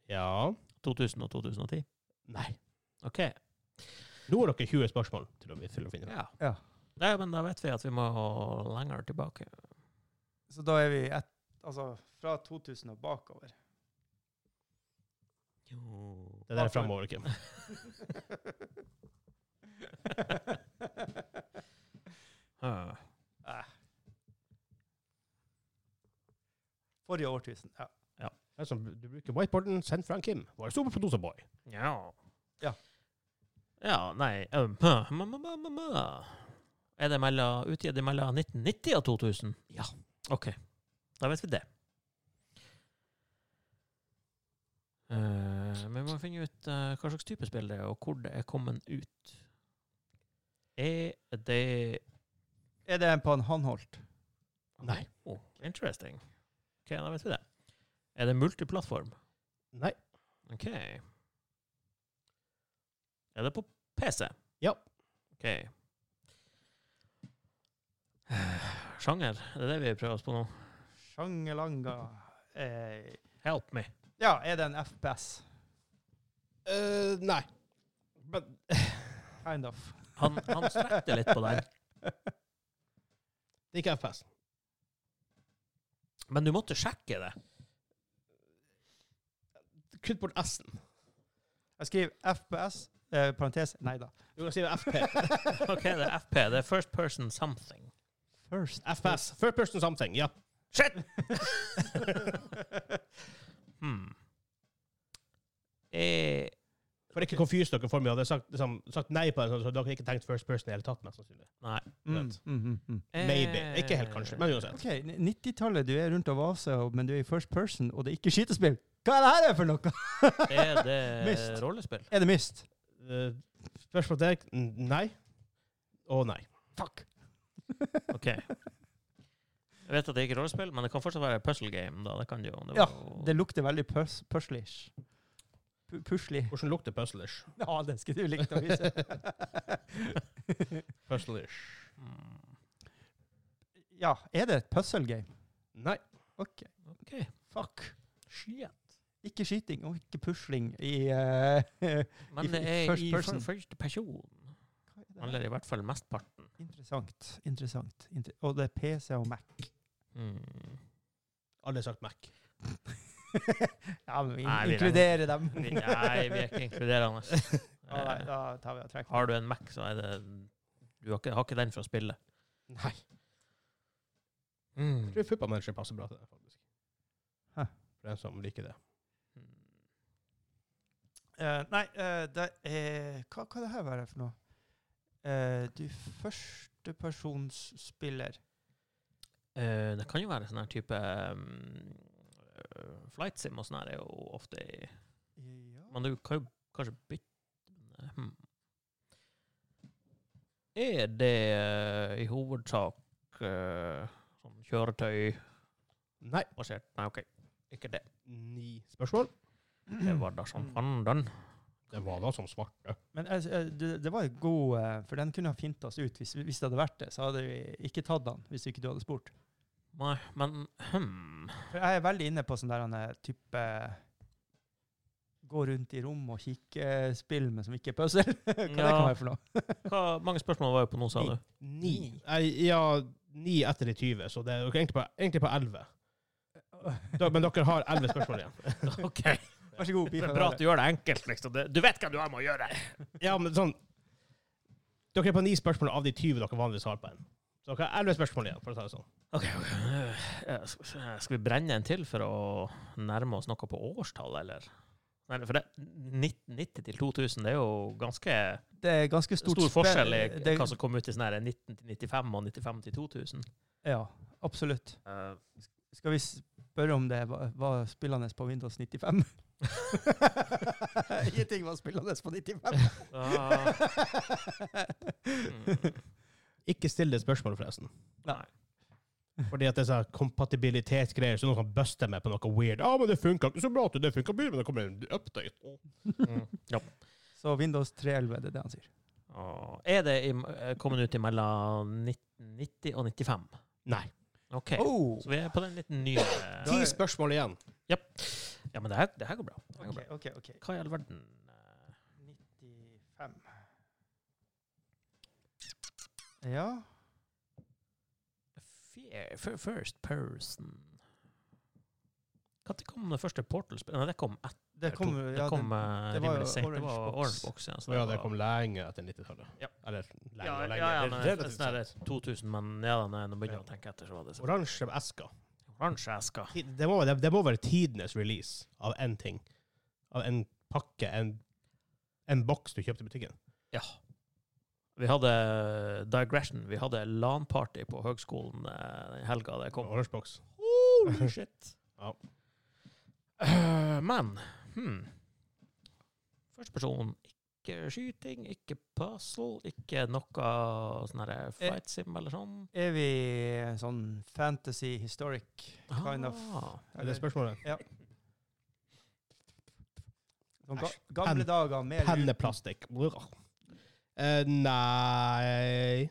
Speaker 1: Ja.
Speaker 3: 2000 og 2010?
Speaker 1: Nei.
Speaker 3: OK.
Speaker 1: Nå har dere 20 spørsmål til å, til å finne det.
Speaker 3: Ja.
Speaker 2: Ja.
Speaker 3: Nei, men da vet vi at vi må lenger tilbake.
Speaker 2: Så da er vi et, altså, fra 2000 og bakover. [LAUGHS]
Speaker 1: Det der er fremover, Kim.
Speaker 3: Ah.
Speaker 2: Forrige årtusen. Ja.
Speaker 1: Det er som- Du bruker whiteboarden sendt fra en Kim. Vår superproducer boy.
Speaker 3: Ja.
Speaker 2: Ja.
Speaker 3: Ja, nei um, ma, ma, ma, ma, ma. Er det mellom, utgitt mellom 1990 og 2000? Ja. OK. Da vet vi det. Eh, men vi må finne ut eh, hva slags type spill det er, og hvor det er kommet ut. Er det
Speaker 2: Er det en på en Hanholt?
Speaker 1: Nei.
Speaker 3: oh, Interesting. OK, da vet vi det. Er det multiplattform?
Speaker 1: Nei.
Speaker 3: OK. Er det på PC?
Speaker 1: Ja.
Speaker 3: OK. Sjanger, det er det vi prøver oss på nå.
Speaker 2: Sjangelanga eh,
Speaker 3: Help me.
Speaker 2: Ja, er det en FPS?
Speaker 1: Eh, nei. Men
Speaker 2: Kind of.
Speaker 3: Han, han strekte litt på den.
Speaker 1: det er ikke FPS.
Speaker 3: Men du måtte sjekke det.
Speaker 1: Kutt bort S-en.
Speaker 2: Jeg skriver FPS, eh, parentes Nei da.
Speaker 1: [LAUGHS] Du kan si det er FP.
Speaker 3: OK, det er FP. Det er First Person Something.
Speaker 2: First.
Speaker 1: FPS. First person something, ja. Shit!
Speaker 3: [LAUGHS] Hmm. Eh,
Speaker 1: For ikke confuse dere for mye. Jeg hadde sagt, liksom, sagt nei på det, så dere hadde ikke tenkt first person i det hele tatt. mest sannsynlig.
Speaker 3: nei.
Speaker 2: Mm,
Speaker 1: Greit.
Speaker 2: mm, mm, mm.
Speaker 1: Maybe. Ikke helt, kanskje, men uansett.
Speaker 2: Ok, n- 90-tallet, du er rundt og vaser, men du er i first person, og det er ikke skytespill. Hva er det her for noe? [LAUGHS]
Speaker 3: Er det
Speaker 2: Mist.
Speaker 3: rollespill?
Speaker 2: Er det mist?
Speaker 1: Eh, Spørsmål til deg? N- Nei. Og nei.
Speaker 2: Fuck.
Speaker 3: OK. Jeg vet at det ikke er rollespill, men det kan fortsatt være puzzle game. da. Det kan det jo. Det var
Speaker 2: Ja,
Speaker 3: jo-
Speaker 2: det lukter veldig pus puslish. Pu- Puslig.
Speaker 1: Hvordan lukter puzzlers?
Speaker 2: [LAUGHS] Ja, det skulle du likt å vise.
Speaker 3: [LAUGHS]
Speaker 1: Puzzlers.
Speaker 3: Hmm.
Speaker 2: ja, er det et puzzle game?
Speaker 1: Nei.
Speaker 2: Ok,
Speaker 3: OK.
Speaker 2: fuck.
Speaker 3: Shit.
Speaker 2: Ikke skyting og ikke pusling i eh, [LAUGHS] I-
Speaker 3: Men det
Speaker 2: i
Speaker 3: er
Speaker 2: first
Speaker 3: i
Speaker 2: person.
Speaker 3: person. første person.
Speaker 2: Hva er det
Speaker 3: Eller
Speaker 2: her?
Speaker 3: i hvert fall mesteparten.
Speaker 2: Interessant, interessant. Inter og det er PC og Mac. [LAUGHS]
Speaker 3: Hmm.
Speaker 1: Alle har sagt Mac.
Speaker 2: ja, men vi
Speaker 3: Nei, vi
Speaker 2: inkluderer dem.
Speaker 3: Vi- Nei, vi er ikke inkluderende.
Speaker 2: [LAUGHS] Ja, nei,
Speaker 3: Eh,
Speaker 2: da tar vi og trekker.
Speaker 3: Har du en Mac, så er det Du har ikke, har ikke den for å spille. Mm.
Speaker 1: Nei. Jeg tror Football Manager passer bra til det, faktisk.
Speaker 2: Hæ.
Speaker 1: For den som liker det.
Speaker 2: Eh, nei, eh, det er Hva kan det her være for noe? Eh, du førstepersonsspiller.
Speaker 3: Eh, det kan jo være sånn her type um, eh, Flight sim og sånn her er jo ofte i
Speaker 2: Ja.
Speaker 3: Men du kan jo kanskje bytte hmm. Er det eh, i hovedsak eh, sånn kjøretøybasert
Speaker 1: Nei.
Speaker 3: Nei, OK. Ikke det.
Speaker 1: Ni spørsmål.
Speaker 3: Det var da som fanden.
Speaker 1: Det var da som svarte.
Speaker 2: Men jeg- jeg- det, det var en god eh, For den kunne ha fint oss ut. Hvis, hvis det hadde vært det, så hadde vi ikke tatt den. Hvis ikke du hadde spurt.
Speaker 3: Nei, men hmm.
Speaker 2: For jeg er veldig inne på sånn der han er type Gå rundt i rom og kikke-spill, men som ikke er puzzle. [LAUGHS] Hva det kan
Speaker 3: Ja.
Speaker 2: være for noe?
Speaker 3: Hva, mange spørsmål var jo på nå, sa
Speaker 1: Ni.
Speaker 3: du?
Speaker 1: Ni. Nei, Ja, ni etter de 20, så det er jo egentlig på- egentlig på 11. Da, men dere har 11 spørsmål [LAUGHS] igjen.
Speaker 3: OK.
Speaker 2: Vær så god.
Speaker 3: Det
Speaker 2: beef av
Speaker 3: er bra
Speaker 2: det.
Speaker 3: at du gjør det enkelt. liksom. Det- Du vet hva du har med å gjøre.
Speaker 1: Ja, men sånn Dere er på ni spørsmål av de 20 dere vanligvis har på en. Så dere har 11 spørsmål igjen, for å si det sånn.
Speaker 3: Ok, ok. Eh, s- s- Skal vi brenne en til for å nærme oss noe på årstall, eller? Nei, for det, 1990 til 2000, det er jo ganske
Speaker 2: Det er ganske stort
Speaker 3: stor
Speaker 2: spenn.
Speaker 3: forskjell i
Speaker 2: Det-
Speaker 3: hva som kom ut i sånn her 19 til 95 og 95 til 2000.
Speaker 2: Ja, absolutt.
Speaker 3: Eh,
Speaker 2: Skal vi spørre om det var, var spillende på Windows 95?
Speaker 1: [LAUGHS]
Speaker 2: Ingenting var spillende på 95.
Speaker 3: da- mm,
Speaker 1: Ikke still det spørsmålet, forresten.
Speaker 3: Nei.
Speaker 1: Fordi at det er sånn kompatibilitetsgreier, så noen kan buste meg på noe weird. Ja, men det funka ikke så bra, at det funka bedre, men det kommer en update.
Speaker 3: mm. Ja.
Speaker 2: [LAUGHS] Så Windows 311, det er det han sier.
Speaker 3: Og Er det im- eh, kommet ut mellom 1990 og 95?
Speaker 1: Nei.
Speaker 3: OK.
Speaker 2: Oh.
Speaker 3: Så vi er på den litt nye
Speaker 1: Ti spørsmål igjen.
Speaker 3: Ja, men det her, det her går bra. Det her
Speaker 2: OK,
Speaker 3: går bra.
Speaker 2: OK. ok.
Speaker 3: Hva i all verden eh,
Speaker 2: 95. Ja.
Speaker 3: Fear, fir- first person Når kom det første Portal-spillet? Nei, det kom etter.
Speaker 2: Det kom,
Speaker 3: to- det
Speaker 2: ja,
Speaker 3: kom
Speaker 2: det,
Speaker 3: eh,
Speaker 2: det var jo
Speaker 3: rimelig sent. Det
Speaker 2: Orange
Speaker 3: var
Speaker 2: Box.
Speaker 3: Orange Box. Ja, så
Speaker 1: Så ja,
Speaker 3: det
Speaker 1: det
Speaker 3: var-
Speaker 1: kom lenge etter 90-tallet.
Speaker 3: Ja.
Speaker 1: Eller lenge
Speaker 3: ja,
Speaker 1: og lenge.
Speaker 3: ja,
Speaker 1: Det
Speaker 3: ja,
Speaker 1: er
Speaker 3: men
Speaker 1: relativt
Speaker 3: sånn der
Speaker 1: sent.
Speaker 3: 2000, men ja, da når jeg begynner å tenke etter, så var det så.
Speaker 1: Oransje esker.
Speaker 3: Oransje esker.
Speaker 1: Tid- Det må, det, det må være tidenes release av én ting. Av en pakke, en, en boks du kjøpte i butikken.
Speaker 3: Vi hadde eh, digression. Vi hadde LAN-party på høgskolen eh, den helga det kom.
Speaker 1: Orange box.
Speaker 3: Holy shit.
Speaker 1: Ja.
Speaker 3: Eh, men hmm. Første person ikke skyting, ikke puzzle, ikke noe sånn her flight sim eller sånn.
Speaker 2: Er vi sånn fantasy historic kind of
Speaker 3: Ah.
Speaker 1: Er det spørsmålet?
Speaker 2: Sånn ga
Speaker 1: Æsj.
Speaker 2: gamle
Speaker 1: Pen-
Speaker 2: dager mer
Speaker 1: Penneplastikk. Eh, nei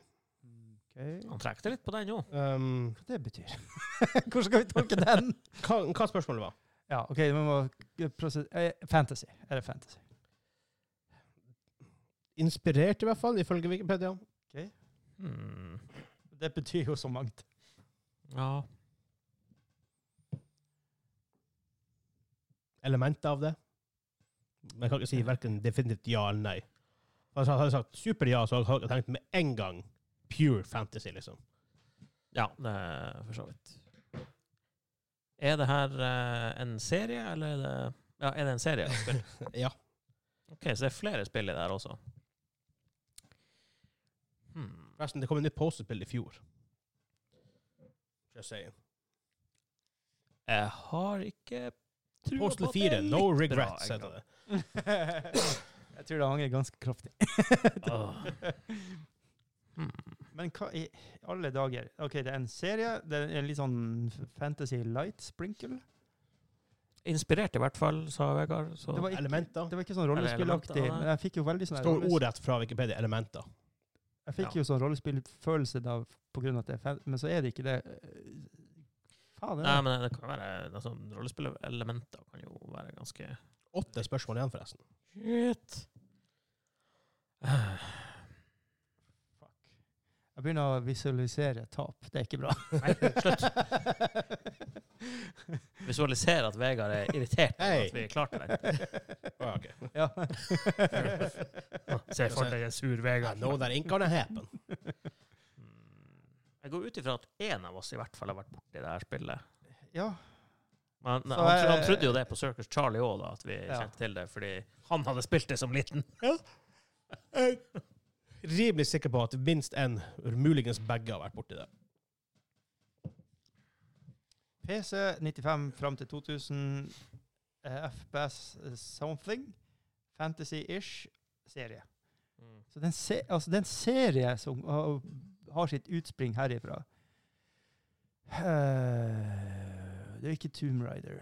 Speaker 2: Okay.
Speaker 3: Han trekte litt på den jo.
Speaker 1: um,
Speaker 2: Hva det betyr? [LAUGHS] Hvordan skal vi tolke den? [LAUGHS]
Speaker 1: hva, hva spørsmålet var?
Speaker 2: ja, OK, vi må prose- eh, Fantasy. Er det fantasy?
Speaker 1: Inspirert, i hvert fall, ifølge Wikipedia.
Speaker 3: Hmm.
Speaker 2: Det betyr jo så mangt.
Speaker 3: Ja.
Speaker 1: Elementer av det. Men jeg kan ikke si verken definitivt ja eller nei. Altså, hadde jeg sagt super ja, så hadde jeg tenkt med en gang pure fantasy, liksom.
Speaker 3: Ja, det er for så vidt. Er det her eh, en serie, eller er det Ja, er det en serie?
Speaker 1: [LAUGHS] Ja.
Speaker 3: OK, så det er flere spill i det her også. Hmm.
Speaker 1: Forresten, det kom et nytt Postal-spill i fjor. Just saying.
Speaker 3: Jeg har ikke trua på
Speaker 1: Postal
Speaker 3: at det
Speaker 1: 4,
Speaker 3: er
Speaker 1: no
Speaker 3: litt bra,
Speaker 1: regrets,
Speaker 3: egentlig.
Speaker 1: heter det.
Speaker 2: [LAUGHS] jeg tror det angrer ganske kraftig.
Speaker 3: Åh. Hmm.
Speaker 2: Men hva i alle dager? OK, det er en serie. Det er en litt sånn f- fantasy light sprinkle.
Speaker 3: Inspirert, i hvert fall, sa Vegard. Så.
Speaker 2: Det var ikke,
Speaker 1: Elementer.
Speaker 2: det var ikke sånn
Speaker 3: Eller
Speaker 2: rollespillaktig.
Speaker 3: elementer,
Speaker 2: Men jeg fikk jo veldig sånn her
Speaker 1: Står
Speaker 2: rolles-
Speaker 1: ordrett fra Wikipedia. Elementer.
Speaker 2: Jeg fikk jo sånn rollespillfølelse da på grunn av at det er fan... Men så er det ikke det. eh, Faen, det
Speaker 3: Nei,
Speaker 2: er
Speaker 3: men det kan være altså, Rollespillelementer kan jo være ganske
Speaker 1: Åtte spørsmål igjen, forresten.
Speaker 3: [LAUGHS] Shit.
Speaker 2: fuck. Jeg begynner å visualisere tap. Det er ikke bra.
Speaker 3: Nei, slutt. Visualisere at Vegard er irritert over
Speaker 1: Hei.
Speaker 3: at vi klarte
Speaker 2: [LAUGHS]
Speaker 3: det.
Speaker 1: Oh, okay.
Speaker 2: Ja.
Speaker 3: [LAUGHS] Se for deg en sur
Speaker 1: I
Speaker 3: Vegard.
Speaker 1: know that ain't gonna happen.
Speaker 3: Mm. Jeg går ut ifra at én av oss i hvert fall har vært borti det her spillet.
Speaker 2: [LAUGHS] ja.
Speaker 3: Men
Speaker 2: Så
Speaker 3: han, tro- han
Speaker 2: jeg-
Speaker 3: trodde jo det på Circus Charlie òg, at vi
Speaker 2: Ja.
Speaker 3: kjente til det, fordi han hadde spilt det som liten.
Speaker 1: Eh, Rimelig sikker på at minst én, muligens begge, har vært borti det.
Speaker 2: PC 95 fram til 2000. eh, FPS something. Fantasy-ish serie.
Speaker 3: Mm.
Speaker 2: Så det er en, se altså, det er en serie som har, har sitt utspring herifra. Eh, det er ikke Tomb Raider.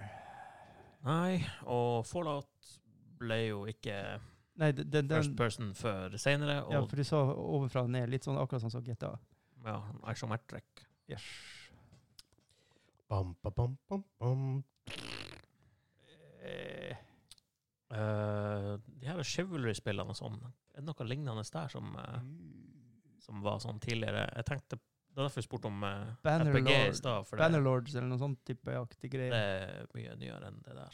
Speaker 3: Nei, og Fallout ble jo ikke
Speaker 2: Nei, den, den,
Speaker 3: first person før seinere,
Speaker 2: Ja,
Speaker 3: og
Speaker 2: for du sa ovenfra og ned, litt sånn akkurat sånn som GTA.
Speaker 3: ja, isometric.
Speaker 2: Yes.
Speaker 1: Bam, ba, bam, bam, bam.
Speaker 2: Eh,
Speaker 3: Eh, de her Chivalry-spillene og sånn, er det noe lignende der som, eh, som var sånn tidligere? Jeg tenkte, Det er derfor jeg spurte om eh,
Speaker 2: Bannerlord.
Speaker 3: RPG i stad, for det,
Speaker 2: Bannerlords eller noe sånn type aktig
Speaker 3: det
Speaker 2: greie.
Speaker 3: er mye nyere enn det der.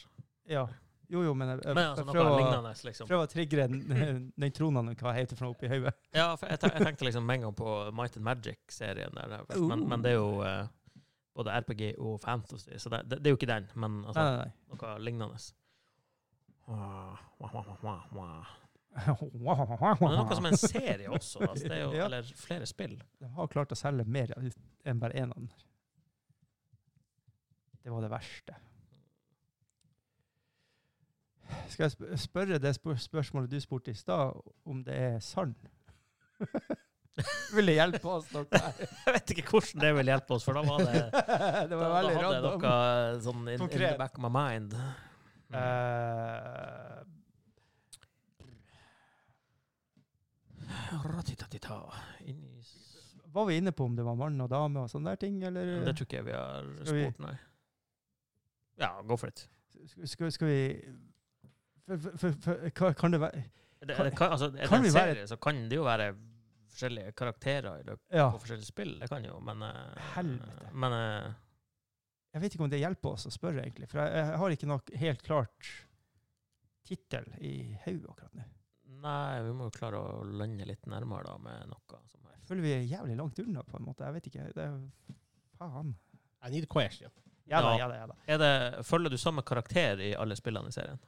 Speaker 2: Ja. Jo, jo, men eh, jeg, jeg,
Speaker 3: Men altså,
Speaker 2: jeg
Speaker 3: noe
Speaker 2: prøver,
Speaker 3: lignende, liksom.
Speaker 2: prøver å trigge
Speaker 3: [LAUGHS]
Speaker 2: den, eh, den tronen hva heter for noe oppi hodet.
Speaker 3: Ja, for jeg, ten- jeg tenkte liksom med en gang på Might and Magic-serien der, der, først, men, men det er
Speaker 2: Uh.
Speaker 3: jo eh, både RPG og fantasy, så det, det, det er jo ikke den, men
Speaker 2: Nei,
Speaker 3: altså,
Speaker 2: nei,
Speaker 3: noe lignende. Ah, wah, wah, wah, wah, wah. Men det er noe som
Speaker 2: nei.
Speaker 3: er en serie også, altså, det er jo,
Speaker 2: [LAUGHS] Ja.
Speaker 3: eller flere
Speaker 2: [LAUGHS]
Speaker 3: spill.
Speaker 2: De har klart å selge mer enn bare én av den. Det var det verste. Skal jeg sp- spørre det spør spørsmålet du spurte i stad, om det er sand? Ville hjelpe oss noe her.
Speaker 3: [LAUGHS] Jeg vet ikke hvordan det vil hjelpe oss, for da var det
Speaker 2: [LAUGHS] [LAUGHS] det var
Speaker 3: da,
Speaker 2: veldig
Speaker 3: da hadde jeg
Speaker 2: random.
Speaker 3: noe sånn in, in the
Speaker 2: Konkret.
Speaker 3: back of my mind.
Speaker 2: Eh,
Speaker 3: Ratitata. Inn i s-
Speaker 2: var vi inne på om det var mann og dame og sånne der ting,
Speaker 3: Men
Speaker 2: eller
Speaker 3: Det tror ikke jeg vi har
Speaker 2: Mm. Skal vi-
Speaker 3: spurt, nei. Ja, go for it.
Speaker 2: skal, skal, skal vi for, for, for, for, hva Kan det være
Speaker 3: Det,
Speaker 2: Kan-
Speaker 3: det kan, altså, er
Speaker 2: kan
Speaker 3: det en
Speaker 2: vi være-
Speaker 3: serie, så kan det jo være forskjellige karakterer i løpet
Speaker 2: Ja.
Speaker 3: av forskjellige spill. Det kan jo, men eh,
Speaker 2: Ah. Helvete.
Speaker 3: Men eh,
Speaker 2: Jeg vet ikke om det hjelper oss å spørre, egentlig. For jeg, jeg har ikke noe helt klart tittel i hodet akkurat nå.
Speaker 3: Nei, vi må jo klare å lande litt nærmere da med noe som
Speaker 2: Jeg føler vi er jævlig langt unna, på en måte. Jeg vet ikke. Det er faen.
Speaker 1: I need question.
Speaker 2: Ja da, ja
Speaker 3: Ja.
Speaker 2: da. ja da.
Speaker 3: er det, Følger du samme karakter i alle spillene i serien?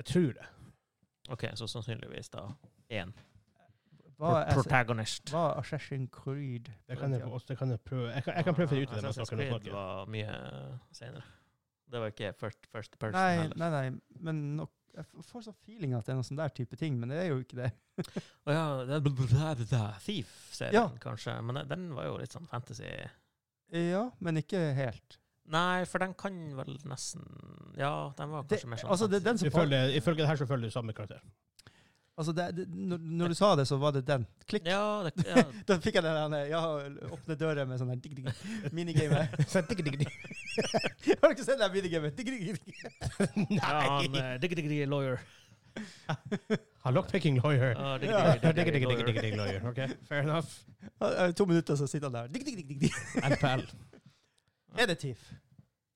Speaker 1: Jeg tror det.
Speaker 3: OK, så sannsynligvis da én.
Speaker 2: Hva
Speaker 3: Pro-
Speaker 2: er,
Speaker 3: Protagonist.
Speaker 2: hva er Assassin's Creed?
Speaker 1: Det kan jeg, også, det kan jeg prøve. Jeg kan, jeg kan prøve å finne ut av det. mens
Speaker 3: Assassin's
Speaker 1: dere
Speaker 3: Creed
Speaker 1: snakker.
Speaker 3: var mye senere. Det var ikke first, first person
Speaker 2: Nei,
Speaker 3: heller.
Speaker 2: nei, nei. Men nok, jeg f- får sånn feeling at det er noe sånn der type ting, men det er jo ikke det.
Speaker 3: Å ja, det er bl- bl- bl- bl- Thief-serien,
Speaker 2: Ja.
Speaker 3: kanskje. Men den- den var jo litt sånn fantasy.
Speaker 2: Ja, men ikke helt.
Speaker 3: Nei, for den kan vel nesten Ja, den var
Speaker 2: Det,
Speaker 3: kanskje mer sånn
Speaker 2: altså, det, er den som, par-
Speaker 1: Ifølge, ifølge det her så følger du samme [LAUGHS] karakter.
Speaker 2: altså det, det, når, når du sa det, så var det den. Klikk.
Speaker 3: Ja, det, ja.
Speaker 2: Da fikk jeg den der, ja, åpne døra med sånn der digg, digg, minigame.
Speaker 1: [LAUGHS] Så Sånn digg, digg, digg.
Speaker 2: [LAUGHS] Har du ikke sett det der minigamet? Digg, digg, digg.
Speaker 3: ja han eh, digg, digg, digg, lawyer. Uh,
Speaker 1: Ah, Lockpicking lawyer.
Speaker 3: Ja, digg,
Speaker 1: Ja, [LAUGHS]
Speaker 3: digg, digg,
Speaker 1: digg, digg, digg,
Speaker 3: lawyer.
Speaker 1: digg, digg, lawyer. Ok, [LAUGHS] fair enough.
Speaker 2: Ja, ja, eh, To minutter, så sitter han der. Digg, digg, digg, digg, digg.
Speaker 1: NPL.
Speaker 2: Er det TIFF?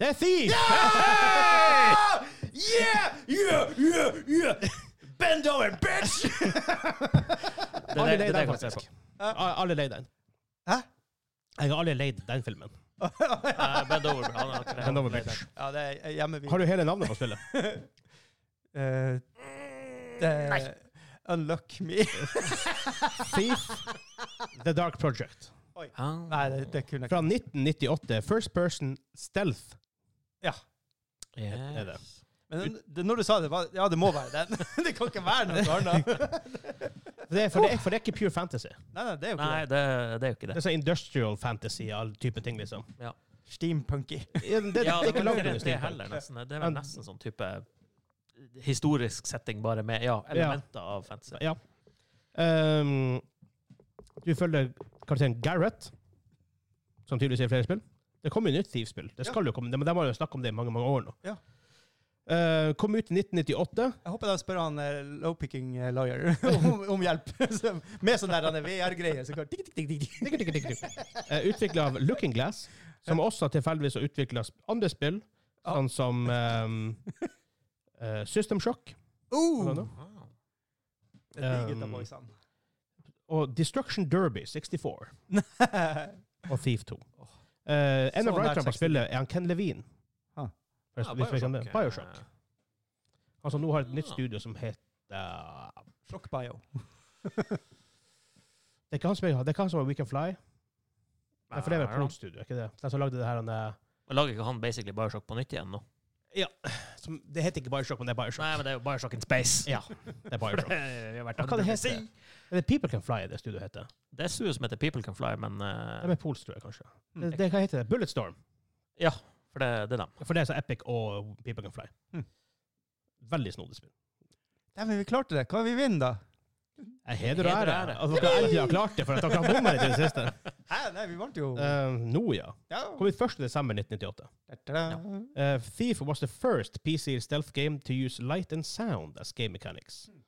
Speaker 1: Det er Thief! [LAUGHS]
Speaker 4: Yeah! Yeah! Yeah! Yeah! Bend over,
Speaker 1: [LAUGHS]
Speaker 4: bitch!
Speaker 3: Det er
Speaker 1: Alle
Speaker 3: det- det
Speaker 1: leide
Speaker 3: er det
Speaker 1: den,
Speaker 3: jeg kan se på.
Speaker 1: faktisk. Ah, Alle leide den.
Speaker 2: Hæ?
Speaker 1: Jeg har aldri leid den filmen.
Speaker 3: Eh, Bend over, han har ikke det.
Speaker 1: Bend over, bitch.
Speaker 2: [LAUGHS] Ja, det er eh, hjemmevideo.
Speaker 1: Har du hele navnet på spillet?
Speaker 2: [LAUGHS] Eh, det-
Speaker 3: Nei.
Speaker 2: Unlock me. [LAUGHS]
Speaker 1: Thief The Dark Project. [LAUGHS]
Speaker 3: Ah.
Speaker 2: Nei, det, det kunne jeg
Speaker 1: Fra 1998. First Person Stealth.
Speaker 3: Yes.
Speaker 1: er det.
Speaker 2: Men den- det, når du sa det, var, ja, det må være den. [LAUGHS] det kan ikke være noe
Speaker 1: [LAUGHS]
Speaker 2: annet.
Speaker 1: For det, er- for, det, er- for det er ikke pure fantasy.
Speaker 2: Nei, nei, det er jo ikke
Speaker 3: Nei, det, det er jo ikke
Speaker 1: Det
Speaker 3: det.
Speaker 1: er sånn industrial fantasy all type ting, liksom.
Speaker 2: det. Steampunky.
Speaker 1: Ja, Det, det,
Speaker 3: Ja,
Speaker 1: er
Speaker 3: det
Speaker 1: ikke
Speaker 3: var
Speaker 1: langt
Speaker 3: ikke
Speaker 1: under
Speaker 3: det
Speaker 1: Steampunk.
Speaker 3: heller, nesten. Det er vel nesten sånn type historisk setting, bare med ja, elementer av fantasy.
Speaker 1: Ja. Ehm, du følger karakteren Gareth, som tydeligvis er i flere spill. Det kommer jo nytt Thief-spill. Det skal jo komme, men De har jo snakket om det i mange mange år nå.
Speaker 2: Ja.
Speaker 1: Eh, kom ut i 1998.
Speaker 2: Jeg håper de spør han eh, lowpicking eh, lawyer
Speaker 1: [LAUGHS]
Speaker 2: om, om hjelp. [LAUGHS] Så, med sånn der VR-greie. Så kan, tikk, tikk, tikk, tikk.
Speaker 1: Uh, Utvikla av Looking Glass, som også tilfeldigvis har utvikla andre spill,
Speaker 2: Ja.
Speaker 1: sånn som ehm, eh, System Shock
Speaker 2: Oh!
Speaker 1: Hva da?
Speaker 3: Wow.
Speaker 2: Det er de gutta
Speaker 1: Um,
Speaker 2: boysene.
Speaker 1: og Destruction Derby 64
Speaker 2: [LAUGHS]
Speaker 1: og Thief 2. Eh, en av
Speaker 2: Så nær
Speaker 1: writerne på
Speaker 2: 60.
Speaker 1: spillet er han Ken Levine.
Speaker 2: Ah.
Speaker 1: Hvis-
Speaker 3: Ja,
Speaker 1: hvis vi kan det.
Speaker 3: eh,
Speaker 1: Bioshock. Altså, nå har et nytt
Speaker 3: Ah.
Speaker 1: studio som heter
Speaker 2: Sjokkbio.
Speaker 1: Det er ikke han som, det er ikke han som har We Can Fly. Nei, for det er
Speaker 3: I
Speaker 1: vel
Speaker 3: don't know.
Speaker 1: Prone Studio, ikke det? Den som lagde det her han, eh,
Speaker 3: Men Lager ikke han basically Bioshock på nytt igjen nå?
Speaker 1: som, Det heter ikke Bioshock, men det er Bioshock.
Speaker 3: Nei, men det er jo Bioshock in space.
Speaker 1: Ja, det er
Speaker 3: [LAUGHS]
Speaker 1: Bioshock.
Speaker 3: Vi har vært
Speaker 1: Hva kan det
Speaker 3: andre
Speaker 1: hete?
Speaker 3: plasser.
Speaker 1: Er det People Can Fly det studioet heter?
Speaker 3: Det er studio som heter People Can Fly, men
Speaker 1: Det er
Speaker 3: eh,
Speaker 1: med Pools, tror jeg, kanskje.
Speaker 2: Mm.
Speaker 1: Det, det, hva heter det? Bulletstorm?
Speaker 3: Ja, for det, det er dem.
Speaker 1: For det er så Epic og People Can Fly.
Speaker 2: Mm.
Speaker 1: Veldig snodig spill.
Speaker 2: Nei, men vi klarte det. Hva vi vinner, da?
Speaker 1: Jeg heder og
Speaker 3: Heder og
Speaker 1: ære.
Speaker 3: ære.
Speaker 1: At dere endelig har klart det, for at dere har bommet litt i det siste.
Speaker 2: [LAUGHS] Hæ, nei, vi vant jo.
Speaker 1: Eh, nå, ja.
Speaker 2: ja.
Speaker 1: Kom ut 1. desember 1998.
Speaker 2: Ta-da.
Speaker 1: Uh, Thief was the first PC stealth game to use light and sound as game mechanics.
Speaker 3: Hmm.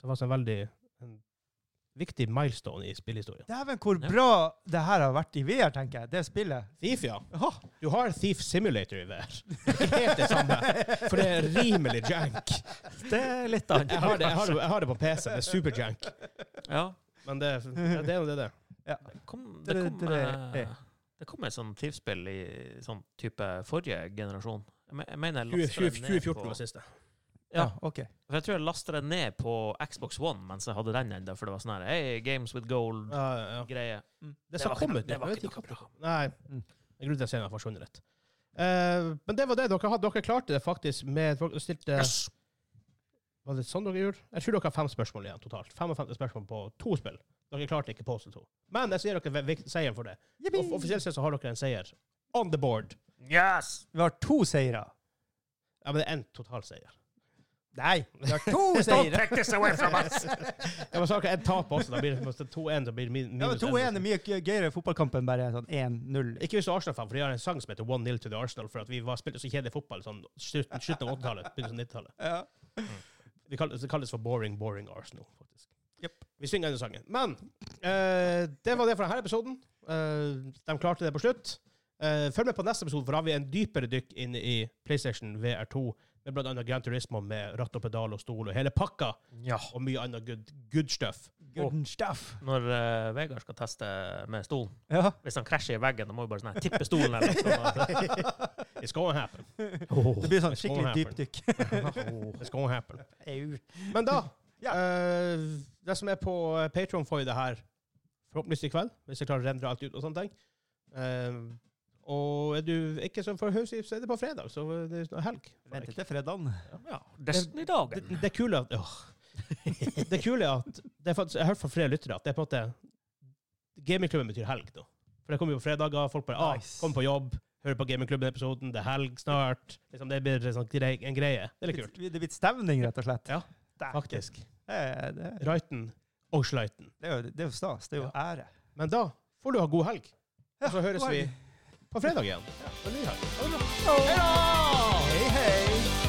Speaker 1: Det var altså en veldig en viktig milestone i spillhistorien.
Speaker 2: Dæven, hvor
Speaker 3: Ja.
Speaker 2: bra det her har vært i VR, tenker jeg. Det spillet.
Speaker 1: Thief, ja.
Speaker 2: Åh,
Speaker 1: Du har Thief Simulator i VR. Det er ikke helt det samme, for det er rimelig
Speaker 3: [LAUGHS]
Speaker 1: jank.
Speaker 3: Det er [LAUGHS] litt annet.
Speaker 1: Jeg har det, jeg har det, jeg har det på PC, det er super jank.
Speaker 3: Ja.
Speaker 1: Men
Speaker 3: [LAUGHS]
Speaker 1: det, ja, det er jo det det er.
Speaker 3: Det kom, det
Speaker 2: Tre-
Speaker 3: kom,
Speaker 2: tre-
Speaker 3: eh, det kom et sånt Thief-spill i sånn type forrige generasjon. Jeg me- jeg mener jeg
Speaker 1: 20,
Speaker 3: lastet det ned
Speaker 1: 2014
Speaker 3: på-
Speaker 1: var siste.
Speaker 3: Ja,
Speaker 2: OK.
Speaker 3: for jeg tror jeg lastet det ned på Xbox One mens jeg hadde den ennå, for det var sånn her Hey, Games with Gold-greie.
Speaker 1: Ja, ja, ja. Det
Speaker 3: var
Speaker 1: som
Speaker 3: ikke
Speaker 1: kom
Speaker 3: noe-
Speaker 1: ut,
Speaker 3: det var
Speaker 1: jeg vet
Speaker 3: ikke
Speaker 1: ikke
Speaker 3: noe bra.
Speaker 1: Nei.
Speaker 2: Mm.
Speaker 1: Jeg grunner til at jeg har forsvunnet rett. Eh, men det var det. Dere, hadde, dere klarte det faktisk med Dere stilte
Speaker 3: Yes.
Speaker 1: Var det sånn dere gjorde? Jeg tror dere har fem spørsmål igjen totalt. 55 spørsmål på to spill. Dere klarte ikke Postal 2. Men jeg sier dere ve- vik- seieren for det.
Speaker 2: Jippi!
Speaker 1: Off offisielt sett så har dere en seier. On the board.
Speaker 3: Yes!
Speaker 2: Vi har to seire.
Speaker 1: Ja, men det er en totalseier.
Speaker 2: Nei, vi har to
Speaker 3: Don't
Speaker 2: seire!
Speaker 3: take this away from us!
Speaker 1: [LAUGHS]
Speaker 2: [LAUGHS]
Speaker 1: Jeg må snakke en tap også. Da blir det måtte 2-1. Da blir det min-
Speaker 2: Ja, men
Speaker 1: minus
Speaker 2: 2-1 er
Speaker 1: en.
Speaker 2: mye gøy- gøyere i fotballkamp enn bare sånn 1-0.
Speaker 1: Ikke hvis du er Arsenal-fan, for de har en sang som heter 1-0 to the Arsenal, for at vi var, spilte så kjedelig fotball sånn slutten, slutten av 80-tallet, begynnelsen av 90-tallet.
Speaker 2: Ja.
Speaker 1: Det kalles, det kalles for Boring Boring Arsenal, faktisk.
Speaker 2: Jepp.
Speaker 1: Vi synger denne sangen. Men eh, det var det for denne episoden. Eh, de klarte det på slutt. Eh, følg med på neste episode, for da har vi en dypere dykk inn i PlayStation VR2. Med blant annet Gran Turismo med ratt og pedal og stol og hele pakka.
Speaker 3: [LAUGHS] Ja.
Speaker 1: Og mye annet good, good stuff.
Speaker 2: Gooden stuff.
Speaker 3: Når eh, Vegard skal teste med stolen
Speaker 2: Ja.
Speaker 3: Hvis han krasjer i veggen, da må vi bare sånn her tippe stolen eller
Speaker 2: [LAUGHS]
Speaker 3: noe. sånt.
Speaker 1: It's gonna happen.
Speaker 2: Det blir sånn
Speaker 1: It's gonna
Speaker 2: skikkelig
Speaker 1: happen.
Speaker 2: dypdykk.
Speaker 1: It's gonna happen.
Speaker 2: [LAUGHS] Au.
Speaker 1: Men
Speaker 2: [LAUGHS]
Speaker 1: da eh, Det som er på Patron, får jo det her forhåpentligvis i kveld, hvis jeg klarer å rendre alt ut og sånne ting. Eh, og er du ikke som for høysyp, så er det på fredag, så det er helg.
Speaker 2: Vent til fredagen.
Speaker 3: [LAUGHS] Ja,
Speaker 1: Det,
Speaker 3: Destiny-dagen.
Speaker 1: det er kule at åh.
Speaker 2: [LAUGHS]
Speaker 1: Det er kule at det er faktisk, Jeg har hørt fra flere lyttere at det er på en måte Gamingklubben betyr helg, da. For det kommer jo på fredager, folk bare ah,
Speaker 2: Nice.
Speaker 1: kommer på jobb, hører på Gamingklubben-episoden, det er helg snart. Liksom, det blir en sånn grei, en greie. Det er litt kult.
Speaker 2: Det er blitt stemning, rett og slett.
Speaker 1: Ja,
Speaker 2: Dæken.
Speaker 1: Faktisk.
Speaker 2: Det er, det, er-
Speaker 1: Reiten og Sleiten.
Speaker 2: det, er jo, det er jo stas. Det er jo ære.
Speaker 1: Men da får du ha god helg. Og så høres
Speaker 2: god
Speaker 1: vi
Speaker 2: helg.
Speaker 1: på fredag igjen. Ja.
Speaker 2: Hei, hei!